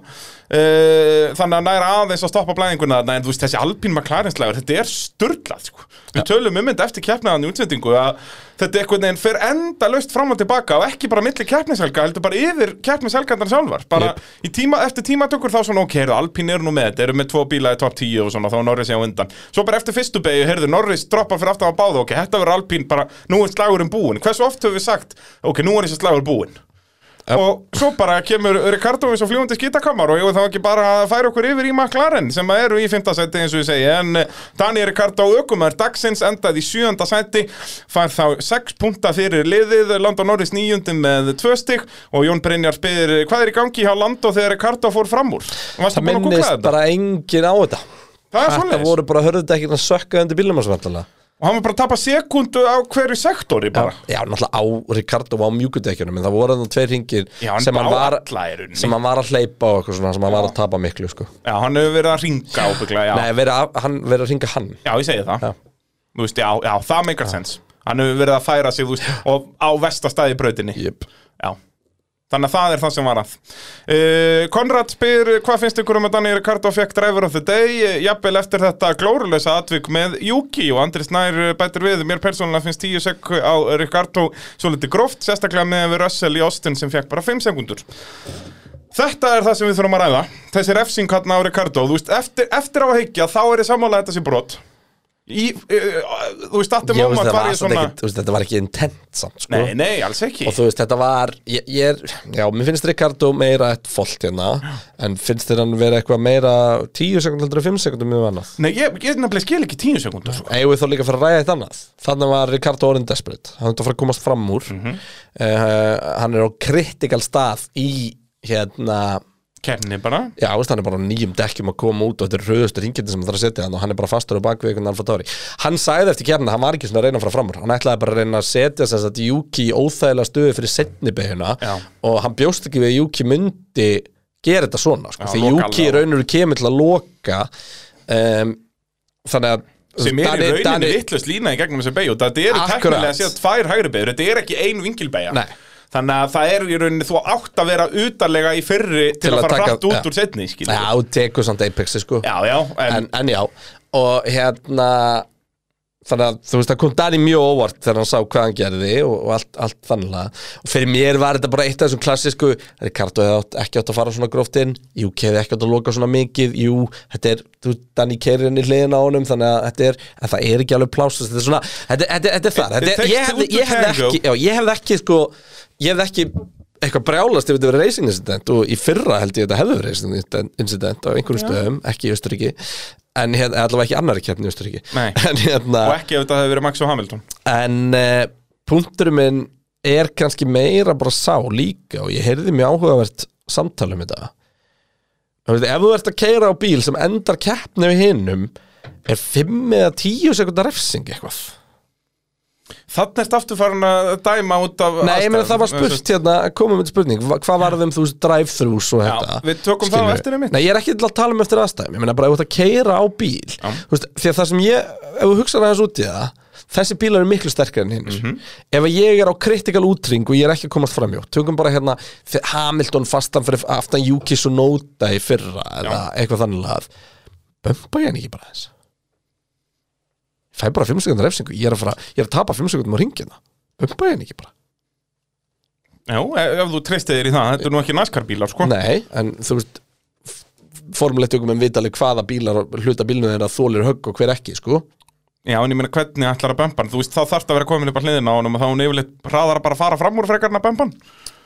Speaker 2: Eh, Þannig að nær aðeins að stoppa blæðinguna þarna En þú veist þessi Alpín McLarenslægur Þetta er sturdlað sko. Við tölum um þetta eftir keppnaðan í útsendingu að Þetta er einhvern veginn fer enda löst fram og tilbaka Og ekki bara milli keppnishelga Heldur bara yfir keppnishelgarnar sjálfar Bara í tíma, eftir tímatökur þá svona Ok, heyrðu, Alpín eru nú með þetta Eru með tvo bíla í top 10 og svona Þá er Norris ég á undan Svo bara eftir fyrstu beigju Heyrðu, Norris droppar fyrir aftan á báða Ok, þetta verður Alpín bara Nú er slagurinn búinn Hversu oft höfum við sagt Ok, nú er þessi slagur búinn og svo bara kemur Ricardo eins og fljúandi skítakamar og ég veit þá ekki bara að færa okkur yfir í McLaren sem að eru í 5. seti eins og ég segi en eh, Daniel Ricardo aukumar dagsins endaði í 7. seti fær þá 6 punta fyrir liðið Landon Norris 9. með 2 stygg og Jón Brynjar spyr eh, hvað er í gangi hjá Lando þegar Ricardo fór fram úr Varstu
Speaker 3: Það
Speaker 2: búin að kúkla
Speaker 3: minnist
Speaker 2: þetta?
Speaker 3: bara engin á þetta
Speaker 2: Það er
Speaker 3: Þetta
Speaker 2: svoleiðis.
Speaker 3: voru bara hörðu ekki að sökka undir bílum hans vantanlega
Speaker 2: og hann var bara að tapa sekundu á hverju sektori bara
Speaker 3: Já, náttúrulega á Ricardo á mjúkudekjunum en það voru þannig tveir hringir
Speaker 2: Já, hann
Speaker 3: sem, hann
Speaker 2: bá
Speaker 3: var,
Speaker 2: alla í rauninni.
Speaker 3: sem hann var að hleypa og eitthvað svona sem hann var að tapa miklu sko.
Speaker 2: Já, hann hefur verið að ringa ábyggla já.
Speaker 3: Nei, verið að, hann verið að ringa hann
Speaker 2: já, ég segi það
Speaker 3: Já.
Speaker 2: Þú veist, já, já, það meikar sens Hann hefur verið að færa sig, þú veist, og á vestastæði brautinni
Speaker 3: Jöp
Speaker 2: Já Þannig að það er það sem var að uh, Konrad spyr uh, hvað finnst ykkur um að Daniel Ricardo fekk driver of the day uh, jafnvel eftir þetta glórulösa atvik með Juki og Andris Nær uh, bætir við mér persónulega finnst 10 sek á Ricardo svo liti gróft, sérstaklega með við Russell í Austin sem fekk bara 5 sekundur Þetta er það sem við þurfum að ræða þessi refsing hann á Ricardo þú veist, eftir, eftir á að hyggja þá er ég sammála að þetta sé brot í, uh, þú veist, þetta
Speaker 3: Ég veist
Speaker 2: moment
Speaker 3: það var
Speaker 2: var ég
Speaker 3: svona...
Speaker 2: svona
Speaker 3: ekki, þú veist, þetta var ekki intent samt sko.
Speaker 2: Nei, nei, alls ekki
Speaker 3: Og þú veist, þetta var, ég, ég er, já, mér finnst Ricardo meira eitt fólt hérna En finnst þér hann vera eitthvað meira 10 sekundum heldur og 5 sekundum mjög annað
Speaker 2: Nei, ég, ég nefnilega skil ekki tíu sekundur sko.
Speaker 3: Eigum við þá líka að fara að ræða eitt annað Þannig var Ricardo orðin desperate Hann þurfti að fara að komast fram úr
Speaker 2: Mhm.
Speaker 3: uh, Hann er á kritikal stað í hérna
Speaker 2: Kefni bara
Speaker 3: Já, veist, hann er bara á nýjum dekkjum að koma út og þetta er rauðustu ringindi sem það þarf að setja hann og hann er bara fastur á bakvið einhvern Alfa Tauri Hann sagði eftir kemna, hann var ekki svona að reyna frá framur hann ætlaði bara að reyna að setja sem sagt Juki í óþægilega stöðu fyrir setnibeguna
Speaker 2: Já.
Speaker 3: og hann bjóst ekki við að Juki myndi gera þetta svona, sko,
Speaker 2: Já,
Speaker 3: því
Speaker 2: loka
Speaker 3: Juki
Speaker 2: alveg á.
Speaker 3: raunur kemur til að loka um, þannig að
Speaker 2: sem er
Speaker 3: Dani-
Speaker 2: í rauninni
Speaker 3: Dani-
Speaker 2: vittlust lína í gegnum þessu beigjú þetta eru
Speaker 3: Akkurat.
Speaker 2: teknilega séð tvær hægri beigur þetta er ekki ein vingilbeigja
Speaker 3: Nei.
Speaker 2: þannig að það er í rauninni þú átt að vera utarlega í fyrri til,
Speaker 3: Til
Speaker 2: að,
Speaker 3: að
Speaker 2: fara
Speaker 3: taka-
Speaker 2: hratt út
Speaker 3: já.
Speaker 2: úr setni skilur.
Speaker 3: Já, þú tekur samt Apexi sko
Speaker 2: já, já, en,
Speaker 3: en, en já og hérna þannig að þú veist það kom Dani mjög óvart þegar hann sá hvað hann gerði og, og allt, allt þannlega og fyrir mér var þetta bara eitt af þessum klassísku Ricardo hefði átt, ekki átt að fara svona gróft inn jú, hefði ekki átt að loka svona mikið jú, þetta er, þú, Dani keirir inn í hliðin á honum þannig að þetta er, en það er ekki alveg plásus þetta er svona, þetta, þetta, þetta er það
Speaker 2: It- it
Speaker 3: þetta, er-
Speaker 2: takes
Speaker 3: ég, hefði,
Speaker 2: two to
Speaker 3: ég, hefði
Speaker 2: tango.
Speaker 3: ekki, já, ég hefði ekki sko, ég hefði ekki eitthvað brjálast ef þetta verið racing incident og í fyrra held ég að þetta hefði verið racing incident- incident á einhverjum stöðum, ekki í Östuríki en hérna, allavega ekki annari keppni í Östuríki
Speaker 2: Nei.
Speaker 3: <laughs> en hérna,
Speaker 2: og ekki ef þetta hefur verið Max og Hamilton
Speaker 3: en uh, punkturinn minn er kannski meira bara sá líka og ég heyrði mjög áhugavert samtala um þetta Þú veist, ef þú ert að keira á bíl sem endar keppni við hinnum er 5 eða 10 sekundar refsing eitthvað
Speaker 2: þannig er aftur farin að dæma út af
Speaker 3: Nei, ég meina
Speaker 2: aðstæðum.
Speaker 3: það var spurt hérna, komum við spurning hva- hvað var þeim þú veist drive-thrus og þetta
Speaker 2: við tökum það á
Speaker 3: Skilurðu?
Speaker 2: eftir einmitt.
Speaker 3: Nei, ég er ekki til að tala um eftir aðstæðum, ég meina bara ef þú ert að keira á bíl þú veist, því að það sem ég, ef þú hugsaði aðeins út í það þessi bílar eru miklu sterkar en hinn
Speaker 2: Mhm.
Speaker 3: ef að ég er á kritikal útring og ég er ekki að komast framjó, tökum bara hérna þe- Hamilton fastan fyrir aftan Yuki Sunoda í fyrra eða eitthvað þannig að bömpa ég hann ekki bara þess fæ bara 5 sekundar refsingu, ég er að, fara, ég er að tapa 5 sekundum á ringina, bömpa ég hann ekki bara
Speaker 2: já, e, ef ef þú treystir þér í það, þetta er nú ekki naskarbílar sko.
Speaker 3: Nei, en þú veist formulegt ykkur með vitaleg hvaða bílar hluta bílnu þeirra þólir högg og hver ekki sko.
Speaker 2: já, en ég meina hvernig ætlar að bempa hann? þú veist, þá þarf það að vera komin upp að hliðina á honum og þá er hún yfirleitt hraðar að bara fara fram úr frekarna bempan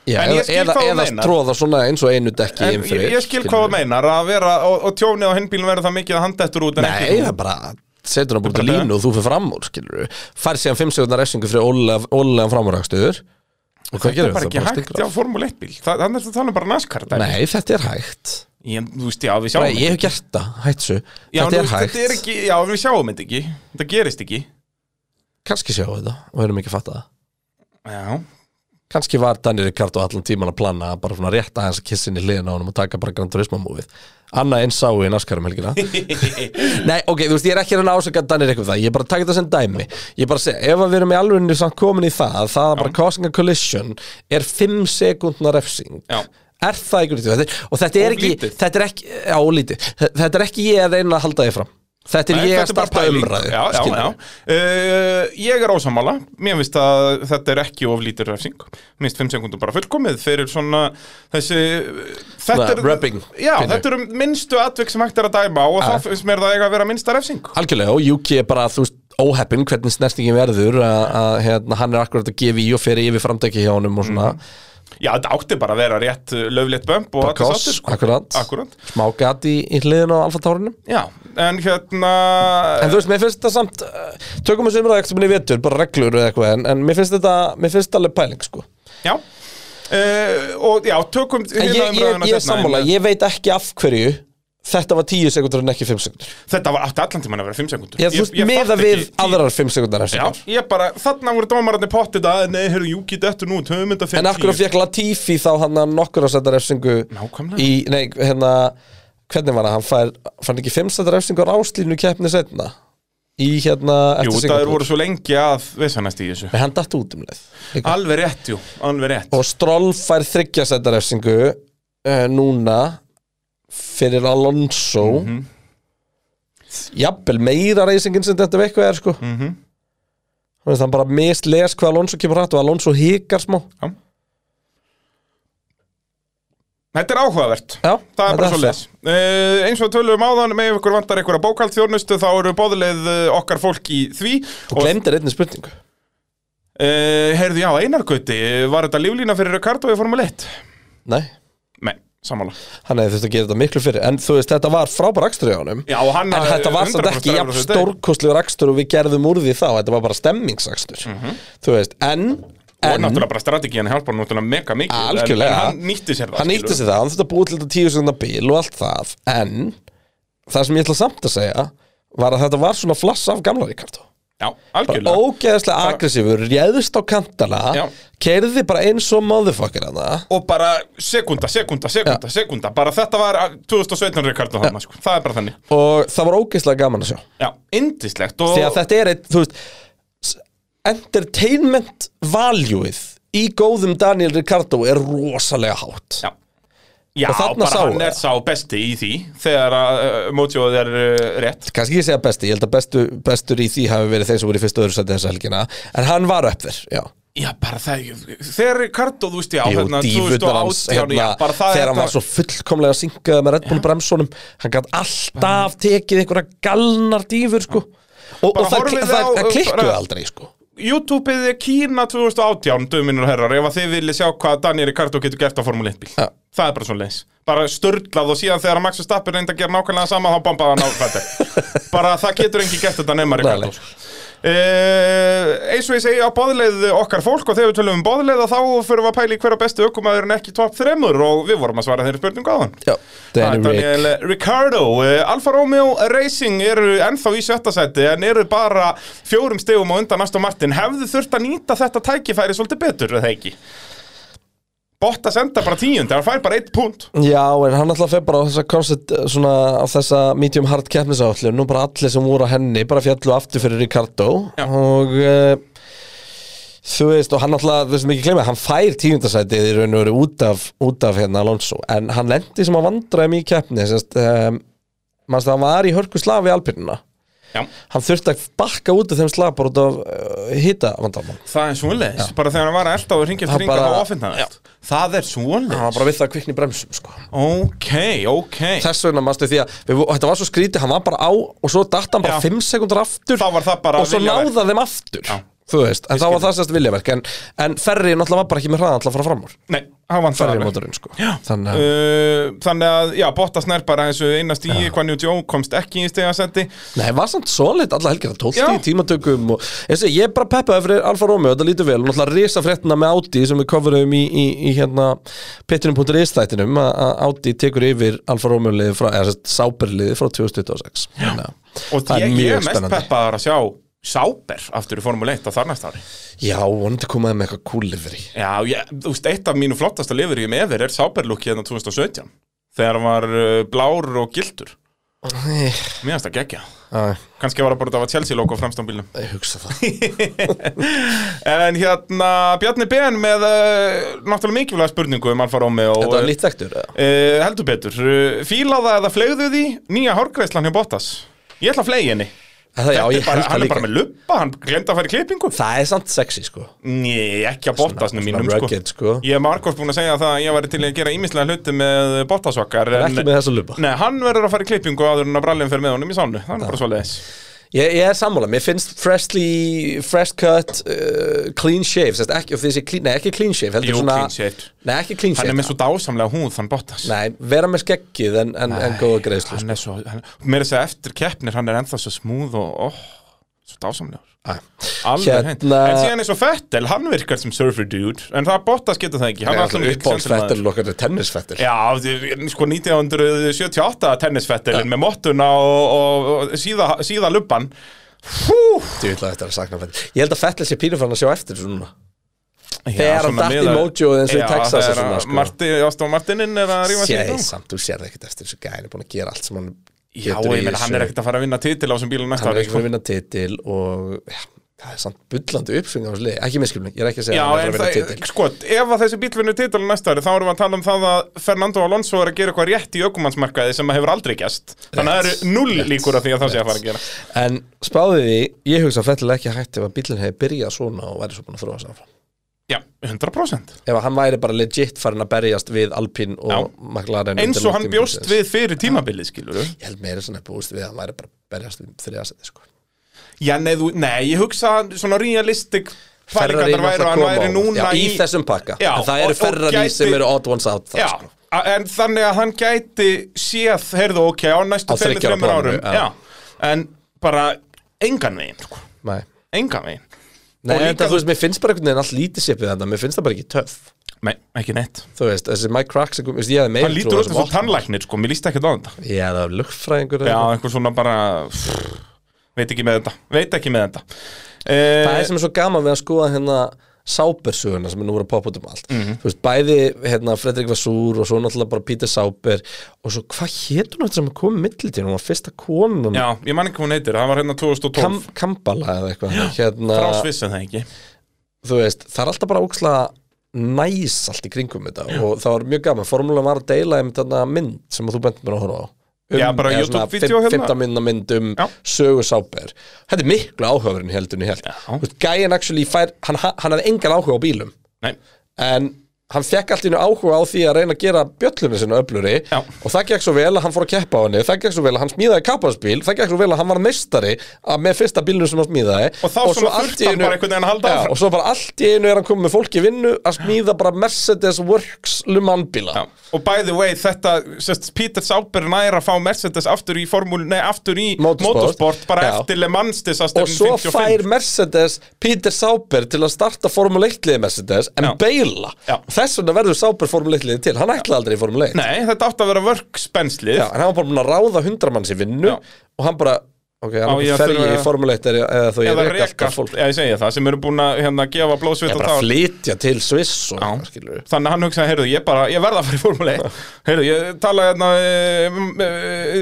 Speaker 3: Já,
Speaker 2: En ég
Speaker 3: eða,
Speaker 2: skil
Speaker 3: eða,
Speaker 2: hvað þú
Speaker 3: eða
Speaker 2: meinar.
Speaker 3: tróða svona eins og einu dekki
Speaker 2: En ég, ég skil hvað það meinar að vera og, og tjónið á hinnbílum verður það mikið að handettur út en
Speaker 3: Nei,
Speaker 2: ekki
Speaker 3: það er bara setur hann búin
Speaker 2: bara
Speaker 3: til línu og þú fyrir fram úr skilur við, fær síðan 5 sekundar refsingu fyrir ólega, ólega framúrækstuður og hvað
Speaker 2: Þetta er
Speaker 3: gerum
Speaker 2: bara
Speaker 3: við
Speaker 2: ekki
Speaker 3: það?
Speaker 2: hægt á Formule 1 bíl Þa- Þannig er þetta þannig bara NASCAR dæmi.
Speaker 3: Nei, þetta er hægt
Speaker 2: ég, Þú veist, já, við sjáum
Speaker 3: Nei, Ég hef gert það, hætt svo
Speaker 2: já,
Speaker 3: Þetta
Speaker 2: nú
Speaker 3: er
Speaker 2: veist,
Speaker 3: hægt,
Speaker 2: þetta er ekki, Já, við sjáum þetta ekki Þetta gerist ekki
Speaker 3: kannski sjáum við þetta og erum ekki að fatta það
Speaker 2: Já,
Speaker 3: kannski var Daniel Ricardo allan tíman að plana að bara svona rétta hans að kissin í hliðina á honum og taka bara Gran Turismo múfið Anna eins sáu í naskarum um
Speaker 2: <laughs>
Speaker 3: helgina Nei, ok, þú veist, ég er ekki að reyna að ásaka Daniel Ricardo það, ég er bara að taka þetta sem dæmi Ég er bara að segja, ef að við erum í alvegni samt komin í það, að það að bara causing a collision er 5 sekundna refsing
Speaker 2: Já.
Speaker 3: Er það ekki lítið? Þetta er- Og þetta er
Speaker 2: Og
Speaker 3: ekki,
Speaker 2: lítið.
Speaker 3: þetta er ekki, já, og lítið Þe- Þetta er ekki ég að reyna að halda þið fram Þetta er
Speaker 2: Nei,
Speaker 3: ég að
Speaker 2: þetta er bara
Speaker 3: starta
Speaker 2: pæling.
Speaker 3: umræðu
Speaker 2: Já, já,
Speaker 3: skilurðu.
Speaker 2: já uh, Ég er ósamála Mér finnst að þetta er ekki of lítur refsing Mér finnst 5 sekundum bara fullkomið Fyrir svona þessi Þetta
Speaker 3: Svona rubbing
Speaker 2: Já,
Speaker 3: pínu.
Speaker 2: þetta eru minnstu atvik sem hægt er að dæma á Og þá finnst mér það eiga að vera minnsta refsing
Speaker 3: Algjörlega og Juki er bara, þú veist, óheppin hvernig snertingin verður að að, hérna, hann er akkurat að gefa í og fyrir yfir framdæki hjá honum og svona
Speaker 2: Já, þetta átti bara að vera rétt uh, löflétt bömp Mm. og
Speaker 3: Bara
Speaker 2: allir
Speaker 3: koss,
Speaker 2: sáttir, sko.
Speaker 3: akkurat.
Speaker 2: Akkurat
Speaker 3: smá gat í, í hliðinu á alfatárunum
Speaker 2: Já, en hérna
Speaker 3: En þú veist, mér finnst þetta samt uh, tökum þessu umræðu ekki sem minni vetur, bara reglur eða eitthvað, en, en mér finnst þetta, mér finnst þetta alveg pæling, sko
Speaker 2: Já uh, Og já, tökum hérna
Speaker 3: En ég, ég, ég, ég sammála, ég veit ekki af hverju þetta var 10 sekundar en ekki 5 sekundar
Speaker 2: Þetta var átti allan tímann að vera 5 sekundur
Speaker 3: ég, þú veist, meða við aðrar 5 sekundar
Speaker 2: Já, ég bara, þarna voru dómararnir pottið að Nei, heyrðu, jú, get eftir nú, töfum þetta
Speaker 3: en af hverju fekk Latifi þá hann að nokkur að setja refsingu
Speaker 2: Nákvæmlega.
Speaker 3: í, nei, hérna hvernig var það, hann fær, fann ekki 5 setja refsingu á ráslínu keppni setna í hérna eftir
Speaker 2: Jú, það
Speaker 3: Singapúr.
Speaker 2: voru svo lengi að vissanast í þessu
Speaker 3: Nei, hann datt út um leið líka.
Speaker 2: Alveg rétt, jú, alveg rétt
Speaker 3: og Stroll fær þryggja setja refsingu uh, núna fyrir Alonso mm
Speaker 2: Mhm.
Speaker 3: jafnvel meira reysingin sem þetta veikku er sko mm
Speaker 2: Mhm.
Speaker 3: -hmm. hann bara misles hvað Alonso kemur hratt og Alonso hikar smá
Speaker 2: Þetta er áhugavert
Speaker 3: Já,
Speaker 2: Það er bara
Speaker 3: þetta
Speaker 2: svo leis Eins og tölum áðan, með ykkur vantar ykkur að bókald þjónustu Þá eru bóðleið okkar fólk í því
Speaker 3: og glemdir einni spurningu
Speaker 2: Uh, heyrðu, já, Einargöti, var þetta líflína fyrir Ricardo í Formule 1?
Speaker 3: nei,
Speaker 2: Nei, sammála
Speaker 3: hann hefði þurft að gera þetta miklu fyrir en þú veist, þetta var frábær akstur í honum
Speaker 2: Já, og hann
Speaker 3: en þetta var samt ekki
Speaker 2: 100%
Speaker 3: jafn
Speaker 2: efur á þessu degi.
Speaker 3: stórkostlegur akstur og við gerðum úr því þá, þetta var bara stemmingsakstur þú veist, en,
Speaker 2: Mhm. Og
Speaker 3: en
Speaker 2: náttúrulega bara strategían hjálpar hann náttúrulega mega mikið en-
Speaker 3: Algjörlega.
Speaker 2: En hann nýtti sér það
Speaker 3: hann
Speaker 2: skilur.
Speaker 3: nýtti sér það, hann þurfti að búa til þetta tíu sekundar bíl og allt það, en það sem ég ætla samt að segja var að þetta var svona flass af gamla Ricardo
Speaker 2: Já,
Speaker 3: bara
Speaker 2: algjörlega
Speaker 3: ógeðslega aggressífur, réðist á kantana
Speaker 2: Já.
Speaker 3: keirði bara eins og motherfucker hana
Speaker 2: Og bara sekunda, sekunda, sekunda, sekunda Bara þetta var að 2017 Ricardo hann sko. Það er bara þannig
Speaker 3: og það var ógeðslega gaman að sjá
Speaker 2: Já, indislegt og...
Speaker 3: því að þetta er eitt, þú veist s- entertainment valueið í góðum Daniel Ricardo er rosalega hátt
Speaker 2: Já, já
Speaker 3: Og þarna
Speaker 2: bara
Speaker 3: sá
Speaker 2: hann
Speaker 3: það.
Speaker 2: er sá besti í því Þegar að uh, mótjóð er uh, rétt
Speaker 3: kannski ég segja besti, ég held að bestu, bestur í því hafi verið þeir sem voru í fyrstu og öðru sæti þessa helgina en hann var upp þér, já
Speaker 2: Já, bara það Þegar Ricardo, þú veist, já
Speaker 3: Jú,
Speaker 2: hérna,
Speaker 3: dífurnar hans
Speaker 2: 2018,
Speaker 3: hérna,
Speaker 2: já, bara það
Speaker 3: þegar hann
Speaker 2: þetta-
Speaker 3: var svo fullkomlega syngað með Red Bull bremsunum hann gætt alltaf tekið einhverja galnar dífur sko. og, og
Speaker 2: Bara
Speaker 3: það,
Speaker 2: horfið
Speaker 3: það,
Speaker 2: á- uh,
Speaker 3: það klikkuði
Speaker 2: bara-
Speaker 3: aldrei sko.
Speaker 2: YouTube-ið er Kína 2018, döminur og herrar, ef að þið viljið sjá hvað Daniel Ricardo getur gert á Formule 1 bíl.
Speaker 3: Ja.
Speaker 2: Það er bara svona leis. Bara störlað og síðan þegar Max Verstappen reyndi að gera nákvæmlega sama, þá bombaði hann á
Speaker 3: <laughs>
Speaker 2: þetta. bara það getur engin gert þetta nema Ricardo.
Speaker 3: Nei, nei.
Speaker 2: Uh, eins og ég segi á boðleið okkar fólk og þegar við tölum um boðleið þá fyrir við að pæli hverja bestu ökumæður en ekki topp þremur og við vorum að svara þeirri spurningu á hann.
Speaker 3: já,
Speaker 2: Það er
Speaker 3: Danny Rick
Speaker 2: Daniel Ricardo eh, Alfa Romeo Racing eru ennþá í sjötta sæti en eru bara fjórum stegum á undan Aston Martin hefðu þurft að nýta þetta tækifæri svolítið betur eða ekki Botta senda bara tíund hann fær bara eitt punkt
Speaker 3: Já, en hann alltaf fer bara á þessa concept, svona, á þessa medium hard keppnisállum, nú bara allir sem voru á henni bara fjallu aftur fyrir Ricardo
Speaker 2: Já.
Speaker 3: og uh, þú veist, og hann alltaf, þú veist mikið glemja hann fær tíundasætið í raun og veru út af út af hérna Alonso, en hann lendi sem að vandræðum í keppni semst, um, mannst það hann var í hörku slag við Alpinuna
Speaker 2: Já.
Speaker 3: hann þurfti að bakka út af þeim slag bara út af uh, hita vandarmann
Speaker 2: Það er svoleiðis, bara þegar hann var að elda og ringja
Speaker 3: Það
Speaker 2: eftir ringa
Speaker 3: bara-
Speaker 2: þá ofinn hann allt. Það er
Speaker 3: hann
Speaker 2: svoleiðis
Speaker 3: var bara við það að kvikna í bremsum sko.
Speaker 2: Ok, ok
Speaker 3: þess vegna mannstu því að við, og þetta var svo skrítið, hann var bara á og svo datt hann bara
Speaker 2: Já.
Speaker 3: 5 sekundur aftur
Speaker 2: Þá var það bara
Speaker 3: og svo
Speaker 2: viljaverk.
Speaker 3: náða þeim aftur
Speaker 2: Já.
Speaker 3: þú veist, en þá var það sérst viljaverk en, en Ferri náttúrulega var bara ekki með hraðan alltaf að fara fram úr
Speaker 2: Nei, hann vann það
Speaker 3: Ferri
Speaker 2: alveg.
Speaker 3: móturinn sko
Speaker 2: Já.
Speaker 3: þannig að
Speaker 2: Uh, þannig að, já, Bottas nær bara eins og einast í, hvað New Joe komst ekki í stegasendi
Speaker 3: Nei, var samt solid alla helgir, 12
Speaker 2: Já.
Speaker 3: í tímatökum og ég, segi, ég er bara peppaði fyrir Alfa Romeo, þetta lítur vel og náttúrulega risa fréttina með Audi sem við coverum í, í, í hérna pittinum.is þættinum að að Audi tekur yfir Alfa Romeo liði frá, eða sérst sáberliði frá 2026 Þannig að
Speaker 2: Og
Speaker 3: það
Speaker 2: ég,
Speaker 3: er
Speaker 2: ég
Speaker 3: mjög
Speaker 2: er mest
Speaker 3: spennandi.
Speaker 2: peppaðar að sjá Sáber aftur í Formule 1 á þar næsta ári
Speaker 3: Já, vonandi komaði með eitthvað cool livery
Speaker 2: Já, ég, þú veist, eitt af mínu flottasta lifur ég með er Sáberlukki hérna 2017 Þegar hann var uh, blár og
Speaker 3: <laughs>
Speaker 2: gildur Mér finnst það geggja
Speaker 3: Æ,
Speaker 2: Kannski var það bara að það var Chelsea-logo framst á bílnum <laughs>
Speaker 3: ég hugsa það
Speaker 2: En hérna, Bjarni Ben með uh, náttúrulega mikilvæga spurningu um Alfa Romeo
Speaker 3: <laughs> Þetta var nýtt vektur eða?
Speaker 2: Uh, heldur betur, uh, fílaða eða fleigðu því nýja hárgreislan hjá Bottas Ég ætla að flegi henni
Speaker 3: Þetta, já,
Speaker 2: Þetta er
Speaker 3: ég
Speaker 2: bara,
Speaker 3: held
Speaker 2: Hann
Speaker 3: það
Speaker 2: er bara
Speaker 3: líka
Speaker 2: með luppa, hann glemd að fara í klippingu
Speaker 3: Það er samt sexy sko
Speaker 2: Nei, ekki að Bottasnum mínum sko.
Speaker 3: rugged, sko.
Speaker 2: Ég hef margótt búin að segja það að ég væri til í að gera ímislega hluti með Bottasvakkar
Speaker 3: En ekki með þessa lupa
Speaker 2: Nei, hann verður að fara í klippingu áður en að brallin fer með honum í sánu Það er bara svoleiðis
Speaker 3: ég, ég er sammála, mér finnst freshly, fresh cut, uh, clean shave sérst, ekki, og því þessi clean, Nei, ekki clean shave heldur
Speaker 2: Jú,
Speaker 3: svona,
Speaker 2: clean shave.
Speaker 3: Nei, ekki clean shave
Speaker 2: Hann er með svo dásamlega húð, hann Bottas
Speaker 3: Nei, vera með skeggið en, en, en góða greiðslu sko.
Speaker 2: Hann er svo, hann, mér að segja eftir keppnir, hann er ennþá svo smúð og oh, Svo dásamlegur
Speaker 3: Æ.
Speaker 2: Alveg
Speaker 3: Hérna-
Speaker 2: hreint En síðan eins og Fettel, hann virkar sem surfer dude En það Bottas getur það ekki Hann
Speaker 3: Nei,
Speaker 2: er
Speaker 3: alltaf
Speaker 2: alltaf mikill gentleman.
Speaker 3: uppáhaldsfettil okkar er tennisfettil
Speaker 2: Já, því- sko 1978 tennisfettilin með mottuna og, og, og síða, síða lubban Hú,
Speaker 3: Ég vil að þetta er að sakna fettil Ég held að fettil sé pínu fann að sjá eftir þessu núna Þegar hann
Speaker 2: svona
Speaker 3: datt í
Speaker 2: miðað-
Speaker 3: mojoið eins og í
Speaker 2: Já,
Speaker 3: Texas og
Speaker 2: þegar
Speaker 3: svona,
Speaker 2: að
Speaker 3: sko.
Speaker 2: Martin, Aston Martinin er að rífa sig í
Speaker 3: Sér,
Speaker 2: gang.
Speaker 3: Samt, þú sér ekkert eftir þessu gæðin er búin að gera allt sem hann
Speaker 2: Já, ég meina, hann er ekkert að fara að vinna titil á þessum bílum næsta
Speaker 3: Hann er
Speaker 2: ári
Speaker 3: ekkert
Speaker 2: sko.
Speaker 3: að vinna titil og já, það er samt bullandi uppsving á þessu liði Ekki miskilning, ég er ekki að
Speaker 2: Já,
Speaker 3: segja að hann er
Speaker 2: en
Speaker 3: að
Speaker 2: það,
Speaker 3: vinna titil
Speaker 2: sko, ef að þessi bíl vinnur titil næsta ári þá erum við að tala um það að Fernando Alonso er að gera eitthvað rétt í ökumannsmarkaði sem hefur aldrei gæst Þannig að það eru null líkur að því að það sé að fara að gera
Speaker 3: En spáði því, ég hugsa að fettil ekki hægt ef að bílinn hefði byrjað svona og væri svo búin að þróa saman
Speaker 2: Já, 100%
Speaker 3: Ef að hann væri bara legit farin að berjast við Alpine og
Speaker 2: Já.
Speaker 3: McLaren
Speaker 2: Eins
Speaker 3: undir
Speaker 2: og hann
Speaker 3: langtíma
Speaker 2: bjóst
Speaker 3: liðsins.
Speaker 2: við fyrir tímabilið, skilur við
Speaker 3: Ég held meira svona búist við að hann væri bara að berjast við þriðasæti sko.
Speaker 2: Já, nei, þú, nei, ég hugsa að svona realistic
Speaker 3: Ferrari
Speaker 2: fælingarnar
Speaker 3: náttúrulega
Speaker 2: væru að hann
Speaker 3: koma
Speaker 2: væri
Speaker 3: á-
Speaker 2: núna
Speaker 3: já, í, þessum pakka
Speaker 2: Já,
Speaker 3: En það
Speaker 2: og-
Speaker 3: eru
Speaker 2: og
Speaker 3: Ferrari
Speaker 2: gæti-
Speaker 3: sem eru odd ones out þar,
Speaker 2: Já,
Speaker 3: sko.
Speaker 2: a- en þannig að hann gæti séð, heyrðu, ok, á næstu
Speaker 3: Á
Speaker 2: tveimur,
Speaker 3: þriggja ára
Speaker 2: þreimur árum
Speaker 3: planinu, já.
Speaker 2: Já, en bara engan veginn, sko,
Speaker 3: Nei,
Speaker 2: engan veginn
Speaker 3: Nei
Speaker 2: Og
Speaker 3: líka,
Speaker 2: líka-
Speaker 3: þetta, þú veist, mér finnst bara einhvern veginn allt lítið sépið þetta Mér finnst það bara ekki töff
Speaker 2: Nei, ekki neitt
Speaker 3: Þú veist, þessi Mike Cracks, ég hefði meira trú
Speaker 2: Hann
Speaker 3: á
Speaker 2: lítur út
Speaker 3: þessum
Speaker 2: eins og
Speaker 3: opnum.
Speaker 2: tannlæknir, sko, mér líst ekki á þetta
Speaker 3: Ég hefði að lukkfræðingur
Speaker 2: Já, einhver svona bara, pff, veit ekki með þetta, veit ekki með þetta Eh,
Speaker 3: Það er sem er svo gaman við að skoða hérna Sábersuguna sem er nú voru að poppa út um allt
Speaker 2: Mhm.
Speaker 3: Þú veist, bæði hérna Fredrik Vassúr og svo náttúrulega bara Peter Sáber og svo hvað hét hún eftir sem kom millitíð hún var fyrsta konan
Speaker 2: Já, ég man ekki hvað hún heitir, það var hérna 2012
Speaker 3: Kam, Kambala eða eitthvað hérna,
Speaker 2: Frá Sviss en það ekki
Speaker 3: þú veist, það er alltaf bara óksla næs allt í kringum þetta og það var mjög gaman, formúlan var að deila um þarna mynd sem að þú bentum mér að horfa á um,
Speaker 2: Já, bara
Speaker 3: eða
Speaker 2: YouTube-vídeó
Speaker 3: svona fim-
Speaker 2: hérna.
Speaker 3: 15 minna mynd um
Speaker 2: Já.
Speaker 3: sögu sáber þetta er miklu áhugaverðin heldunni held
Speaker 2: Já.
Speaker 3: Þú veist, gæin actually fær, hann, ha- hann hafði engan áhuga á bílum
Speaker 2: Nei,
Speaker 3: en hann fekk allt í einu áhuga á því að reyna að gera bjöllunni sinna öfluri
Speaker 2: Já.
Speaker 3: og það gekk svo vel að hann fór að keppa á henni það gekk svo vel að hann smíðaði kapparsbíl það gekk svo vel að hann var meistari að- með fyrsta bílnum sem hann smíðaði
Speaker 2: Og þá
Speaker 3: svo
Speaker 2: svona
Speaker 3: allt
Speaker 2: þurfti
Speaker 3: í
Speaker 2: hann bara einhvern veginn að halda
Speaker 3: já,
Speaker 2: áfram.
Speaker 3: og svo bara allt í einu er hann komið með fólk í vinnu að smíða bara Mercedes Works
Speaker 2: Já,
Speaker 3: lumanbíla
Speaker 2: og by the way, þetta sest, Peter Sauber næra að fá Mercedes aftur í formúl, nei, aftur í
Speaker 3: Motorsport.
Speaker 2: motorsport bara
Speaker 3: Já.
Speaker 2: eftir Le Mans disaster
Speaker 3: og svo fær Mercedes Peter Sauber til að starta Formule 1 liði Mercedes en
Speaker 2: Já.
Speaker 3: beila
Speaker 2: Já.
Speaker 3: þess vegna verður Sauber Formule 1 liði til hann ætlaði aldrei í Formule 1
Speaker 2: Nei, þetta átti að vera vörkspenslið
Speaker 3: Já, en hann var bara búin að ráða hundra manns í vinnu
Speaker 2: Já.
Speaker 3: og hann bara, ok,
Speaker 2: Á,
Speaker 3: hann
Speaker 2: ég
Speaker 3: bara fer
Speaker 2: þurfa-
Speaker 3: ég í Formule 1 eða, eða þó ég
Speaker 2: eða
Speaker 3: reka allt
Speaker 2: reka,
Speaker 3: hvað fólk
Speaker 2: já ég segi það, sem eru búin að hérna, gefa blóðsvitt
Speaker 3: ég
Speaker 2: og
Speaker 3: bara
Speaker 2: tár
Speaker 3: flytja til Sviss og
Speaker 2: Já.
Speaker 3: eitthvað, skilur við.
Speaker 2: Þannig að hann hugsaði, heyrðu, ég bara, ég verða að fara í formúli
Speaker 3: <laughs>
Speaker 2: Heyrðu, ég talaði hérna e,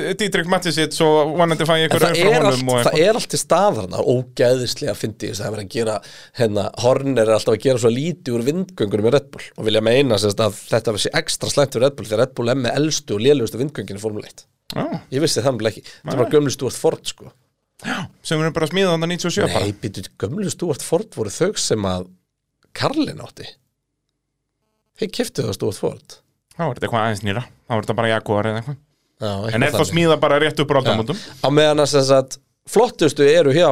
Speaker 2: e, Dietrich Mattisits og vonandi fæ ég
Speaker 3: En
Speaker 2: ykkur
Speaker 3: það
Speaker 2: frá
Speaker 3: er, allt,
Speaker 2: honum og
Speaker 3: það
Speaker 2: eitthvað
Speaker 3: er allt til staðarna ógæðislega fyndi þess að það er að gera hérna, Horner er alltaf að gera svo lítið úr vindgöngunum í Red Bull og vilja meina sérst, að þetta sé ekstra slæmt fyrir Red Bull þegar Red Bull er með elstu og lélugustu vindgöngin í Formule 1
Speaker 2: Já,
Speaker 3: ég vissi það nefnilega ekki, þetta er bara gömlu Stuart Ford sko.
Speaker 2: sem eru bara að smíða þannig 97 bara
Speaker 3: nei, býtu, gömlu Stuart Ford voru þau sem að Karlin átti þeir kiftu það Stuart Ford
Speaker 2: Þá er þetta eitthvað aðeins nýra, þá er þetta bara Jaguar eða eitthvað
Speaker 3: Já, eitthvað
Speaker 2: En er það
Speaker 3: þannig.
Speaker 2: smíða bara rétt upp úr aldamótum?
Speaker 3: Já. á meðan að sem sagt, flottustu eru hjá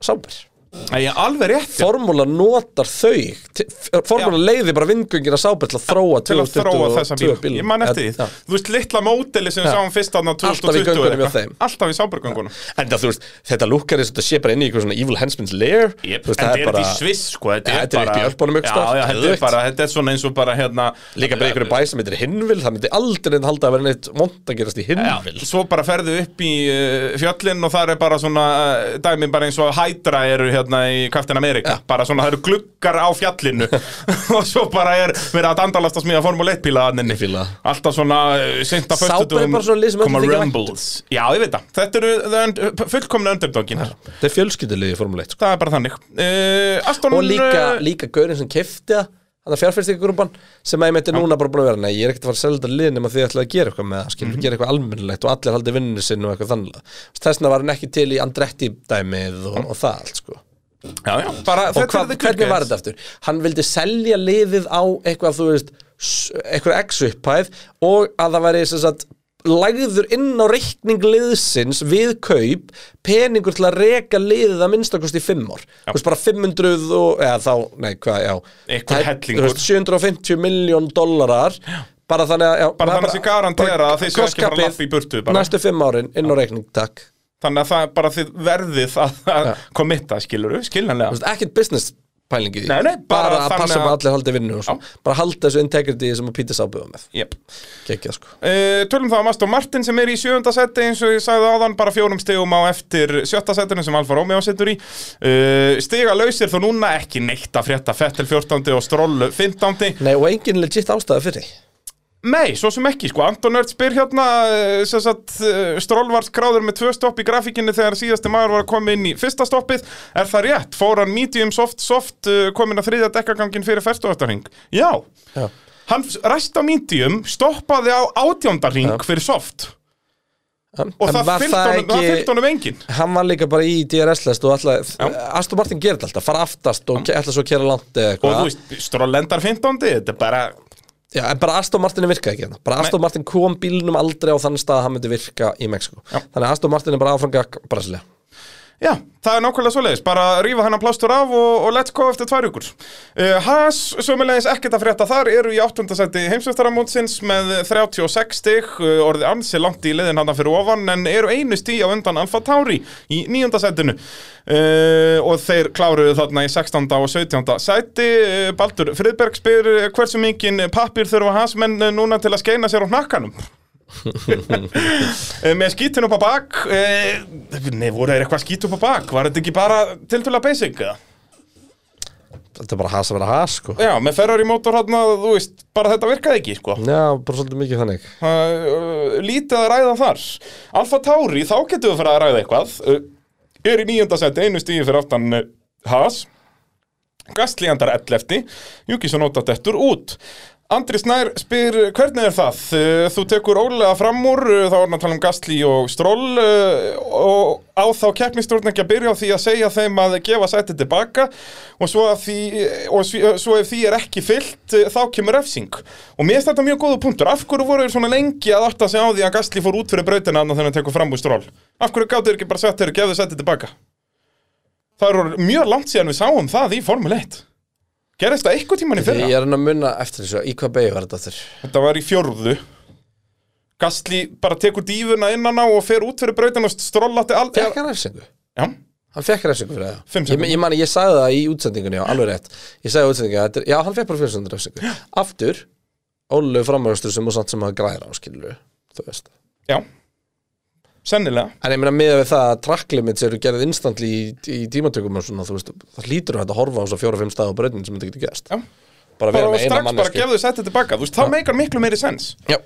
Speaker 3: Sáber
Speaker 2: Nei, ég er alveg rétt já.
Speaker 3: Formúla notar þau til- Formúla leiði bara vingungina Sáber til að þróa
Speaker 2: til að þróa þessa bíl
Speaker 3: 2022 bílum.
Speaker 2: Ég man eftir
Speaker 3: Já.
Speaker 2: því, þú veist litla móteli sem við
Speaker 3: Já.
Speaker 2: sáum fyrst aðna
Speaker 3: Alltaf í
Speaker 2: 2020
Speaker 3: göngunum
Speaker 2: eða
Speaker 3: hjá
Speaker 2: eitthvað.
Speaker 3: þeim.
Speaker 2: Alltaf í sábergöngunum
Speaker 3: Enda þú veist, þetta lukkar eins og þetta sé bara inn í einhver svona evil henchman's lair
Speaker 2: En
Speaker 3: Þú veist,
Speaker 2: þetta er þetta í Sviss sko
Speaker 3: Ja, þetta er upp í Ölpunum ykkur
Speaker 2: Já,
Speaker 3: staðar,
Speaker 2: já, þetta er
Speaker 3: geðveikt.
Speaker 2: bara, þetta er svona eins og bara hérna
Speaker 3: Líka bara í einhverju bæ sem heitir Hinvil Það myndi aldrei neitt halda að vera neitt mont að gerast í
Speaker 2: Já,
Speaker 3: Hinvil
Speaker 2: svo bara ferðu upp í uh, fjöllin og það er bara svona uh, dæmi bara eins og Hydra eru hérna í Captain America, bara svona það eru gluggar á
Speaker 3: <laughs>
Speaker 2: fjallinu og svo bara er verið að dandalast að smíða Formule 1 bíla
Speaker 3: Ég fíla það.
Speaker 2: alltaf svona uh, seint að
Speaker 3: Sápa er
Speaker 2: föstudum
Speaker 3: bara svona lið sem öllum
Speaker 2: koma
Speaker 3: þykir vænt um.
Speaker 2: rumbles, já ég veit það þetta eru the und- fullkomna underdoginar
Speaker 3: Þetta er fjölskyldulegi í Formule 1 sko.
Speaker 2: það er bara þannig uh, Aston
Speaker 3: Og líka,
Speaker 2: uh,
Speaker 3: líka gaurinn sem kefti það Þannig að fjárfyrstingagrúpan sem að ég meinti núna bara búin að vera Nei, ég er ekkert að fara að selja þetta lið nema því að ætla að gera eitthvað með það Skilur, gera eitthvað almennilegt og allir haldi vinninu sinni og eitthvað þannig Þessna var hann ekki til í Andretti dæmið og, og það allt sko
Speaker 2: já, já, bara,
Speaker 3: og hva, hvernig var þetta aftur hann vildi selja liðið á eitthvað þú veist, s- eitthvað x-upphæð og að það væri sem sagt lagður inn á reikning liðsins við kaup peningur til að reka liðið að minnstakosti í fimm ár, þú veist bara 500 og, eða þá, nei hvað, já
Speaker 2: Eitthvað
Speaker 3: Tæp-
Speaker 2: hellingur.
Speaker 3: þú veist, 750 miljón dollarar bara þannig að, já,
Speaker 2: Bara þannig að sé garantera að þeir séu ekki að fara að
Speaker 3: krosskappið
Speaker 2: labba í burtu bara.
Speaker 3: næstu fimm árin inn á reikning, takk
Speaker 2: Þannig að það er bara þið verðið að, að <laughs> kommitta, skilur við, skiljanlega.
Speaker 3: veist, ekkert business pælingi því
Speaker 2: Nei, nei, bara
Speaker 3: bara að
Speaker 2: þannig
Speaker 3: passa
Speaker 2: að-
Speaker 3: bara allir haldi vinnu og svo bara halda þessu integrity sem að Pítis ábyrða með
Speaker 2: Jep.
Speaker 3: gekkja sko
Speaker 2: Uh, tölum þá um Aston Martin sem er í sjöunda seti eins og ég sagði áðan bara fjórum stegum á eftir sjötta setinu sem Alfa Romeo setur í uh, stiga lausir þó núna ekki neitt að frétta Fettel 14. og Stroll 15.
Speaker 3: Nei, og engin legit ástæða fyrir því.
Speaker 2: Nei, svo sem ekki, sko, Anton Örd spyr hérna eh, sem sagt, eh, Stroll var skráður með tvö stopp í grafíkinni þegar síðasti maður var að koma inn í fyrsta stoppið er það rétt, fór hann medium soft soft eh, komin að þriðja dekkagangin fyrir ferstuöftarhing, já
Speaker 3: Já.
Speaker 2: hann ræst á medium, stoppaði á átjóndarhing fyrir soft Og
Speaker 3: En
Speaker 2: það
Speaker 3: var
Speaker 2: fylgdi honum, það fylgdi honum engin
Speaker 3: hann var líka bara í DRS-lest og alltaf,
Speaker 2: Já.
Speaker 3: Aston Martin gerir þetta alltaf, fara aftast og ætla svo að kera langt eða
Speaker 2: Og þú
Speaker 3: eitthvað
Speaker 2: veist, Stroll endar 15 Þetta er bara
Speaker 3: Já, en bara Aston Martin virkaði ekki hérna bara Aston Martin kom bílnum aldrei á þann stað að hann myndi virka í Mexiko þannig að Aston Martin er bara áfram gakk Brasilia
Speaker 2: Já, það er nákvæmlega svoleiðis, bara rífa hennar plástur af og, og let's go eftir tvær ykkur uh, Haas, sömulegis ekkert að frétta þar eru í 8. seti heimsveftaramótsins með 36 stig uh, orðið ansi langt í liðin hann fyrir ofan en eru einu stí á undan Alfa Tauri í 9. setinu uh, og þeir kláruðu þarna í 16. og 17. seti uh, Baldur Friðberg spyr uh, hversu mikinn pappir þurfa Haas menn uh, núna til að skeina sér á hnakkanum Eh, með skítin upp á bak eh, Nei, voru þeir eitthvað skít upp á bak Var þetta ekki bara tiltöla basic eða?
Speaker 3: þetta er bara has að vera has sko
Speaker 2: Já, með Ferrari mótor hann þú veist, bara þetta virkaði ekki sko.
Speaker 3: Já, bara svolítið mikið þannig
Speaker 2: uh, Lítið að ræða þar Alfa Tauri, þá getum við fyrir að ræða eitthvað uh, Er í nýjönda seti einu stíði fyrir aftan uh, Haas Gastli andar 11 Júki svo nota dettur út Andri Snær spyr hvernig er það? Eh, Þú tekur ólega fram úr, eh, þá er hann að tala um Gastli og Stroll eh, og á þá keppnistjórn ekki að byrja á því að segja þeim að gefa sætið tilbaka og svo, að því, eh, og sv- svo ef því er ekki fyllt eh, þá kemur refsing. Og mér er þetta mjög góða punktur. Af hverju voru þeir svona lengi að átta sig á því að Gastli fór út fyrir brautina annað þegar hann tekur fram úr Stroll? Af hverju gáttu þeir ekki bara sagt þeir gefðu sætið tilbaka? Það eru mjög langt síðan við sáum það í Formule 1. Gerðist það eitthvað tíman í fyrra?
Speaker 3: Ég er hann að munna eftir þessu, í hvað beigju var þetta þurr?
Speaker 2: Þetta var í fjórðu Gastli bara tekur dýfuna innan á og fer út fyrir brautin og strollati all...
Speaker 3: Fekk hann refsingu?
Speaker 2: Já,
Speaker 3: Hann fekk refsingu fyrir
Speaker 2: Fimm
Speaker 3: það ég, ég mani, ég sagði það í útsendingunni, já, alveg rétt Ég sagði í útsendingunni, að þetta er- já, hann fekk bara fyrir svona refsingu Aftur, ólegu framhjóðstur sem og samt sem að græra á skilur Þú veist
Speaker 2: já Sennilega
Speaker 3: En ég meina miða við það að track limits eru gerðið instantly í, í tímatökum og svona, þú veist, það hlýtur þetta að horfa á svo fjóra-fimm staði á breytin sem þetta getur gerst.
Speaker 2: Já.
Speaker 3: Bara
Speaker 2: Bara
Speaker 3: vera
Speaker 2: og
Speaker 3: með eina
Speaker 2: strax bara
Speaker 3: mannesku.
Speaker 2: gefðu sættið tilbaka Þú veist, það meikar miklu meiri sens
Speaker 3: Já,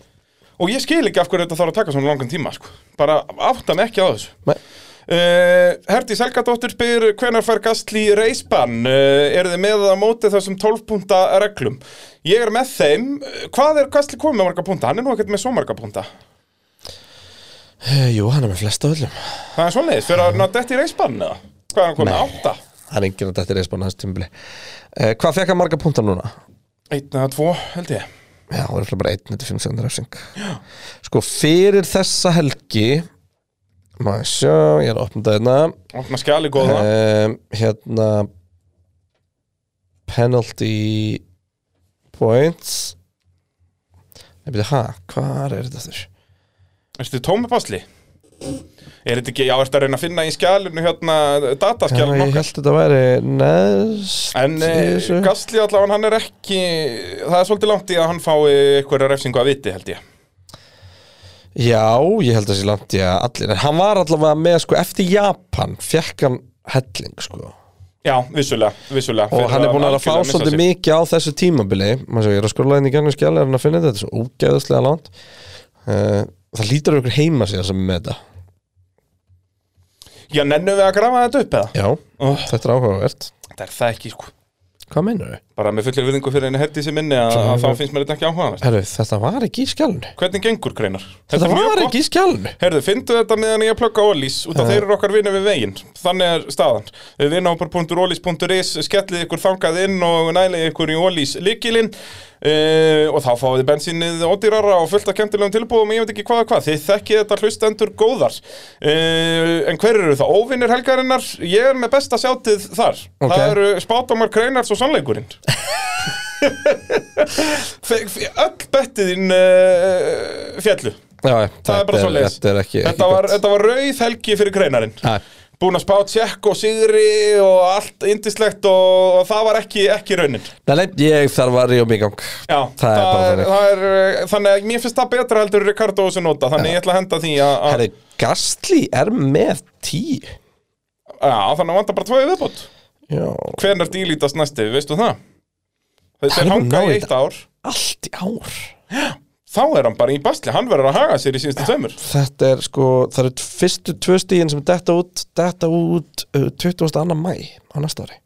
Speaker 2: Og ég skil ekki af hverju þetta þarf að taka svona langan tíma sko. Bara átta mig ekki á þessu
Speaker 3: Nei.
Speaker 2: Uh, Herdi Selgadóttir spyr hvenær fær Gastli reisbann uh, er þið með að móti þessum 12 punta reglum ég er með þeim Eh, hvað er Gastli komið með marga punta hann er nú ekkert með svo marga punta
Speaker 3: Eh, Jú, hann er með flest af öllum.
Speaker 2: Það er svoleiðis, fyrir að ná dætt í reisbann eða? Hvað er hann komið? Átta?
Speaker 3: Það er enginn að þetta er eisbánu hans tímbli. Eh, hvað fekk hann marga púnta núna?
Speaker 2: Einn eða tvo, held ég
Speaker 3: Já, það er örugglega bara einn, þetta er fimm sekundar refsing. Já. Sko, fyrir þessa helgi, maður sjá, ég er að opna þetta hérna.
Speaker 2: Opna skjali góða
Speaker 3: um, hérna penalty points ég byrja, ha, hvað er þetta þurr?
Speaker 2: Ertu þið tómi basli? Er þetta ekki, já, ertu að reyna að finna í skjalinu hérna dataskjalinu
Speaker 3: ég
Speaker 2: nokkar
Speaker 3: held þetta væri neðst
Speaker 2: En
Speaker 3: í
Speaker 2: eh,
Speaker 3: þessu.
Speaker 2: Gastli allavega, hann er ekki Það er svolítið langt í að hann fái einhverja refsingu að viti, held ég
Speaker 3: já, ég held að sé langt í að allir en hann var allavega með, sko, eftir Japan fekk hann helling, sko
Speaker 2: Já, vissulega, vissulega
Speaker 3: og
Speaker 2: fyrir
Speaker 3: hann er búin að, fá
Speaker 2: algjörlega missa
Speaker 3: svolítið
Speaker 2: sig.
Speaker 3: mikið á þessu tímabili maður svo, ég er að skrolla inn í gangið skjæli er hann að finna þetta, þetta er svo ógeðslega langt uh, það lítur ykkur heima síðan sem er með þetta
Speaker 2: Já, nennum við að grafa þetta upp eða?
Speaker 3: já,
Speaker 2: Oh,
Speaker 3: þetta er áhugavert
Speaker 2: þetta er það ekki, sko
Speaker 3: Hvað meinar þau?
Speaker 2: Bara með fullir viðingu fyrir henni herdi sem minni að, að þá finnst mér þetta ekki áhugaverst
Speaker 3: Herru, þetta var ekki í skjálnu
Speaker 2: Hvernig gengur, Greinar?
Speaker 3: Þetta
Speaker 2: er mjög
Speaker 3: var
Speaker 2: gott.
Speaker 3: ekki í skjálnu
Speaker 2: Herðu, fyndu þetta meðan ég plugga Ólís út af þeir eru okkar vinni við veginn þannig er staðan vinahopar.ólís.is skellið ykkur þangað inn og nælið ykkur í Ólís líkilinn uh, og þá fáið þið bensínið ódýrara og fullt af kemtilegum tilbúðum ég veit ekki hvað og hvað, þið þekkið þetta hlustendur góðar uh, en hver eru það? Óvinnir helgarinnar? Ég er með besta sjátið þar
Speaker 3: Ok.
Speaker 2: það eru spátumar kreinars og sannleikurinn Þe- f- öll bettið þín uh, fjallu
Speaker 3: já, já,
Speaker 2: það er bara svo leis
Speaker 3: Þetta er ekki,
Speaker 2: þetta,
Speaker 3: ekki
Speaker 2: var,
Speaker 3: gott.
Speaker 2: þetta var rauð helgi fyrir greinarinn
Speaker 3: Nei.
Speaker 2: búin að spá tjekk og sigri og allt indislegt og, og það var ekki, ekki raunin
Speaker 3: Nei, nei, ég þarf að ríða mig í gang
Speaker 2: Já,
Speaker 3: Það er bara þannig.
Speaker 2: það er, eh, þannig að mér finnst það betra heldur Ricardo og Sinota, þannig ég ætla að henda því að, að
Speaker 3: Herri, Gastli er með 10
Speaker 2: já, þannig að vanda bara tvoið viðbót
Speaker 3: Já,
Speaker 2: hvernig dílítast næsti, veistu það?
Speaker 3: Hann
Speaker 2: Þeir
Speaker 3: er
Speaker 2: hanga
Speaker 3: náið
Speaker 2: í eitt
Speaker 3: þetta.
Speaker 2: ár
Speaker 3: allt í ár
Speaker 2: þá er hann bara í basli, hann verður að haga sér í síðustu tveimur
Speaker 3: Þetta er sko, það eru fyrstu tvö stíðin sem detta út, detta út uh, 22. mæ á næsta ári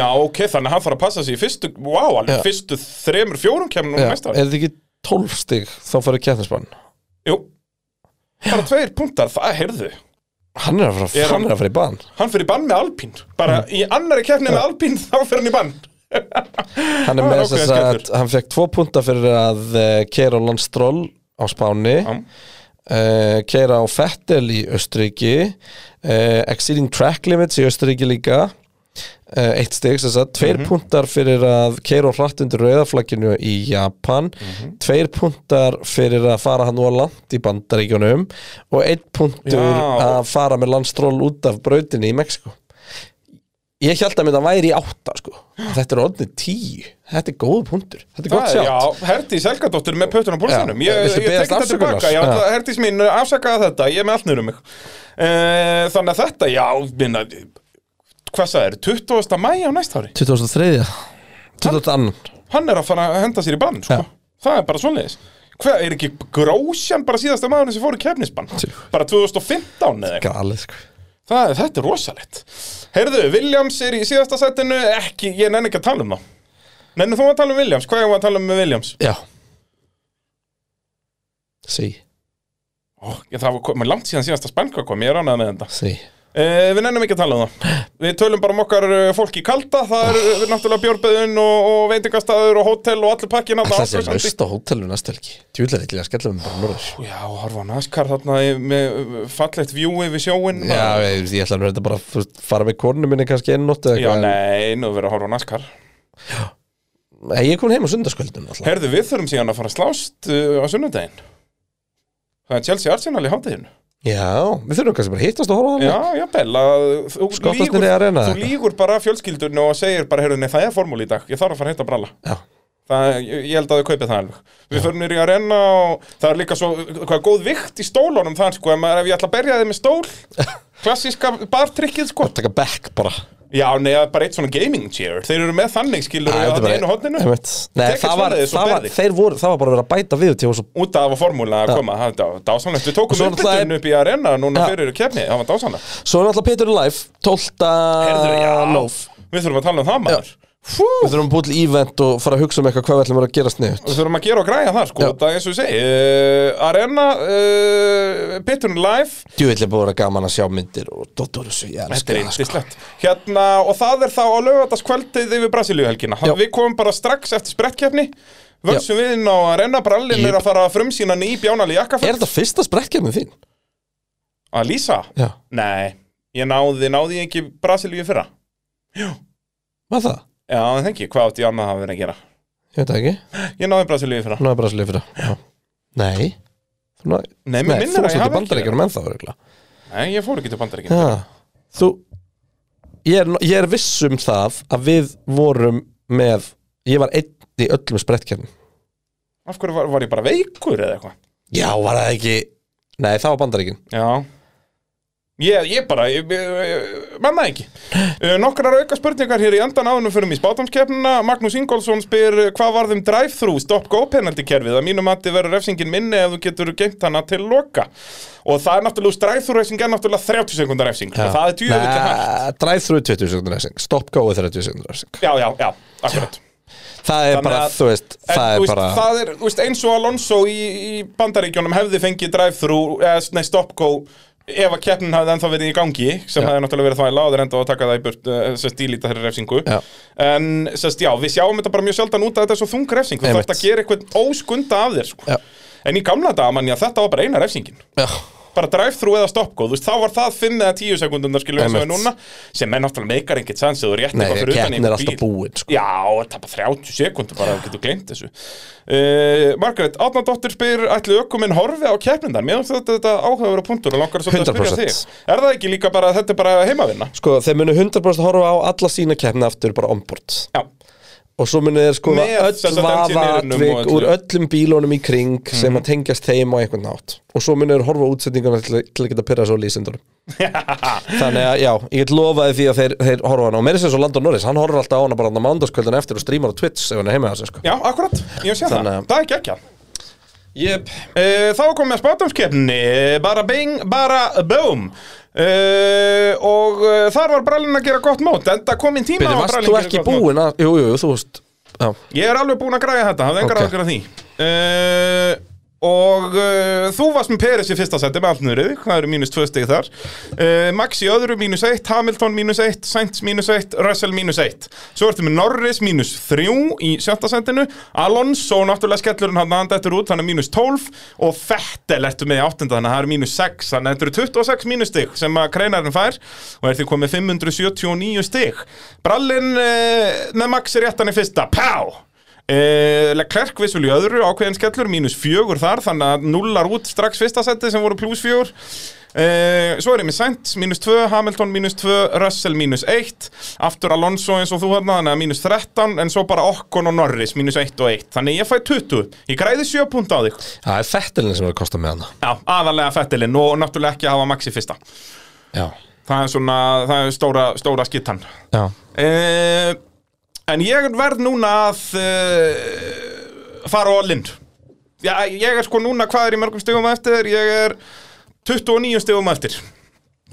Speaker 2: Já, ok, þannig að hann þarf að passa sig í fyrstu, wow, alveg
Speaker 3: Já.
Speaker 2: fyrstu þremur, fjórum kemur nú
Speaker 3: Já,
Speaker 2: mest
Speaker 3: er þetta ekki 12 stíg þá farið kjæðnisbann
Speaker 2: Jú, bara tveir punktar, það heyrðu
Speaker 3: Hann er að fara,
Speaker 2: Er hann-
Speaker 3: hann er að fara í bann
Speaker 2: Hann fyrir í bann með Alpín, bara
Speaker 3: Mm.
Speaker 2: í annari keppni með Alpín þá fyrir hann í bann
Speaker 3: Hann er
Speaker 2: Það er
Speaker 3: með þess
Speaker 2: ákveðin
Speaker 3: að
Speaker 2: skellur.
Speaker 3: hann fekk tvo punta fyrir að uh, keira á landstról á Spáni
Speaker 2: Já.
Speaker 3: uh, keira á Fettel í Östuríki uh, Exceeding Track Limits í Östuríki líka uh, eitt stig, þess að tveir
Speaker 2: Mhm.
Speaker 3: puntar fyrir að keira á hratt undir rauðaflagginu í Japan
Speaker 2: Mhm.
Speaker 3: tveir puntar fyrir að fara hann úr land í Bandaríkjunum og einn puntur
Speaker 2: Já.
Speaker 3: að fara með landstról út af brautinni í Mexiko Ég held að mér það væri í átta sko. Þetta er orðin tíu Þetta er góð punktur Þetta er
Speaker 2: Það
Speaker 3: gott
Speaker 2: er,
Speaker 3: sjátt
Speaker 2: já, Herdís Helgadóttir með pötun á pólstanum
Speaker 3: Já,
Speaker 2: Ég, ég
Speaker 3: viltu
Speaker 2: tek
Speaker 3: beðast
Speaker 2: þetta
Speaker 3: afsökunar?
Speaker 2: tilbaka, já,
Speaker 3: Já.
Speaker 2: það- Herdís mín afsakaði þetta, ég er með allt niður um mig Eh, Þannig að þetta, já, minna Hvað það er, 20. mæ á næsta ári
Speaker 3: 2003 2002
Speaker 2: Hann er að fara að henda sér í bann, sko
Speaker 3: Já.
Speaker 2: Það er bara svoleiðis Hvað, er ekki grósjan bara síðasta maðurinn sem fór í kefnisbann?
Speaker 3: Tjú.
Speaker 2: Bara 2015 eða eitthvað
Speaker 3: Galið sko
Speaker 2: Það, þetta er rosalegt. Heyrðu, Williams er í síðasta setinu, ekki, ég nenni ekki að tala um þá. Nenni þú að tala um Williams, hvað er að tala um með Williams?
Speaker 3: Já Sí,
Speaker 2: Ó, ég, það var komið langt síðan síðasta spænka kom, ég er ánað með þetta.
Speaker 3: sí
Speaker 2: E, við nennum ekki að tala um það. Við tölum bara um okkar eh, fólk í kalda, það er eh, náttúrulega björbeðun og, og veitingastæður og hótel og allir pakkin að
Speaker 3: Það sé laust á hótelun næstu helgi Tjúlega eitthvað að skella um bara norður
Speaker 2: Já, og horfa á NASCAR þarna í- með eh, fallegt view yfir sjóin.
Speaker 3: Já, ég, ég ætla nú þetta bara að þú veist, fara með konu minni kannski einn nótt eða
Speaker 2: Já,
Speaker 3: eitthvað, en-
Speaker 2: nei, nú verður að horfa á NASCAR.
Speaker 3: Nei, Ég er komin heim á sundarskvöldum alltaf
Speaker 2: Herðu, við þurfum síðan að fara að slást uh, á sunnudaginn. Það er Chelsea Arsenal í hátíðinu.
Speaker 3: Já, við þurfum kannski bara að hittast og horfa á það
Speaker 2: Já, já, Bell, að þú
Speaker 3: Skottast
Speaker 2: lýgur-
Speaker 3: niður í arena,
Speaker 2: Þú
Speaker 3: eða?
Speaker 2: lígur bara fjölskyldurnu og segir bara, heyrðu, nei, það er formúli í dag, ég þarf að fara að hitta bralla
Speaker 3: Já,
Speaker 2: það, ég, ég held að þau kaupið það alveg Við förum niður í arena og það er líka svo hvað góð vikt í stólunum þar, sko ef, maður, ef ég ætla að berja þig
Speaker 3: <laughs>
Speaker 2: með stól klassíska bartrykkið, sko
Speaker 3: taka back bara
Speaker 2: Já, nei, það er bara eitt svona gaming chair Þeir eru með þannig,
Speaker 3: Æ,
Speaker 2: skilur
Speaker 3: þetta
Speaker 2: við
Speaker 3: bara-
Speaker 2: að einu hodninu
Speaker 3: Einmitt. Nei,
Speaker 2: Tekið
Speaker 3: það var,
Speaker 2: svoleiðis og
Speaker 3: það var,
Speaker 2: berði.
Speaker 3: þeir voru, það var bara að vera að bæta við til og svo
Speaker 2: Út af að formúla að koma, það var dásanlegt Við
Speaker 3: Og
Speaker 2: tókum
Speaker 3: svo náttúrulega
Speaker 2: uppbytun upp í arena núna
Speaker 3: Já.
Speaker 2: fyrir kefni, það var dásanlegt
Speaker 3: Svo er náttúrulega Peter Life 12.
Speaker 2: Herðu, já,
Speaker 3: nóf
Speaker 2: Við þurfum að tala um það maður Fú,
Speaker 3: Við þurfum að búið til event og fara að hugsa um eitthvað hvað við ætlum að gera sniðut
Speaker 2: Við þurfum að gera og græja það sko,
Speaker 3: Já.
Speaker 2: það er eins og ég segi uh, Arena, uh, Pitturinn Live
Speaker 3: Djúvillig búið að vera gaman að sjá myndir og dóttur þessu, ég elska
Speaker 2: Þetta er
Speaker 3: það sko.
Speaker 2: eindislegt hérna, Og það er þá á lögataskvöldið yfir Brasilíuhelgina
Speaker 3: Já.
Speaker 2: Við komum bara strax eftir sprettkefni Völsum við inn á Arena, brallin er
Speaker 3: Jöp.
Speaker 2: að fara að frumsýna ný bjánali
Speaker 3: Er
Speaker 2: jakkafell
Speaker 3: þetta fyrsta sprekkjarnið þín?
Speaker 2: Að lýsa?
Speaker 3: Já,
Speaker 2: Nei, ég náði, náði ég ekki Brasilíu í fyrra
Speaker 3: var það?
Speaker 2: Já, en þengi, hvað átti ég annað að vera að gera?
Speaker 3: Ég veit það ekki,
Speaker 2: Ég náði Brasilíu í fyrra
Speaker 3: nú er bara að slið fyrir það Já. Nei Þú ná-
Speaker 2: Nei, mér
Speaker 3: Nei, þú
Speaker 2: minnir að ég
Speaker 3: varst ekki
Speaker 2: hafi ekki
Speaker 3: bandaríkjunum ennþá örugglega.
Speaker 2: Nei, ég fór ekki til bandaríkina
Speaker 3: Já, þú ég er, ég er viss um það að við vorum með Ég var einn í öllum sprekkjarnum
Speaker 2: Af hverju var, var ég bara veikur eða eitthvað?
Speaker 3: Já, var það ekki Nei, það var bandaríkin
Speaker 2: Já Ég, ég bara, ég, ég, ég manna ekki Eh, Nokkrar auka spurningar hér í endan áðunum fyrir mig í spátumskeppnina Magnús Ingólfsson spyr eh, hvað varð um drive-thru stop-go penalty kerfið að mínum mati verður refsingin minni ef þú getur geimt hana til loka og það er náttúrulega, úr drive-thru refsing er náttúrulega 30 sekundar refsing og það er djöfull hægt
Speaker 3: Drive-thru 20 sekundar refsing Stop go 30 sekundar refsing
Speaker 2: Já, já, já, akkurat
Speaker 3: Það er
Speaker 2: Þannig
Speaker 3: bara,
Speaker 2: að-
Speaker 3: þú veist
Speaker 2: En,
Speaker 3: Það
Speaker 2: þú
Speaker 3: er
Speaker 2: veist,
Speaker 3: bara
Speaker 2: það er, þú veist, eins og Alonso í, í bandaríkjónum hefði fengið drive-thru, eh, nei, stop-go ef að keppnin hafði ennþá verið í gangi sem
Speaker 3: Já.
Speaker 2: hefði náttúrulega verið þvæla og þeir enda að taka það í burt uh, sérst dílita þeirri refsingu
Speaker 3: Já.
Speaker 2: en sérst, já, við sjáum þetta bara mjög sjaldan út að þetta er svo þung refsing, þú
Speaker 3: Einmitt.
Speaker 2: þarft að gera eitthvað óskunda af þér, sko
Speaker 3: Já.
Speaker 2: en í gamla daga, mann, já, þetta var bara eina refsingin
Speaker 3: Já,
Speaker 2: bara drive-thru eða stopp-go þú veist, þá var það 5 eða 10 sekundundar skilur við sem er
Speaker 3: Einmitt.
Speaker 2: núna sem er náttúrulega meikar enginn sans eða þú rétt
Speaker 3: Nei,
Speaker 2: eitthvað fyrir utan
Speaker 3: keppnin
Speaker 2: einhvern
Speaker 3: er alltaf
Speaker 2: bíl.
Speaker 3: búin, sko.
Speaker 2: Já, þetta er bara 30 sekundur bara, þú getur gleymt þessu uh, Margaret, Átnandóttir spyr ætli ökuminn horfi á keppnindar mér finnst þetta, þetta áhugaverða punktur og langar svolítið að spyrja
Speaker 3: 100%.
Speaker 2: þig Er það ekki líka bara, þetta er bara heimavinna?
Speaker 3: Sko, þeir munu 100% horfa á alla sína keppna aftur bara ombord
Speaker 2: Já,
Speaker 3: og svo munu þeir skoða
Speaker 2: Með sem
Speaker 3: öll
Speaker 2: sagt engineerinum og
Speaker 3: vafaatvik
Speaker 2: öllu. Mhm.
Speaker 3: úr öllum bílunum í kring sem að tengjast þeim á einhvern nátt og svo munu þeir horfa á útsendinguna til, til að geta pyrra svo
Speaker 2: <laughs>
Speaker 3: lýsindunum þannig að já, ég get lofaði því að þeir, þeir horfa á hana og meira sem svo Landon Norris, hann horfir alltaf á hana bara á mándagskvöldin eftir og streamar á Twitch ef hann er heima hjá sér sko.
Speaker 2: já, akkurat, ég sé það,
Speaker 3: Þannig að-
Speaker 2: það er ekki ekki
Speaker 3: yep.
Speaker 2: Uh, þá kom með spátumskeppni, bara bing, bara boom uh, Og uh, þar var Brallin að gera gott mót, enda kom inn tíma
Speaker 3: Byrju,
Speaker 2: á að
Speaker 3: varst
Speaker 2: Brallinn
Speaker 3: þú
Speaker 2: gera
Speaker 3: ekki
Speaker 2: gott mót.
Speaker 3: búin að, jú, jú, jú, þú veist já,
Speaker 2: Ég er alveg búin að græja þetta, hafði engar
Speaker 3: Ok.
Speaker 2: okay. ákveð að því uh, Og uh, þú varst með Peres í fyrsta seti með allt nýrið, það eru mínus tvö stig þar uh, Max í öðru mínus eitt, Hamilton mínus eitt, Sainz mínus eitt, Russell mínus eitt Svo ertu með Norris mínus þrjú í sjötta setinu Alonso náttúrulega skellurinn hann hann dettur út, hann er mínus tólf Og Fettel ertu með í áttunda, þannig að það eru mínus sex Þannig að þetta eru 26 mínus stig sem að kreinarinn fær Og er því komið 579 stig Brallinn uh, með Max í réttan í fyrsta, pá! Eh, Leclerc vissul í öðru ákveðin skellur mínus fjögur þar þannig að nullar út strax fyrsta seti sem voru pluss fjögur eh, svo er ég með Sainz mínus 2, Hamilton mínus 2 Russell mínus 1 aftur Alonso eins og þú hérna þannig að mínus 13 en svo bara Okkon og Norris mínus 1 og 1 þannig ég fæ 20, ég græði 7 punta á þig
Speaker 3: það er fettilin sem er að kosta með hana
Speaker 2: já, aðalega fettilinn og náttúrulega ekki að hafa Maxi fyrsta
Speaker 3: já,
Speaker 2: það er svona, það er stóra, stóra skittan
Speaker 3: já,
Speaker 2: uh, En ég verð núna að uh, fara á lind Já, ég er sko núna, hvað er í mörgum stigum á eftir? Ég er 29 stigum á eftir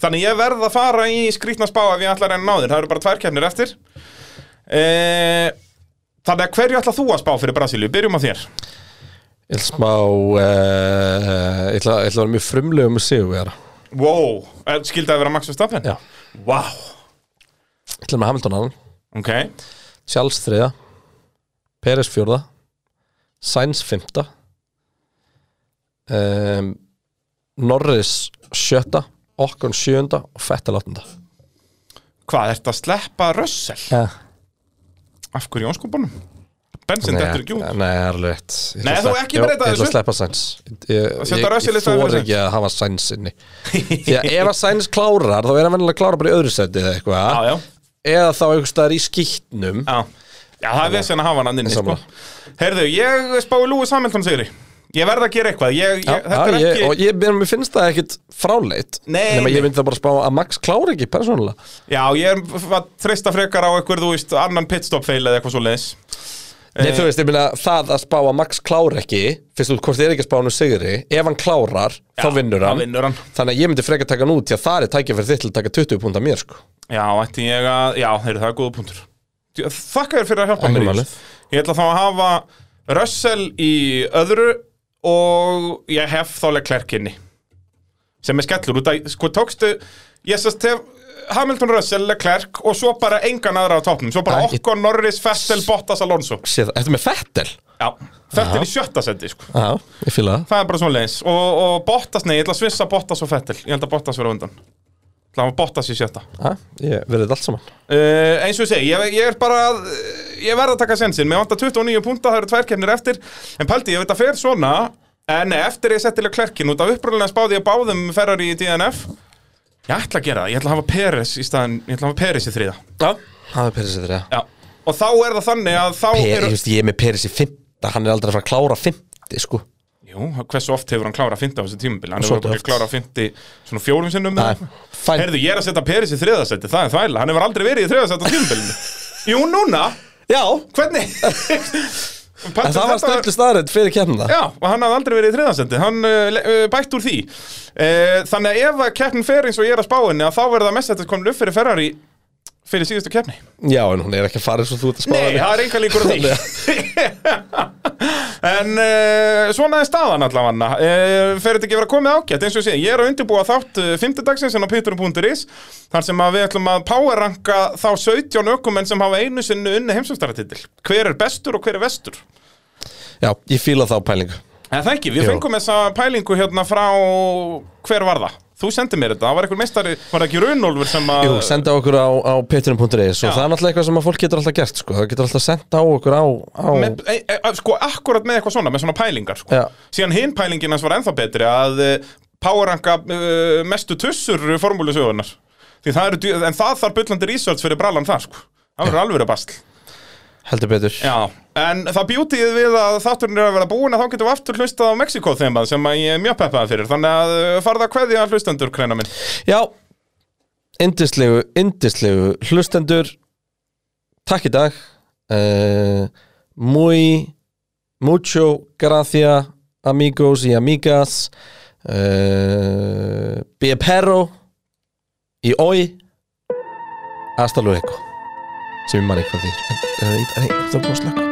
Speaker 2: Þannig ég verð að fara í skrýtna spá ef ég ætla að reyna að ná þér Það eru bara tvær kefnir eftir uh, Þannig að hverju ætla þú að spá fyrir Brasilíu? Byrjum á þér
Speaker 3: ég ætla smá uh, ég ætla ég ætla að vera mjög frumlegum með sig vera.
Speaker 2: Wow, eh, skildi að vera Max Verstappen?
Speaker 3: Já.
Speaker 2: Wow,
Speaker 3: ég ætla með Hamilton annan
Speaker 2: ok
Speaker 3: Charles þriða Peres fjórða Sainz fymta um, Norris sjötta Okkon sjöunda og Fettel áttunda
Speaker 2: Hvað, ertu að sleppa Russell?
Speaker 3: ja.
Speaker 2: Af hverju í óskupunum? Bensin dettur ekki út
Speaker 3: Nei, það er alveg rétt Ég ætla
Speaker 2: Nei,
Speaker 3: að
Speaker 2: þú
Speaker 3: slepp-
Speaker 2: ekki
Speaker 3: Jú,
Speaker 2: breyta
Speaker 3: Ég ætla
Speaker 2: þessu.
Speaker 3: að sleppa Sainz Ég,
Speaker 2: setja
Speaker 3: ég,
Speaker 2: Russell í
Speaker 3: ég
Speaker 2: staðinn fyrir
Speaker 3: þor ekki að hafa Sainz
Speaker 2: <laughs>
Speaker 3: inni Því að ef að Sainz klárar þá er hann venjulega að klára bara í öðru seti eða eitthvað
Speaker 2: Já, já
Speaker 3: Eða þá einhvers staðar í skýtnum
Speaker 2: Já, já það er vesen að hafa hann andinni sko.
Speaker 3: Sammála.
Speaker 2: Herðu, ég spái Lúi Hamilton sigri Ég verð að gera eitthvað Ég, ég,
Speaker 3: Já,
Speaker 2: þetta er
Speaker 3: ég,
Speaker 2: ekki
Speaker 3: og ég, mér mér finnst það ekkit fráleit
Speaker 2: Nei,
Speaker 3: nema
Speaker 2: nei.
Speaker 3: ég myndi það bara spá að Max klára ekki persónulega
Speaker 2: Já, ég er að treysta frekar á einhver, þú veist, annan pitstop fail eða eitthvað svo leis Eh.
Speaker 3: Nei, þú veist, ég meina það að spá að Max klára ekki fyrst út hvort þið er ekki að spá hann um sigri ef hann klárar,
Speaker 2: Já,
Speaker 3: þá vinnur
Speaker 2: þá
Speaker 3: hann.
Speaker 2: vinnur hann.
Speaker 3: þannig að ég myndi frekar taka hann út því að það er tækja fyrir þitt til að taka 20 púnta mér sko.
Speaker 2: Já, ætti ég að, já, heyrðu, það er góða punktur Þakka þér fyrir að hjálpa
Speaker 3: Ekki
Speaker 2: mér í
Speaker 3: málið.
Speaker 2: þessu. Ég ætla þá að hafa Russell í öðru og ég hef þálega klærkinni sem er skellur út að, sko, tókstu ég sérst hef Hamilton Russell, Leclerc og svo bara engan aðra á toppnum svo bara
Speaker 3: Æ, ég-
Speaker 2: Okkon, Norris, Fettel, Bottas, Alonso
Speaker 3: Sér það, Þetta með Fettel
Speaker 2: Já, Fettel í sjötta sendi sko.
Speaker 3: Já, ég fíla það
Speaker 2: Það er bara svona leins og, og Bottas, nei, ég ætla að svissa Bottas og Fettel Ég held að Bottas vera undan Ég ætla að hafa Bottas í sjötta uh,
Speaker 3: Já, Ég verði þetta allt saman
Speaker 2: Eh, Eins og ég segi, ég, ég er bara að- Ég verð að taka sensin, mér vantar 29 punta Það eru tvær kemnir eftir En pældi, ég veit að fer svona En eftir ég settilega klerkin út af upprunalega spáði ég báðum Ferrari í DNF Ég ætla að gera það, ég ætla að hafa Peres í staðan Ég ætla að hafa Peres í þriða
Speaker 3: Það er Peris í þrjá
Speaker 2: Já. Og þá er það þannig að þá
Speaker 3: Per, ég,
Speaker 2: eru
Speaker 3: veist, ég er með Peris í fymta, hann er aldrei að fara að klára fymti sko.
Speaker 2: Jú, hversu oft hefur hann klárað að fynda á þessu tímabili? Hann hefur
Speaker 3: Svolítið
Speaker 2: ekki
Speaker 3: oft.
Speaker 2: klárað að fyndi svona fjórum sinnum
Speaker 3: Nei,
Speaker 2: eða
Speaker 3: fæn.
Speaker 2: eitthvað. Herðu, ég er að setja Peris í þriðasætti, það er þvæla Hann hefur aldrei verið í þriðasætti á tímabilinu
Speaker 3: <laughs>
Speaker 2: Jú, núna,
Speaker 3: Já,
Speaker 2: hvernig?
Speaker 3: en
Speaker 2: Pantið,
Speaker 3: það var stöldu staðrætt fyrir kemna
Speaker 2: Já, og hann hafði aldrei verið í þriðasætti Hann uh, le- uh, bætt úr því uh, Þannig að ef að keppnin fer eins og ég er að spá henni að þá verða mestættis komin upp fyrir Ferrari fyrir síðustu keppni
Speaker 3: Já, en hún er ekki að fara eins og þú ert að spá
Speaker 2: Nei,
Speaker 3: henni.
Speaker 2: það er enga líkur á því <laughs> En uh, svona er staðan allavega uh, Fer þetta ekki að vera komið ágætt eins og ég sé, ég er að undirbúa þátt uh, fimmtudagsins en á pitturum.is þar sem að við ætlum að powerranka þá 17 ökumenn sem hafa einu sinni unni heimsumstaratitil Hver er bestur og hver er vestur?
Speaker 3: Já, ég fíla þá pælingu
Speaker 2: En það ekki, við
Speaker 3: Jú.
Speaker 2: fengum þessa pælingu hérna frá, hver var það? Þú sendið mér þetta, það var einhver meistari, var það ekki Runolfur sem að...
Speaker 3: Jú, senda okkur á, á patreon.is og það er náttúrulega eitthvað sem að fólk getur alltaf gert sko. það getur alltaf senda á okkur á, á...
Speaker 2: með, e, e, e- sko, akkurat með eitthvað svona, með svona pælingar sko.
Speaker 3: Já.
Speaker 2: síðan hinn pælingin hans var ennþá betri að e, powerranka e, mestu tussur formúlusögunar Því það eru, djú- en það þarf byllandi research fyrir brallan það sko, það verður alveg að basl
Speaker 3: heldur betur
Speaker 2: Já, en það bjútið við að þátturinn er að vera búin að þá getum við aftur hlustað á Mexiko þemað sem að ég er mjög peppaði fyrir þannig að eh, farðu að kveðja hlustendur kræna minn
Speaker 3: Já, indislegu, indislegu hlustendur Takk í dag uh, Muy Mucho gracia Amigos y amigas uh, Be perro Í oi Eh, Hasta luego Sem ég man eitthvað því uh, Nei, það er búin að slökka